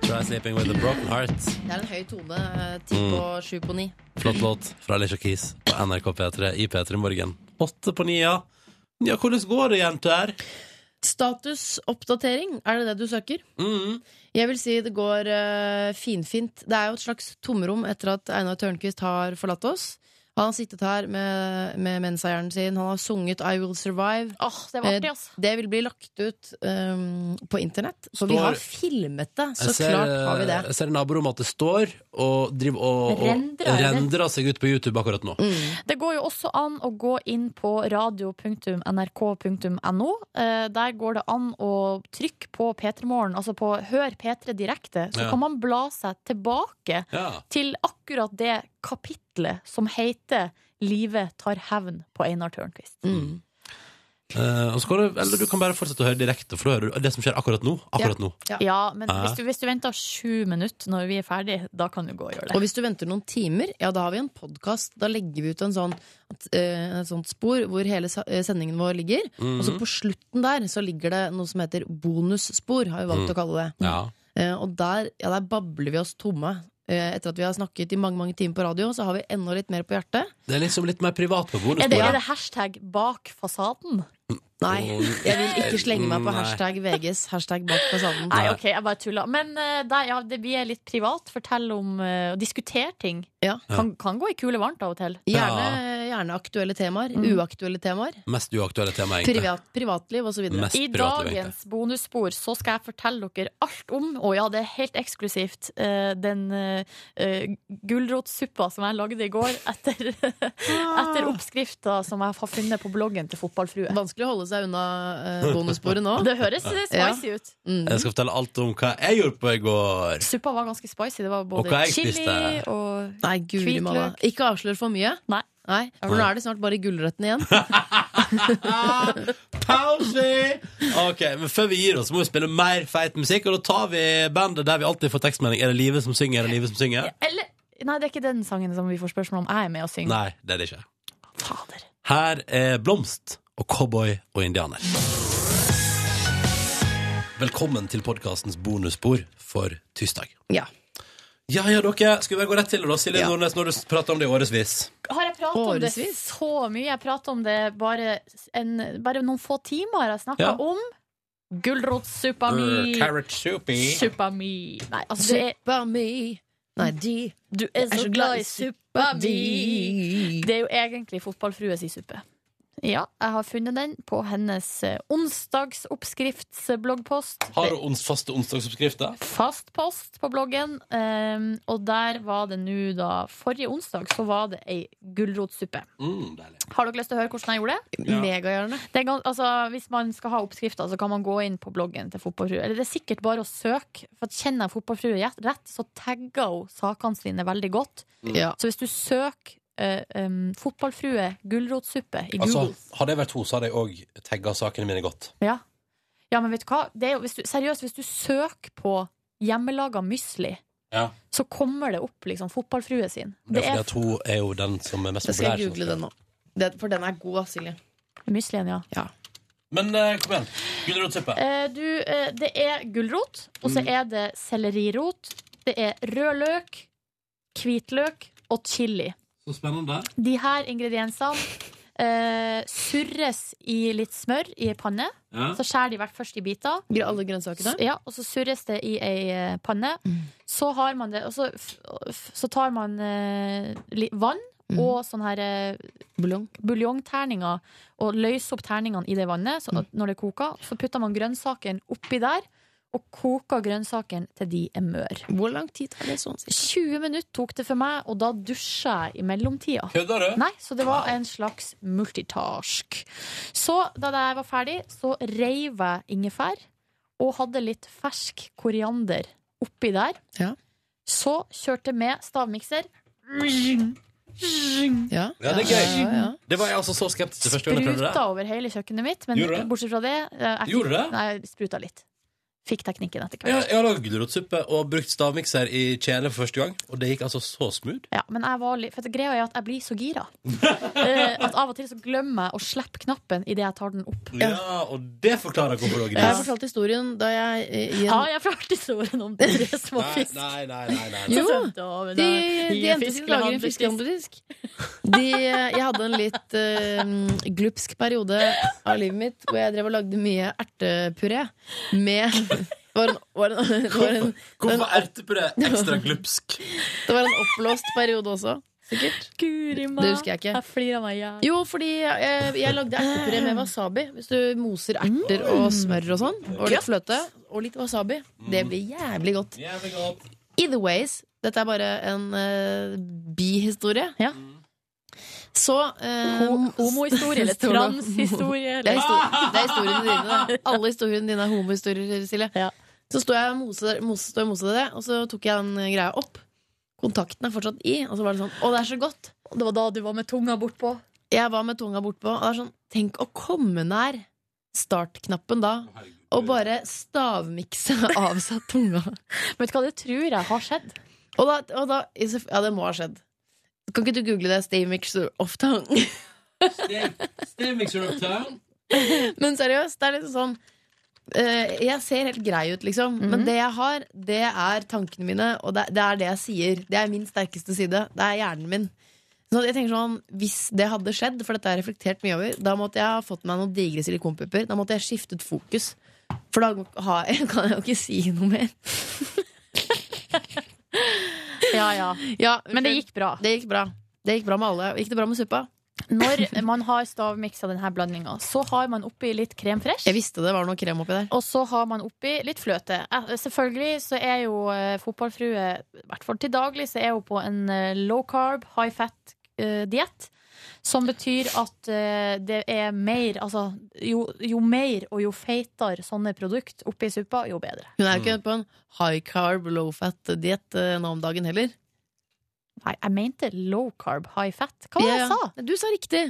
Speaker 6: Try sleeping with a broken heart.
Speaker 3: Det er en høy tone. eh, Ti på sju på ni.
Speaker 6: Flott låt fra Alicia Keys på NRK P3 i P3 Morgen. Åtte på ni, ja. Ja, hvordan går det, jenter?
Speaker 3: Statusoppdatering, er det det du søker?
Speaker 6: Mhm.
Speaker 3: Jeg vil si det går eh, finfint. Det er jo et slags tomrom etter at Einar Tørnquist har forlatt oss. Han har sittet her med, med menseieren sin, han har sunget I Will Survive.
Speaker 5: det var artig,
Speaker 3: Eh,
Speaker 5: ass.
Speaker 3: det vil bli lagt ut um, på internett. Så vi
Speaker 6: Står-
Speaker 3: har filmet det, så
Speaker 6: Jeg ser, eh,
Speaker 3: klart har vi det.
Speaker 6: Jeg ser i naborommet at det står og, driver, og, og
Speaker 5: Rendrer,
Speaker 6: rendrer,
Speaker 5: er det?
Speaker 6: seg ut på YouTube akkurat nå.
Speaker 5: Det går jo også an å gå inn på radio.nrk.no. Eh, Der går det an å trykke på P3morgen, altså på Hør P3 direkte. Så
Speaker 20: Ja.
Speaker 5: kan man bla seg tilbake
Speaker 20: Ja.
Speaker 5: til akkurat det kapitlet som heter 'Livet tar hevn' på Einar Tørnquist.
Speaker 20: Mm.
Speaker 6: Eh, og så kan du, eller du kan bare fortsette å høre direkte, for da hører du det som skjer akkurat nå. Akkurat nå.
Speaker 5: Ja, men
Speaker 6: Ja.
Speaker 5: hvis du, hvis du venter sju minutter når vi er ferdig, da kan du gå og gjøre
Speaker 3: Og
Speaker 5: det.
Speaker 3: hvis du venter noen timer, ja, da har vi en podkast. Da legger vi ut en sånn, at, eh, en sånt spor hvor hele sa- eh, sendingen vår ligger.
Speaker 5: Mhm.
Speaker 3: Og så på slutten der så ligger det noe som heter bonusspor, har vi valgt
Speaker 5: Mhm.
Speaker 3: å kalle det. Eh, og der, ja, der babler vi oss tomme. Eh, etter at vi har snakket i mange mange timer på radio, så har vi enda litt mer på hjertet.
Speaker 6: Det er liksom litt mer privat på
Speaker 5: Er det, er
Speaker 6: bonusbordet.
Speaker 5: det hashtag 'bak fasaden'?
Speaker 3: Nei, jeg vil ikke slenge meg på
Speaker 5: Nei.
Speaker 3: hashtag VGs hashtag bak fasaden.
Speaker 5: Nei, ok, jeg bare tulla. Men eh, der, ja, det blir litt privat. Fortell om eh, og diskuter ting. Kan, kan gå i kule varmt av og til.
Speaker 3: Gjerne, gjerne aktuelle temaer.
Speaker 5: Mhm.
Speaker 3: Uaktuelle temaer.
Speaker 6: Mm, Mest uaktuelle tema, egentlig.
Speaker 3: Privat, privatliv osv.
Speaker 6: Mest
Speaker 5: I
Speaker 6: privatliv,
Speaker 5: dagens bonusspor så skal jeg fortelle dere alt om, og ja, det er helt eksklusivt, eh, den uh, gulrotsuppa som jeg lagde i går etter, etter oppskrifta som jeg har funnet på bloggen til Fotballfrue.
Speaker 3: Vanskelig å holde seg unna eh, bonussporet nå.
Speaker 5: Det høres eh, spicy ut.
Speaker 6: Jeg skal fortelle alt om hva jeg gjorde på i går.
Speaker 5: Suppa var ganske spicy. Det var
Speaker 6: Og hva
Speaker 5: både
Speaker 6: jeg
Speaker 5: chili
Speaker 6: spiste.
Speaker 5: og
Speaker 3: Nei, guri
Speaker 5: hvitløk.
Speaker 3: malla. Ikke avslør for mye.
Speaker 5: Nei.
Speaker 3: for nå er det snart bare gulrøttene igjen.
Speaker 6: Pause! Ok, men Før vi gir oss, må vi spille mer feit musikk. Og da tar vi bandet der vi alltid får tekstmelding. Er det Live som synger? Er det Live som synger?
Speaker 5: Eller Nei, det er ikke den sangen som vi får spørsmål om. Jeg er med og synger.
Speaker 6: Nei, det er det ikke. Her er Blomst og Cowboy og Indianer. Velkommen til podkastens bonusspor for tirsdag.
Speaker 3: Ja.
Speaker 6: Ja, ja, dere. Skal vi bare gå rett til det, da? Silje Nordnes, når du prater om det i årevis.
Speaker 5: Har jeg pratet om det
Speaker 3: Årevis.
Speaker 5: så mye? Jeg pratet om det bare, en, bare noen få timer. har Jeg snakket
Speaker 6: Ja. Øh,
Speaker 5: om gulrotsuppa
Speaker 6: Uh,
Speaker 5: mi. Suppa mi. Nei, altså det er
Speaker 3: Suppa mi. Nei, de
Speaker 5: Du er så glad i suppa mi. Det er jo egentlig fotballfrue si suppe. Ja, jeg har funnet den på hennes eh, onsdagsoppskriftsbloggpost.
Speaker 6: Har du ons faste onsdagsoppskrifter?
Speaker 5: fast post på bloggen, ehm, og der var det nå da Forrige onsdag så var det ei gulrotsuppe.
Speaker 6: Mm,
Speaker 5: Har dere lyst til å høre hvordan jeg gjorde det?
Speaker 3: Ja. Megagjerne.
Speaker 5: Det er gans- altså, hvis man skal ha oppskrifter, så kan man gå inn på bloggen til Fotballfrue. Eller det er sikkert bare å søke, for at kjenner jeg Fotballfrue rett, rett, så tagger hun sakene sine veldig godt.
Speaker 6: Mm. Ja.
Speaker 5: Så hvis du søker eh, em, 'Fotballfrue gulrotsuppe' i Google
Speaker 6: Altså, hadde jeg vært henne, så hadde jeg òg tagga sakene mine godt.
Speaker 5: ja. ja, men vet du hva? Det er jo, hvis du, seriøst, hvis du søker på hjemmelaga mysli,
Speaker 6: Ja.
Speaker 5: så kommer det opp liksom fotballfrue sin.
Speaker 6: Det
Speaker 5: Det
Speaker 6: er
Speaker 5: er,
Speaker 6: fordi at hun er jo den som er mest populær. som skriver.
Speaker 3: nå. Den, for den er god, ass, Silje.
Speaker 5: Muslien, ja.
Speaker 6: Men eh, kom igjen. Gulrotsuppe.
Speaker 5: Eh, du, eh, det er gulrot, og så
Speaker 6: Mm.
Speaker 5: er det sellerirot, det er rød løk, hvitløk og chili.
Speaker 6: Så spennende.
Speaker 5: De her ingrediensene eh, surres i litt smør i ei panne.
Speaker 6: Ja.
Speaker 5: Så skjærer de hvert først i biter.
Speaker 3: Gre- Alle grønnsakene?
Speaker 5: S- Ja, og så surres det i ei eh, panne.
Speaker 6: Mm.
Speaker 5: Så har man det, og så, f- f- så tar man eh, li- vann
Speaker 6: Mm.
Speaker 5: og sånn her eh,
Speaker 3: Buljong.
Speaker 5: buljongterninger og løser opp terningene i det vannet så, når det koker. Så putter man grønnsakene oppi der og koker grønnsakene til de er møre.
Speaker 3: Hvor lang tid tar det sånn?
Speaker 5: 20 minutter tok det for meg, og da dusja jeg i mellomtida.
Speaker 6: Kødder du?
Speaker 5: Nei, så det var en slags multitask. Så da jeg var ferdig, så reiv jeg ingefær og hadde litt fersk koriander oppi der. Så kjørte med stavmikser.
Speaker 3: Ja.
Speaker 6: Ja, det er gøy. Det var jeg altså så skeptisk til første gang jeg prøvde
Speaker 5: Spruta
Speaker 6: det.
Speaker 5: over hele kjøkkenet mitt, men
Speaker 6: Gjorde det?
Speaker 5: bortsett fra det eh, jeg
Speaker 6: Gjorde
Speaker 5: fikk-
Speaker 6: det?
Speaker 5: Nei, jeg spruta litt. Fikk teknikken etter
Speaker 6: Jeg,
Speaker 5: hvert.
Speaker 6: jeg har lagd gulrotsuppe og brukt stavmikser i kjele for første gang, og det gikk altså så smooth.
Speaker 5: Ja, men jeg var litt, for det greia er at jeg blir så gira. Eh, at Av og til så glemmer jeg å slippe knappen idet jeg tar den opp.
Speaker 6: Ja, og det forklarer hvorfor du har
Speaker 3: Jeg har
Speaker 6: gris.
Speaker 3: fortalt historien da jeg eh, i en-
Speaker 5: Har jeg fortalt historien om tre små
Speaker 6: Nei,
Speaker 5: fisk?
Speaker 6: nei, nei, nei, nei.
Speaker 3: Jo,
Speaker 5: de,
Speaker 3: de, de endte sine dager i en fiskehandlerdisk. De, jeg hadde en litt eh, glupsk periode av livet mitt hvor jeg drev og lagde mye ertepuré med var en, var en, var en,
Speaker 6: Hvorfor er ertepuré ekstra glupsk?
Speaker 3: Det var en oppblåst periode også, sikkert.
Speaker 5: Guri meg.
Speaker 3: Det husker jeg ikke.
Speaker 5: Jeg flirer meg i hjel.
Speaker 3: Jo, fordi jeg, jeg lagde ertepuré med wasabi. Hvis du moser erter og
Speaker 5: Mm.
Speaker 3: smør og sånn, og litt fløte og litt wasabi, det blir jævlig godt.
Speaker 6: Jævlig godt.
Speaker 3: Either ways, dette er bare en eh, bihistorie. Så eh,
Speaker 5: homohistorie, eller
Speaker 3: står det-
Speaker 5: transhistorie, eller-
Speaker 3: Det er, histori- det er historiene dine. da. Alle historiene dine er homohistorier, Silje. Så står jeg og moser, moser, står jeg og moser det, og så tok jeg den eh, greia opp. Kontakten er fortsatt i, og så var det sånn Å, det er så godt.
Speaker 5: Det var da du var med tunga bortpå?
Speaker 3: Jeg var med tunga bortpå. Og det er sånn, tenk å komme nær startknappen da, og bare stavmikse av seg tunga.
Speaker 5: Vet du hva, det tror jeg har skjedd.
Speaker 3: Og da, og da Ja, det må ha skjedd. Kan ikke du google det? Stavmixer of tongue.
Speaker 6: Stavmikser of tongue?
Speaker 3: Men seriøst, det er liksom sånn eh, Jeg ser helt grei ut, liksom.
Speaker 5: Mhm.
Speaker 3: Men det jeg har, det er tankene mine, og det, det er det jeg sier. Det er min sterkeste side. Det er hjernen min. Så jeg tenker sånn, Hvis det hadde skjedd, for dette har jeg reflektert mye over, da måtte jeg ha fått meg noen digre silikonpupper. Da måtte jeg skiftet fokus. For da har jeg, kan jeg jo ikke si noe mer.
Speaker 5: Ja, ja. Men det gikk bra.
Speaker 3: Det gikk bra. Det gikk bra med alle. Gikk det bra med suppa?
Speaker 5: Når man har stavmiksa denne blandinga, så har man oppi litt krem fresh.
Speaker 3: Jeg visste det var noe krem oppi der.
Speaker 5: Og så har man oppi litt fløte. Eh, Selvfølgelig så er jo eh, fotballfrue, i hvert fall til daglig, så er hun på en eh, low carb, high fat-diett. Som betyr at eh, det er mer Altså jo, jo mer og jo feitere sånne produkt oppi suppa, jo bedre.
Speaker 3: Hun er jo
Speaker 5: Mm.
Speaker 3: ikke på en high carb, low fat-diett nå om dagen heller.
Speaker 5: Nei, jeg mente low carb, high fat. Hva var
Speaker 3: Ja,
Speaker 5: det jeg
Speaker 3: ja.
Speaker 5: sa?
Speaker 3: Du sa riktig.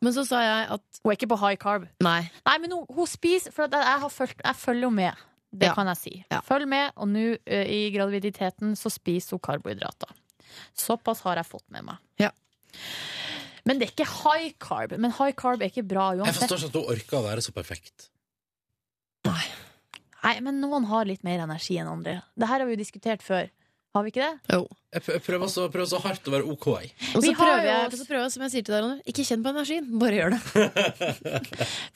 Speaker 3: Men så sa jeg at
Speaker 5: Hun er ikke på high carb.
Speaker 3: Nei.
Speaker 5: Nei, men hun, hun spiser For at jeg, har fulgt, jeg følger jo med. Det
Speaker 3: Ja.
Speaker 5: kan jeg si. Følg med, og nå ø, i graviditeten så spiser hun karbohydrater. Såpass har jeg fått med meg. Men det er ikke high carb. Men high carb er ikke bra
Speaker 6: Jeg
Speaker 5: uansett.
Speaker 6: forstår ikke at hun orker å være så perfekt.
Speaker 5: Nei, men noen har litt mer energi enn andre. Det her har vi jo diskutert før. Har vi ikke det?
Speaker 6: Jeg pr- jeg prøver så, prøver så hardt å være OK, jeg.
Speaker 3: Og så
Speaker 5: Vi har
Speaker 3: prøver,
Speaker 5: jo-
Speaker 3: jeg, og så prøver jeg, som jeg sier til deg, Ronny, ikke kjenn på energien. Bare gjør det.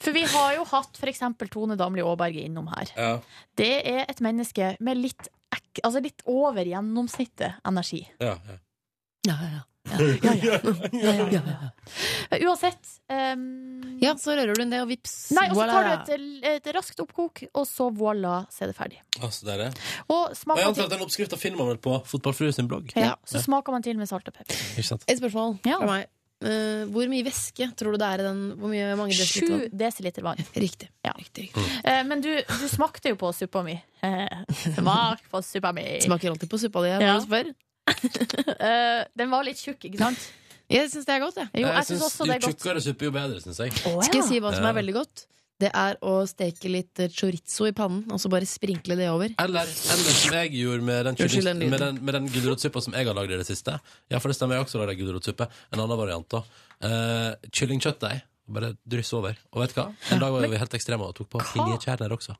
Speaker 5: For vi har jo hatt f.eks. Tone Damli Aaberge innom her.
Speaker 6: Ja.
Speaker 5: Det er et menneske med litt, ek- altså litt over gjennomsnittet energi.
Speaker 6: Ja, ja.
Speaker 5: Uansett. ehm,
Speaker 3: ja, så rører du en det, og vips.
Speaker 5: Nei, og så tar du
Speaker 3: voilà.
Speaker 5: et, eh, et raskt oppkok, og så voilà, så er det ferdig.
Speaker 6: Altså, det er det.
Speaker 5: Og
Speaker 6: Og jeg
Speaker 5: smaker
Speaker 6: antar at
Speaker 5: til,
Speaker 6: den oppskriften finner man vel på Fotballfrue sin blogg.
Speaker 5: ja, så smaker man til med salt og pepper.
Speaker 6: Ikke sant?
Speaker 3: Et spørsmål fra meg. Eh, hvor mye væske tror du det er i den? Hvor mye, mange desiliter vann?
Speaker 5: Sju desiliter vann.
Speaker 3: Riktig.
Speaker 5: Ja. Eh, Men du, du smakte jo på suppa mi. Eh, Smak på suppa mi.
Speaker 3: Smaker alltid på suppa di når
Speaker 5: Ja.
Speaker 3: du spør.
Speaker 5: Eh, Den var litt tjukk, ikke sant?
Speaker 3: Jeg syns det er godt, jeg.
Speaker 5: Jo, jeg
Speaker 6: synes
Speaker 5: syns også det er
Speaker 6: Jo
Speaker 5: godt.
Speaker 6: tjukkere suppe, jo bedre, syns jeg.
Speaker 3: Skal jeg si hva som er veldig godt? Det er å steke litt eh, chorizo i pannen, og så bare sprinkle det over.
Speaker 6: Eller, eller som jeg gjorde med den,
Speaker 3: Unnskyld den
Speaker 6: kylling-
Speaker 3: lyden.
Speaker 6: med den, med den gulrotsuppa som jeg har lagd i det siste. Ja, for det stemmer, jeg har også lagd gulrotsuppe. En annen variant, da. Eh, kyllingkjøttdeig. Bare dryss over. Og vet du hva? En dag var vi helt ekstreme og tok på pinjekjerner også.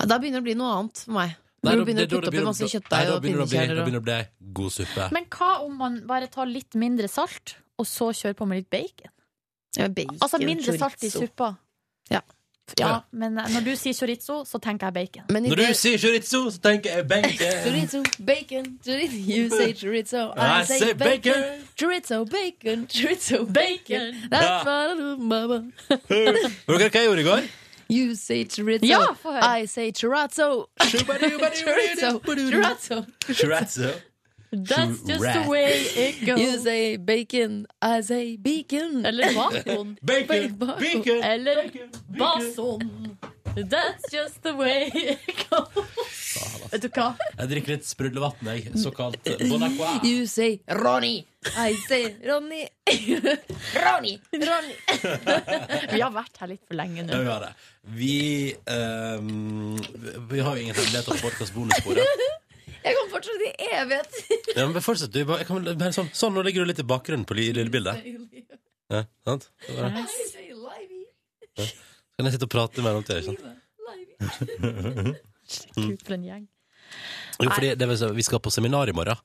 Speaker 3: Ja, da begynner det å bli noe annet for meg.
Speaker 6: Nei, da-
Speaker 3: Når du begynner å
Speaker 6: det- da-
Speaker 3: putte
Speaker 6: det
Speaker 3: oppi
Speaker 6: begynner-
Speaker 3: masse
Speaker 6: nei,
Speaker 3: kjøttdeig
Speaker 6: da begynner
Speaker 3: og
Speaker 6: det å bli-
Speaker 3: pinnekjerner
Speaker 6: Da
Speaker 3: og
Speaker 6: begynner det å bli god suppe.
Speaker 5: Men hva om man bare tar litt mindre salt, og så kjører på med litt bacon?
Speaker 3: ja, bacon,
Speaker 5: Altså mindre salt i
Speaker 3: chorizo.
Speaker 5: suppa.
Speaker 3: Ja.
Speaker 5: Ja, men eh, når du sier chorizo, så tenker jeg bacon.
Speaker 3: Men i
Speaker 6: Når du sier chorizo, så tenker jeg benken.
Speaker 3: Chorizo, bacon, chorizo You say chorizo, I,
Speaker 6: I say
Speaker 3: say bacon. Chorizo, bacon, chorizo, bacon That's what I do, mama
Speaker 6: Vet dere hva jeg gjorde i går?
Speaker 3: You say chorizo,
Speaker 6: Ja,
Speaker 5: få
Speaker 3: I say chorizo Chorizo, chorizo
Speaker 6: Chorizo.
Speaker 3: That's
Speaker 6: just the Chorizo. way
Speaker 3: it goes You say bacon, I say bacon
Speaker 5: Eller bacon.
Speaker 6: Bacon, bacon,
Speaker 5: Eller bason. That's just the way it goes. Vet du hva?
Speaker 6: Jeg drikker litt sprudlevann, jeg. Såkalt bon aqua.
Speaker 3: You say Ronny I say Ronny Ronny, Ronny
Speaker 5: Vi har vært her litt for lenge
Speaker 6: Ja,
Speaker 5: nå.
Speaker 6: vi har det. Vi, ehm, vi har jo ingen hemmelighet om podkast-bonussporet.
Speaker 3: Jeg kommer fortsatt i evighet
Speaker 6: Ja, men fortsett, du. Bare- Jeg kan, bare sånn, sånn, nå ligger du litt i bakgrunnen på li- lille bildet. Ja, sant? Det var det.
Speaker 3: I say livey
Speaker 6: Ja. Så kan jeg sitte og prate mellom til, ikke sant? Mm.
Speaker 5: Gud, for en gjeng.
Speaker 6: Jo, fordi det vil si, vi skal på seminar i morgen,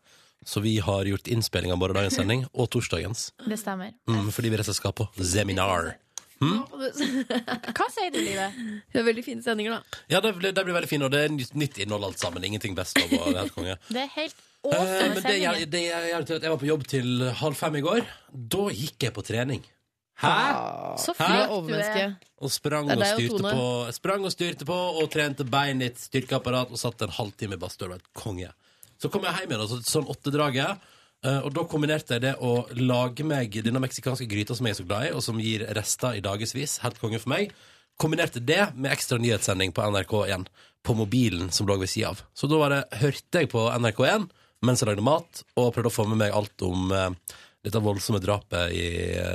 Speaker 6: så vi har gjort innspilling av morgendagens sending og torsdagens.
Speaker 5: Det stemmer.
Speaker 6: Mm, fordi vi rett og slett skal på seminar.
Speaker 5: Hva sier du, Live?
Speaker 3: Det er veldig fine sendinger da
Speaker 6: Ja, det blir, det blir veldig fint, og det er nytt- nytt innhold alt sammen. Ingenting best av å være helt konge.
Speaker 5: Det er helt
Speaker 6: Eh, men
Speaker 5: awesome
Speaker 6: det,
Speaker 5: sending.
Speaker 6: jeg, det jeg, gjør til at jeg var på jobb til halv fem i går. Da gikk jeg på trening. Hæ?
Speaker 3: Så
Speaker 6: Hæ?
Speaker 3: flink du er.
Speaker 6: Og sprang
Speaker 3: Det er
Speaker 6: og,
Speaker 3: deg og
Speaker 6: styrte
Speaker 3: Tone.
Speaker 6: på, sprang og styrte på og trente bein i et styrkeapparat og satt en halvtime i badstue. Det var helt Konge. Så kom jeg hjem igjen, altså, sånn åttedraget. eh, Og da kombinerte jeg det å lage meg denne meksikanske gryta som jeg er så glad i, og som gir rester i dagevis. Helt konge for meg. Kombinerte det med ekstra nyhetssending på NRK1 på mobilen som lå ved sida av. Så da var det, hørte jeg på NRK1 mens jeg lagde mat, og prøvde å få med meg alt om eh, dette voldsomme drapet i,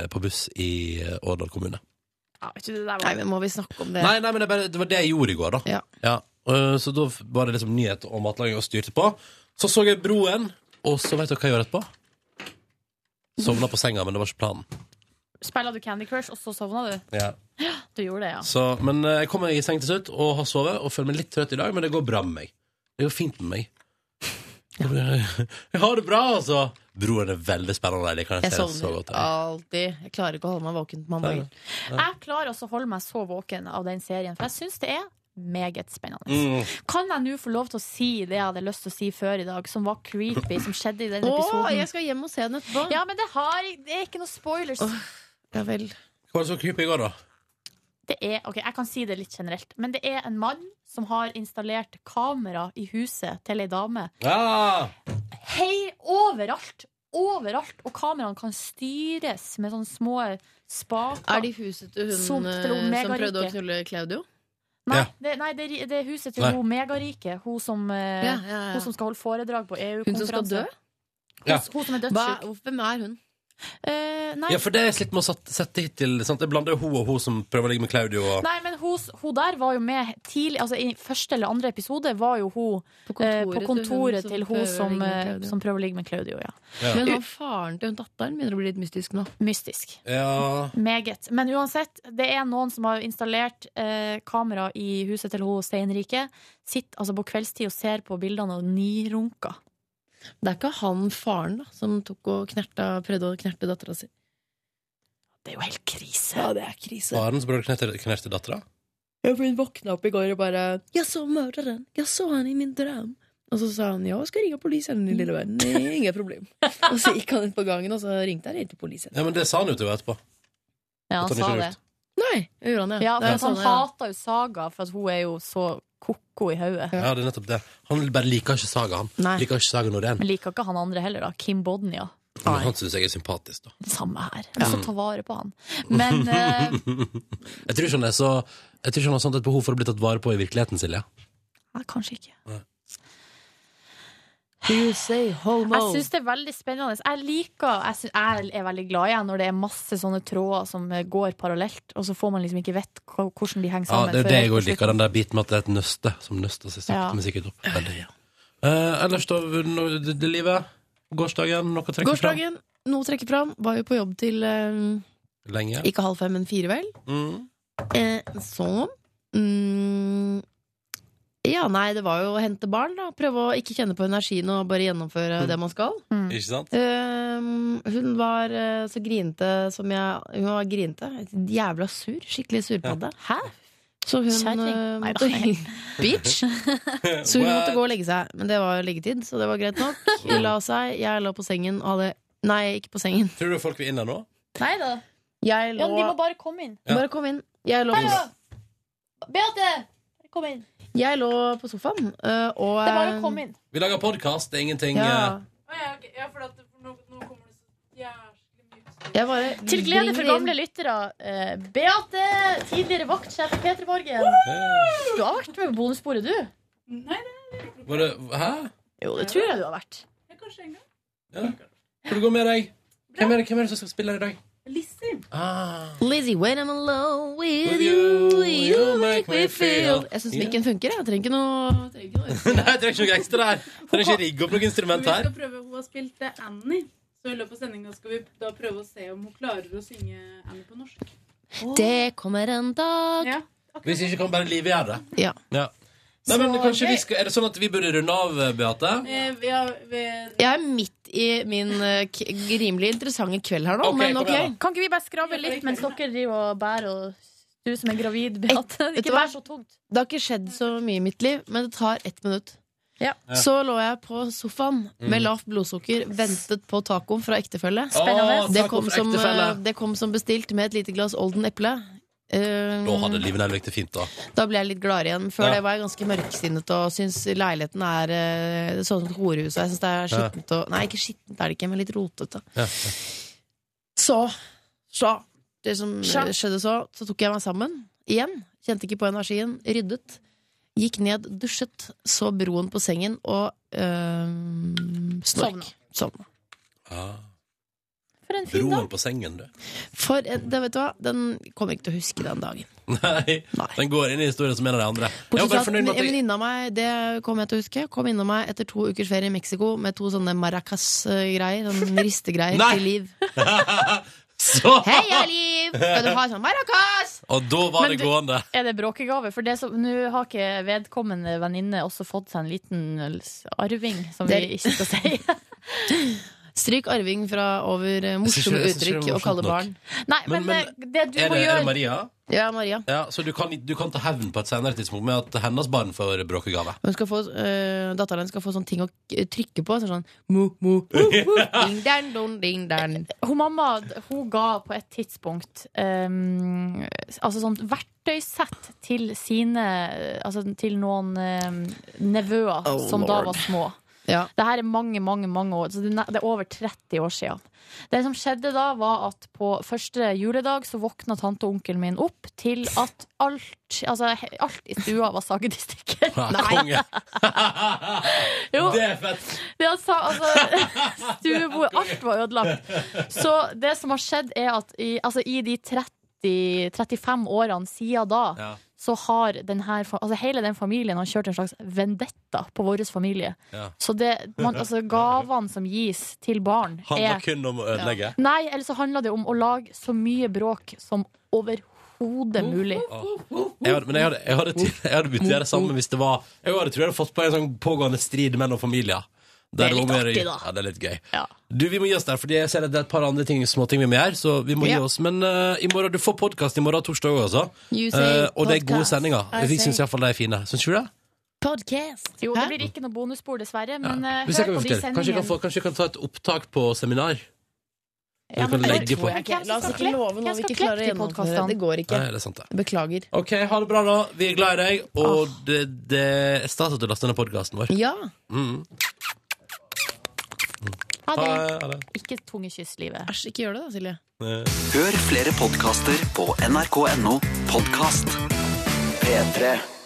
Speaker 6: på buss i eh, Årdal kommune.
Speaker 5: Ja, vet du, det der var
Speaker 3: Nei, men må vi snakke om det?
Speaker 6: Nei, nei, men det, er bare, det var det jeg gjorde i går, da.
Speaker 3: Ja.
Speaker 6: øh, Så da var det liksom nyheter om matlaging og styrte på. Så så jeg Broen, og så vet dere hva jeg gjør etterpå? Sovna på senga, men det var ikke planen.
Speaker 5: Spiller du Candy Crush, og så sovna du?
Speaker 6: Ja.
Speaker 5: Ja, du gjorde det, ja.
Speaker 6: Så, men øh, jeg kom meg i seng til slutt og har sovet og føler meg litt trøtt i dag, men det går bra med meg. Det går fint med meg. Jeg har det bra, altså! Broen er veldig spennende. Jeg, kan jeg,
Speaker 3: Jeg
Speaker 6: si det så
Speaker 3: sovner
Speaker 6: godt.
Speaker 3: alltid. Jeg klarer ikke å holde meg våken på mandagen.
Speaker 5: Jeg klarer også å holde meg så våken av den serien, for jeg syns det er meget spennende.
Speaker 6: Mm.
Speaker 5: Kan jeg nå få lov til å si det jeg hadde lyst til å si før i dag, som var creepy, som skjedde i den
Speaker 3: Å,
Speaker 5: episoden?
Speaker 3: jeg skal hjem og se den etterpå.
Speaker 5: Ja, men det, har, det er ikke noe spoilers.
Speaker 3: Ja vel.
Speaker 6: Hva var det som kryp i går, da?
Speaker 5: Det er, ok, Jeg kan si det litt generelt, men det er en mann som har installert kamera i huset til ei dame.
Speaker 6: Ja!
Speaker 5: Hei, overalt! Overalt! Og kameraene kan styres med sånne små spaker.
Speaker 3: Er det huset til hun
Speaker 5: Som til hun
Speaker 3: eh, som
Speaker 5: megarike.
Speaker 3: prøvde å knulle Claudio?
Speaker 5: Nei,
Speaker 3: Ja.
Speaker 5: det, nei, det, er- det er huset til
Speaker 3: Nei.
Speaker 5: hun megarike. Hun som,
Speaker 3: Ja,
Speaker 5: eh,
Speaker 3: ja, ja.
Speaker 5: hun som skal holde foredrag på EU-konferanse.
Speaker 3: Hun som skal dø?
Speaker 5: Hun, hun som er
Speaker 3: Hva-
Speaker 5: dødssyk.
Speaker 3: Hvem er hun?
Speaker 5: Eh, nei.
Speaker 6: Ja, for det har jeg slitt med å sat- sette hittil. Sant? Jeg blander jo hun og hun som prøver å ligge med Claudio. Og...
Speaker 5: Nei, men hun, hun der var jo med tidlig Altså I første eller andre episode var jo hun på
Speaker 3: Eh, kontoret
Speaker 5: kontoret,
Speaker 3: til
Speaker 5: på
Speaker 3: hun
Speaker 5: kontoret
Speaker 3: som prøver å ligge
Speaker 5: til hun som,
Speaker 3: med
Speaker 5: eh,
Speaker 3: Claudio.
Speaker 5: som prøver å ligge med Claudio. Ja.
Speaker 3: Men han faren til hun datteren begynner å bli litt mystisk nå.
Speaker 5: Mystisk.
Speaker 6: Ja.
Speaker 5: Meget. Men uansett, det er noen som har installert eh, kamera i huset til hun steinrike. Sitter altså på kveldstid og ser på bildene og nirunker.
Speaker 3: Det er ikke han faren da som tok og knerta, prøvde å knerte dattera si.
Speaker 5: Det er jo helt krise.
Speaker 3: Ja, det er krise.
Speaker 6: Faren som bror knerte dattera?
Speaker 3: Ja, for Hun våkna opp i går og bare 'Jeg så morderen! Jeg så han i min drøm!' Og så sa han 'Ja, jeg skal ringe politiet, din lille venn'. Nei, Ingen problem. Og så gikk han ut på gangen, og så ringte han helt til politiet.
Speaker 6: Ja, men det sa han jo til henne etterpå. At
Speaker 5: Ja, han
Speaker 6: han ikke
Speaker 5: sa
Speaker 6: hadde
Speaker 5: det.
Speaker 6: gjort.
Speaker 3: Nei, gjorde han det?
Speaker 5: Ja, for
Speaker 3: Nei,
Speaker 5: at han
Speaker 3: sånn, ja.
Speaker 5: hater jo Saga, for at hun er jo så ko-ko i hodet.
Speaker 6: Ja, det er nettopp det. Han bare liker ikke Saga, han.
Speaker 5: Nei.
Speaker 6: Liker ikke Saga Norén.
Speaker 5: Men liker ikke han andre heller, da. Kim Bodnia.
Speaker 6: Men han syns jeg er sympatisk, da.
Speaker 5: Samme her.
Speaker 6: Ja.
Speaker 5: Jeg skal ta vare på han. Men eh,
Speaker 6: jeg tror ikke han er så Jeg tror ikke han har sånt et behov for å bli tatt vare på i virkeligheten, Silje.
Speaker 5: Nei, kanskje ikke.
Speaker 6: Nei.
Speaker 3: You say homo.
Speaker 5: Jeg syns det er veldig spennende. Jeg liker Jeg, syns- jeg er veldig glad i det når det er masse sånne tråder som eh, går parallelt, og så får man liksom ikke vite hva- hvordan de henger
Speaker 6: Ja,
Speaker 5: sammen.
Speaker 6: det er
Speaker 5: før
Speaker 6: det jeg
Speaker 5: helt
Speaker 6: òg
Speaker 5: til slutt.
Speaker 6: liker, den der biten med at det er et nøste som nøster seg sakte,
Speaker 5: Ja.
Speaker 6: men sikkert opp. Ja, det, ja. Eh, ellers, da, nå- det, det livet? Gårsdagen? Noe å trekke
Speaker 3: Gårsdagen, noe å trekke fram. Var jo på jobb til eh,
Speaker 6: fram? Lenge?
Speaker 3: ikke halv fem, men fire, vel.
Speaker 6: Mm.
Speaker 3: Eh, så mm, Ja, nei, det var jo å hente barn, da. Prøve å ikke kjenne på energien og bare gjennomføre
Speaker 6: Mm.
Speaker 3: det man skal.
Speaker 6: Ikke sant?
Speaker 3: Ehm, hun var eh, så grinete som jeg Hun var grinete. Jævla sur. Skikkelig surpadde. Hæ? Så hun
Speaker 5: Kjerring.
Speaker 3: eh,
Speaker 5: Nei da.
Speaker 3: måtte Bitch! Så hun måtte gå og legge seg. Men det var jo leggetid, så det var greit nok. Hun la seg, jeg lå på sengen og hadde Nei, ikke på sengen.
Speaker 6: Tror du folk vil inn der nå?
Speaker 5: Nei da.
Speaker 3: Jeg lå
Speaker 5: Ja, men de må bare komme inn.
Speaker 6: Ja.
Speaker 3: Bare kom inn. Jeg lå,
Speaker 5: Hallo! Beate! Kom inn.
Speaker 3: jeg lå på sofaen, eh, og
Speaker 5: Det er bare å komme inn.
Speaker 6: Vi lager podkast, det er ingenting
Speaker 3: Ja.
Speaker 6: eh,
Speaker 3: Jeg bare
Speaker 5: Til glede for
Speaker 3: bringer inn-
Speaker 5: gamle lyttere. eh, Beate, tidligere vaktsjef i P3 Morgen.
Speaker 6: eh,
Speaker 5: Du har vært med på bonussporet, du? Nei,
Speaker 6: Var det Hæ?
Speaker 5: Jo, det tror jeg du har vært.
Speaker 6: Ja. Hvor det går med deg? Hvem er, det, hvem er det som skal spille her i dag?
Speaker 16: Lizzie.
Speaker 6: Ah.
Speaker 3: Lizzie, when I'm alone with
Speaker 6: With
Speaker 3: you,
Speaker 6: you,
Speaker 3: you
Speaker 6: you make
Speaker 3: make me
Speaker 6: me
Speaker 3: feel
Speaker 6: feel-
Speaker 3: Jeg syns
Speaker 6: Ja.
Speaker 3: mikken funker, jeg. Trenger ikke noe trenger ikke noe.
Speaker 6: Nei, jeg trenger ikke noe ekstra her. Trenger ikke rigge opp noe
Speaker 16: Men
Speaker 6: instrument
Speaker 16: vi
Speaker 6: her.
Speaker 16: skal prøve, Hun har spilt eh, Annie. Så i løpet av sendinga skal vi da prøve å se om hun klarer å synge Annie på norsk.
Speaker 3: Det kommer en dag
Speaker 16: Ja.
Speaker 6: Hvis ikke kan bare livet gjøre det.
Speaker 3: Ja.
Speaker 6: Nei, men
Speaker 16: Så
Speaker 6: kanskje
Speaker 16: gøy.
Speaker 6: vi skal, Er det sånn at vi burde runde av, Beate?
Speaker 16: Eh, vi har, vi,
Speaker 3: Jeg er midt i min eh, k rimelig interessante kveld her nå,
Speaker 6: Ok,
Speaker 3: men
Speaker 6: kom
Speaker 3: ok.
Speaker 6: igjen
Speaker 5: Kan ikke vi bare skrabbe litt mens dere driver og bærer og du som er gravid, Beate?
Speaker 3: vet du
Speaker 5: Ikke
Speaker 3: hva?
Speaker 5: vær så tungt.
Speaker 3: Det har ikke skjedd så mye i mitt liv, men det tar ett minutt.
Speaker 5: Ja.
Speaker 3: Så lå jeg på sofaen med
Speaker 5: Mm.
Speaker 3: lavt blodsukker, ventet på tacoen fra ektefelle.
Speaker 6: Spennende. Åh,
Speaker 3: Det
Speaker 6: taco
Speaker 3: kom,
Speaker 6: fra
Speaker 3: som,
Speaker 6: ektefelle.
Speaker 3: eh, det kom som bestilt med et lite glass Olden eple. Eh,
Speaker 6: Da hadde livet Nelvik det fint, da.
Speaker 3: Da ble jeg litt gladere igjen. Før
Speaker 6: Ja.
Speaker 3: det var jeg ganske mørksinnet og syns leiligheten er eh, sånn som et horehus. Og jeg syns det er
Speaker 6: Ja.
Speaker 3: skittent og Nei, ikke skittent er det ikke, men litt rotete.
Speaker 6: Ja.
Speaker 3: Så, så Det som
Speaker 6: Så.
Speaker 3: eh, skjedde så, så tok jeg meg sammen igjen. Kjente ikke på energien. Ryddet. Gikk ned, dusjet, så broen på sengen og eh, snork. Sovna.
Speaker 6: Ah.
Speaker 5: For en
Speaker 3: fin
Speaker 6: Broen på sengen, du.
Speaker 3: For eh, det, vet du hva, den kommer ikke til å huske den dagen.
Speaker 6: Nei, den går inn i historien som en av de andre. Jeg var bare
Speaker 3: Bortsett fra at
Speaker 6: fornøyd
Speaker 3: en
Speaker 6: med at jeg
Speaker 3: venninne av meg det kommer jeg til å huske, kom innom meg etter to ukers ferie i Mexico med to sånne maracas-greier. Sånne ristegreier
Speaker 6: Nei!
Speaker 3: til liv.
Speaker 6: Så-
Speaker 3: Hei, jeg er Liv! Skal du ha sånn maracas?
Speaker 6: Og da var
Speaker 5: Men
Speaker 6: det
Speaker 5: du-
Speaker 6: gående.
Speaker 5: Er det bråkegave? For det som- nå har ikke vedkommende venninne også fått seg en liten arving, som
Speaker 3: Det-
Speaker 5: vi ikke skal si.
Speaker 3: Stryk arving fra over eh,
Speaker 6: Jeg synes ikke-
Speaker 3: morsomme
Speaker 6: jeg synes ikke det
Speaker 3: uttrykk
Speaker 6: var
Speaker 3: og kalle
Speaker 6: morsomt
Speaker 3: barn.
Speaker 6: nok. Nei, men, Men- men, eh, det du er må det- er det gjøre- Maria?
Speaker 3: Ja, Maria.
Speaker 6: Ja, så du kan, du kan ta hevn på et senere tidspunkt med at hennes barn får bråkegave.
Speaker 3: Hun skal få, eh, datteren hennes skal få sånne ting å k- trykke på. Sånn, sånn mu, mu, mu, mu, ding, dan, don, ding, dan.
Speaker 5: Hun mamma hun ga på et tidspunkt um, altså sånn verktøysett til sine Altså til noen um, nevøer
Speaker 8: Oh,
Speaker 5: som da
Speaker 8: Lord.
Speaker 5: var små.
Speaker 3: Ja.
Speaker 5: Det her er mange, mange mange år. Så det er ne- det er over 30 år siden. Det som skjedde da, var at på første juledag så våkna tante og onkelen min opp til at alt Altså he- alt i stua var saget i stykker.
Speaker 6: Konge.
Speaker 5: Jo.
Speaker 6: Det er fett.
Speaker 5: Det han sa, altså Stuebordet, alt var ødelagt. Så det som har skjedd, er at i, altså, i de 30, 35 årene siden da,
Speaker 8: Ja.
Speaker 5: så har den her, fa- altså, hele den familien har kjørt en slags vendetta på vår familie.
Speaker 6: Ja.
Speaker 5: Så det, man, altså, gavene som gis til barn,
Speaker 6: Handler
Speaker 5: er
Speaker 6: kun om å ødelegge.
Speaker 5: Nei, eller så handler det om å lage så mye bråk som overhodet mulig.
Speaker 6: Jeg hadde, men jeg hadde, jeg hadde, jeg hadde, begynt å gjøre det samme hvis det var Jeg hadde, tror jeg hadde fått på en sånn pågående strid mellom familier.
Speaker 5: Det er litt
Speaker 6: om å gjøre-
Speaker 5: artig, da.
Speaker 6: Ja, det er litt gøy.
Speaker 5: Ja.
Speaker 6: Du, Vi må gi oss der, fordi jeg ser at det er et par andre ting, småting vi må gjøre. Så vi må
Speaker 3: Ja.
Speaker 6: gi oss Men eh, i morgen, du får podkast i morgen torsdag òg, altså.
Speaker 3: You say
Speaker 6: Eh, og det er gode
Speaker 3: podcast.
Speaker 6: sendinger.
Speaker 3: I
Speaker 6: Vi
Speaker 3: say-
Speaker 6: syns iallfall de er fine. Syns ikke du det?
Speaker 3: Podcast.
Speaker 5: Jo, det blir ikke noe bonusspor, dessverre, men eh,
Speaker 6: Hvis jeg
Speaker 5: hør
Speaker 6: kan
Speaker 5: på de
Speaker 6: fortelle. Kanskje vi kan, få,
Speaker 5: sendingene.
Speaker 6: kanskje vi kan ta et opptak på seminar? vi
Speaker 5: Ja,
Speaker 6: kan
Speaker 5: men-
Speaker 6: legge på
Speaker 5: Men hvem som
Speaker 3: La oss
Speaker 5: skal
Speaker 3: ikke
Speaker 5: klippe?
Speaker 3: love noe
Speaker 5: Hvem
Speaker 3: vi
Speaker 5: skal
Speaker 3: ikke klarer å
Speaker 5: klippe de
Speaker 3: gjennomføre.
Speaker 5: podcastene?
Speaker 3: Det går ikke.
Speaker 6: Nei, det er sant, det.
Speaker 3: Beklager.
Speaker 6: OK, ha det bra, da. Vi er glad i deg. Og det, det er stas at du laster ned podkasten vår.
Speaker 3: Ja.
Speaker 6: Mm.
Speaker 5: Ha
Speaker 6: Ha det, ha
Speaker 5: det.
Speaker 6: det.
Speaker 5: Ikke tungekyss livet.
Speaker 3: Æsj, ikke gjør det da, Silje.
Speaker 1: Hør flere podkaster på nrk.no podkast. P3.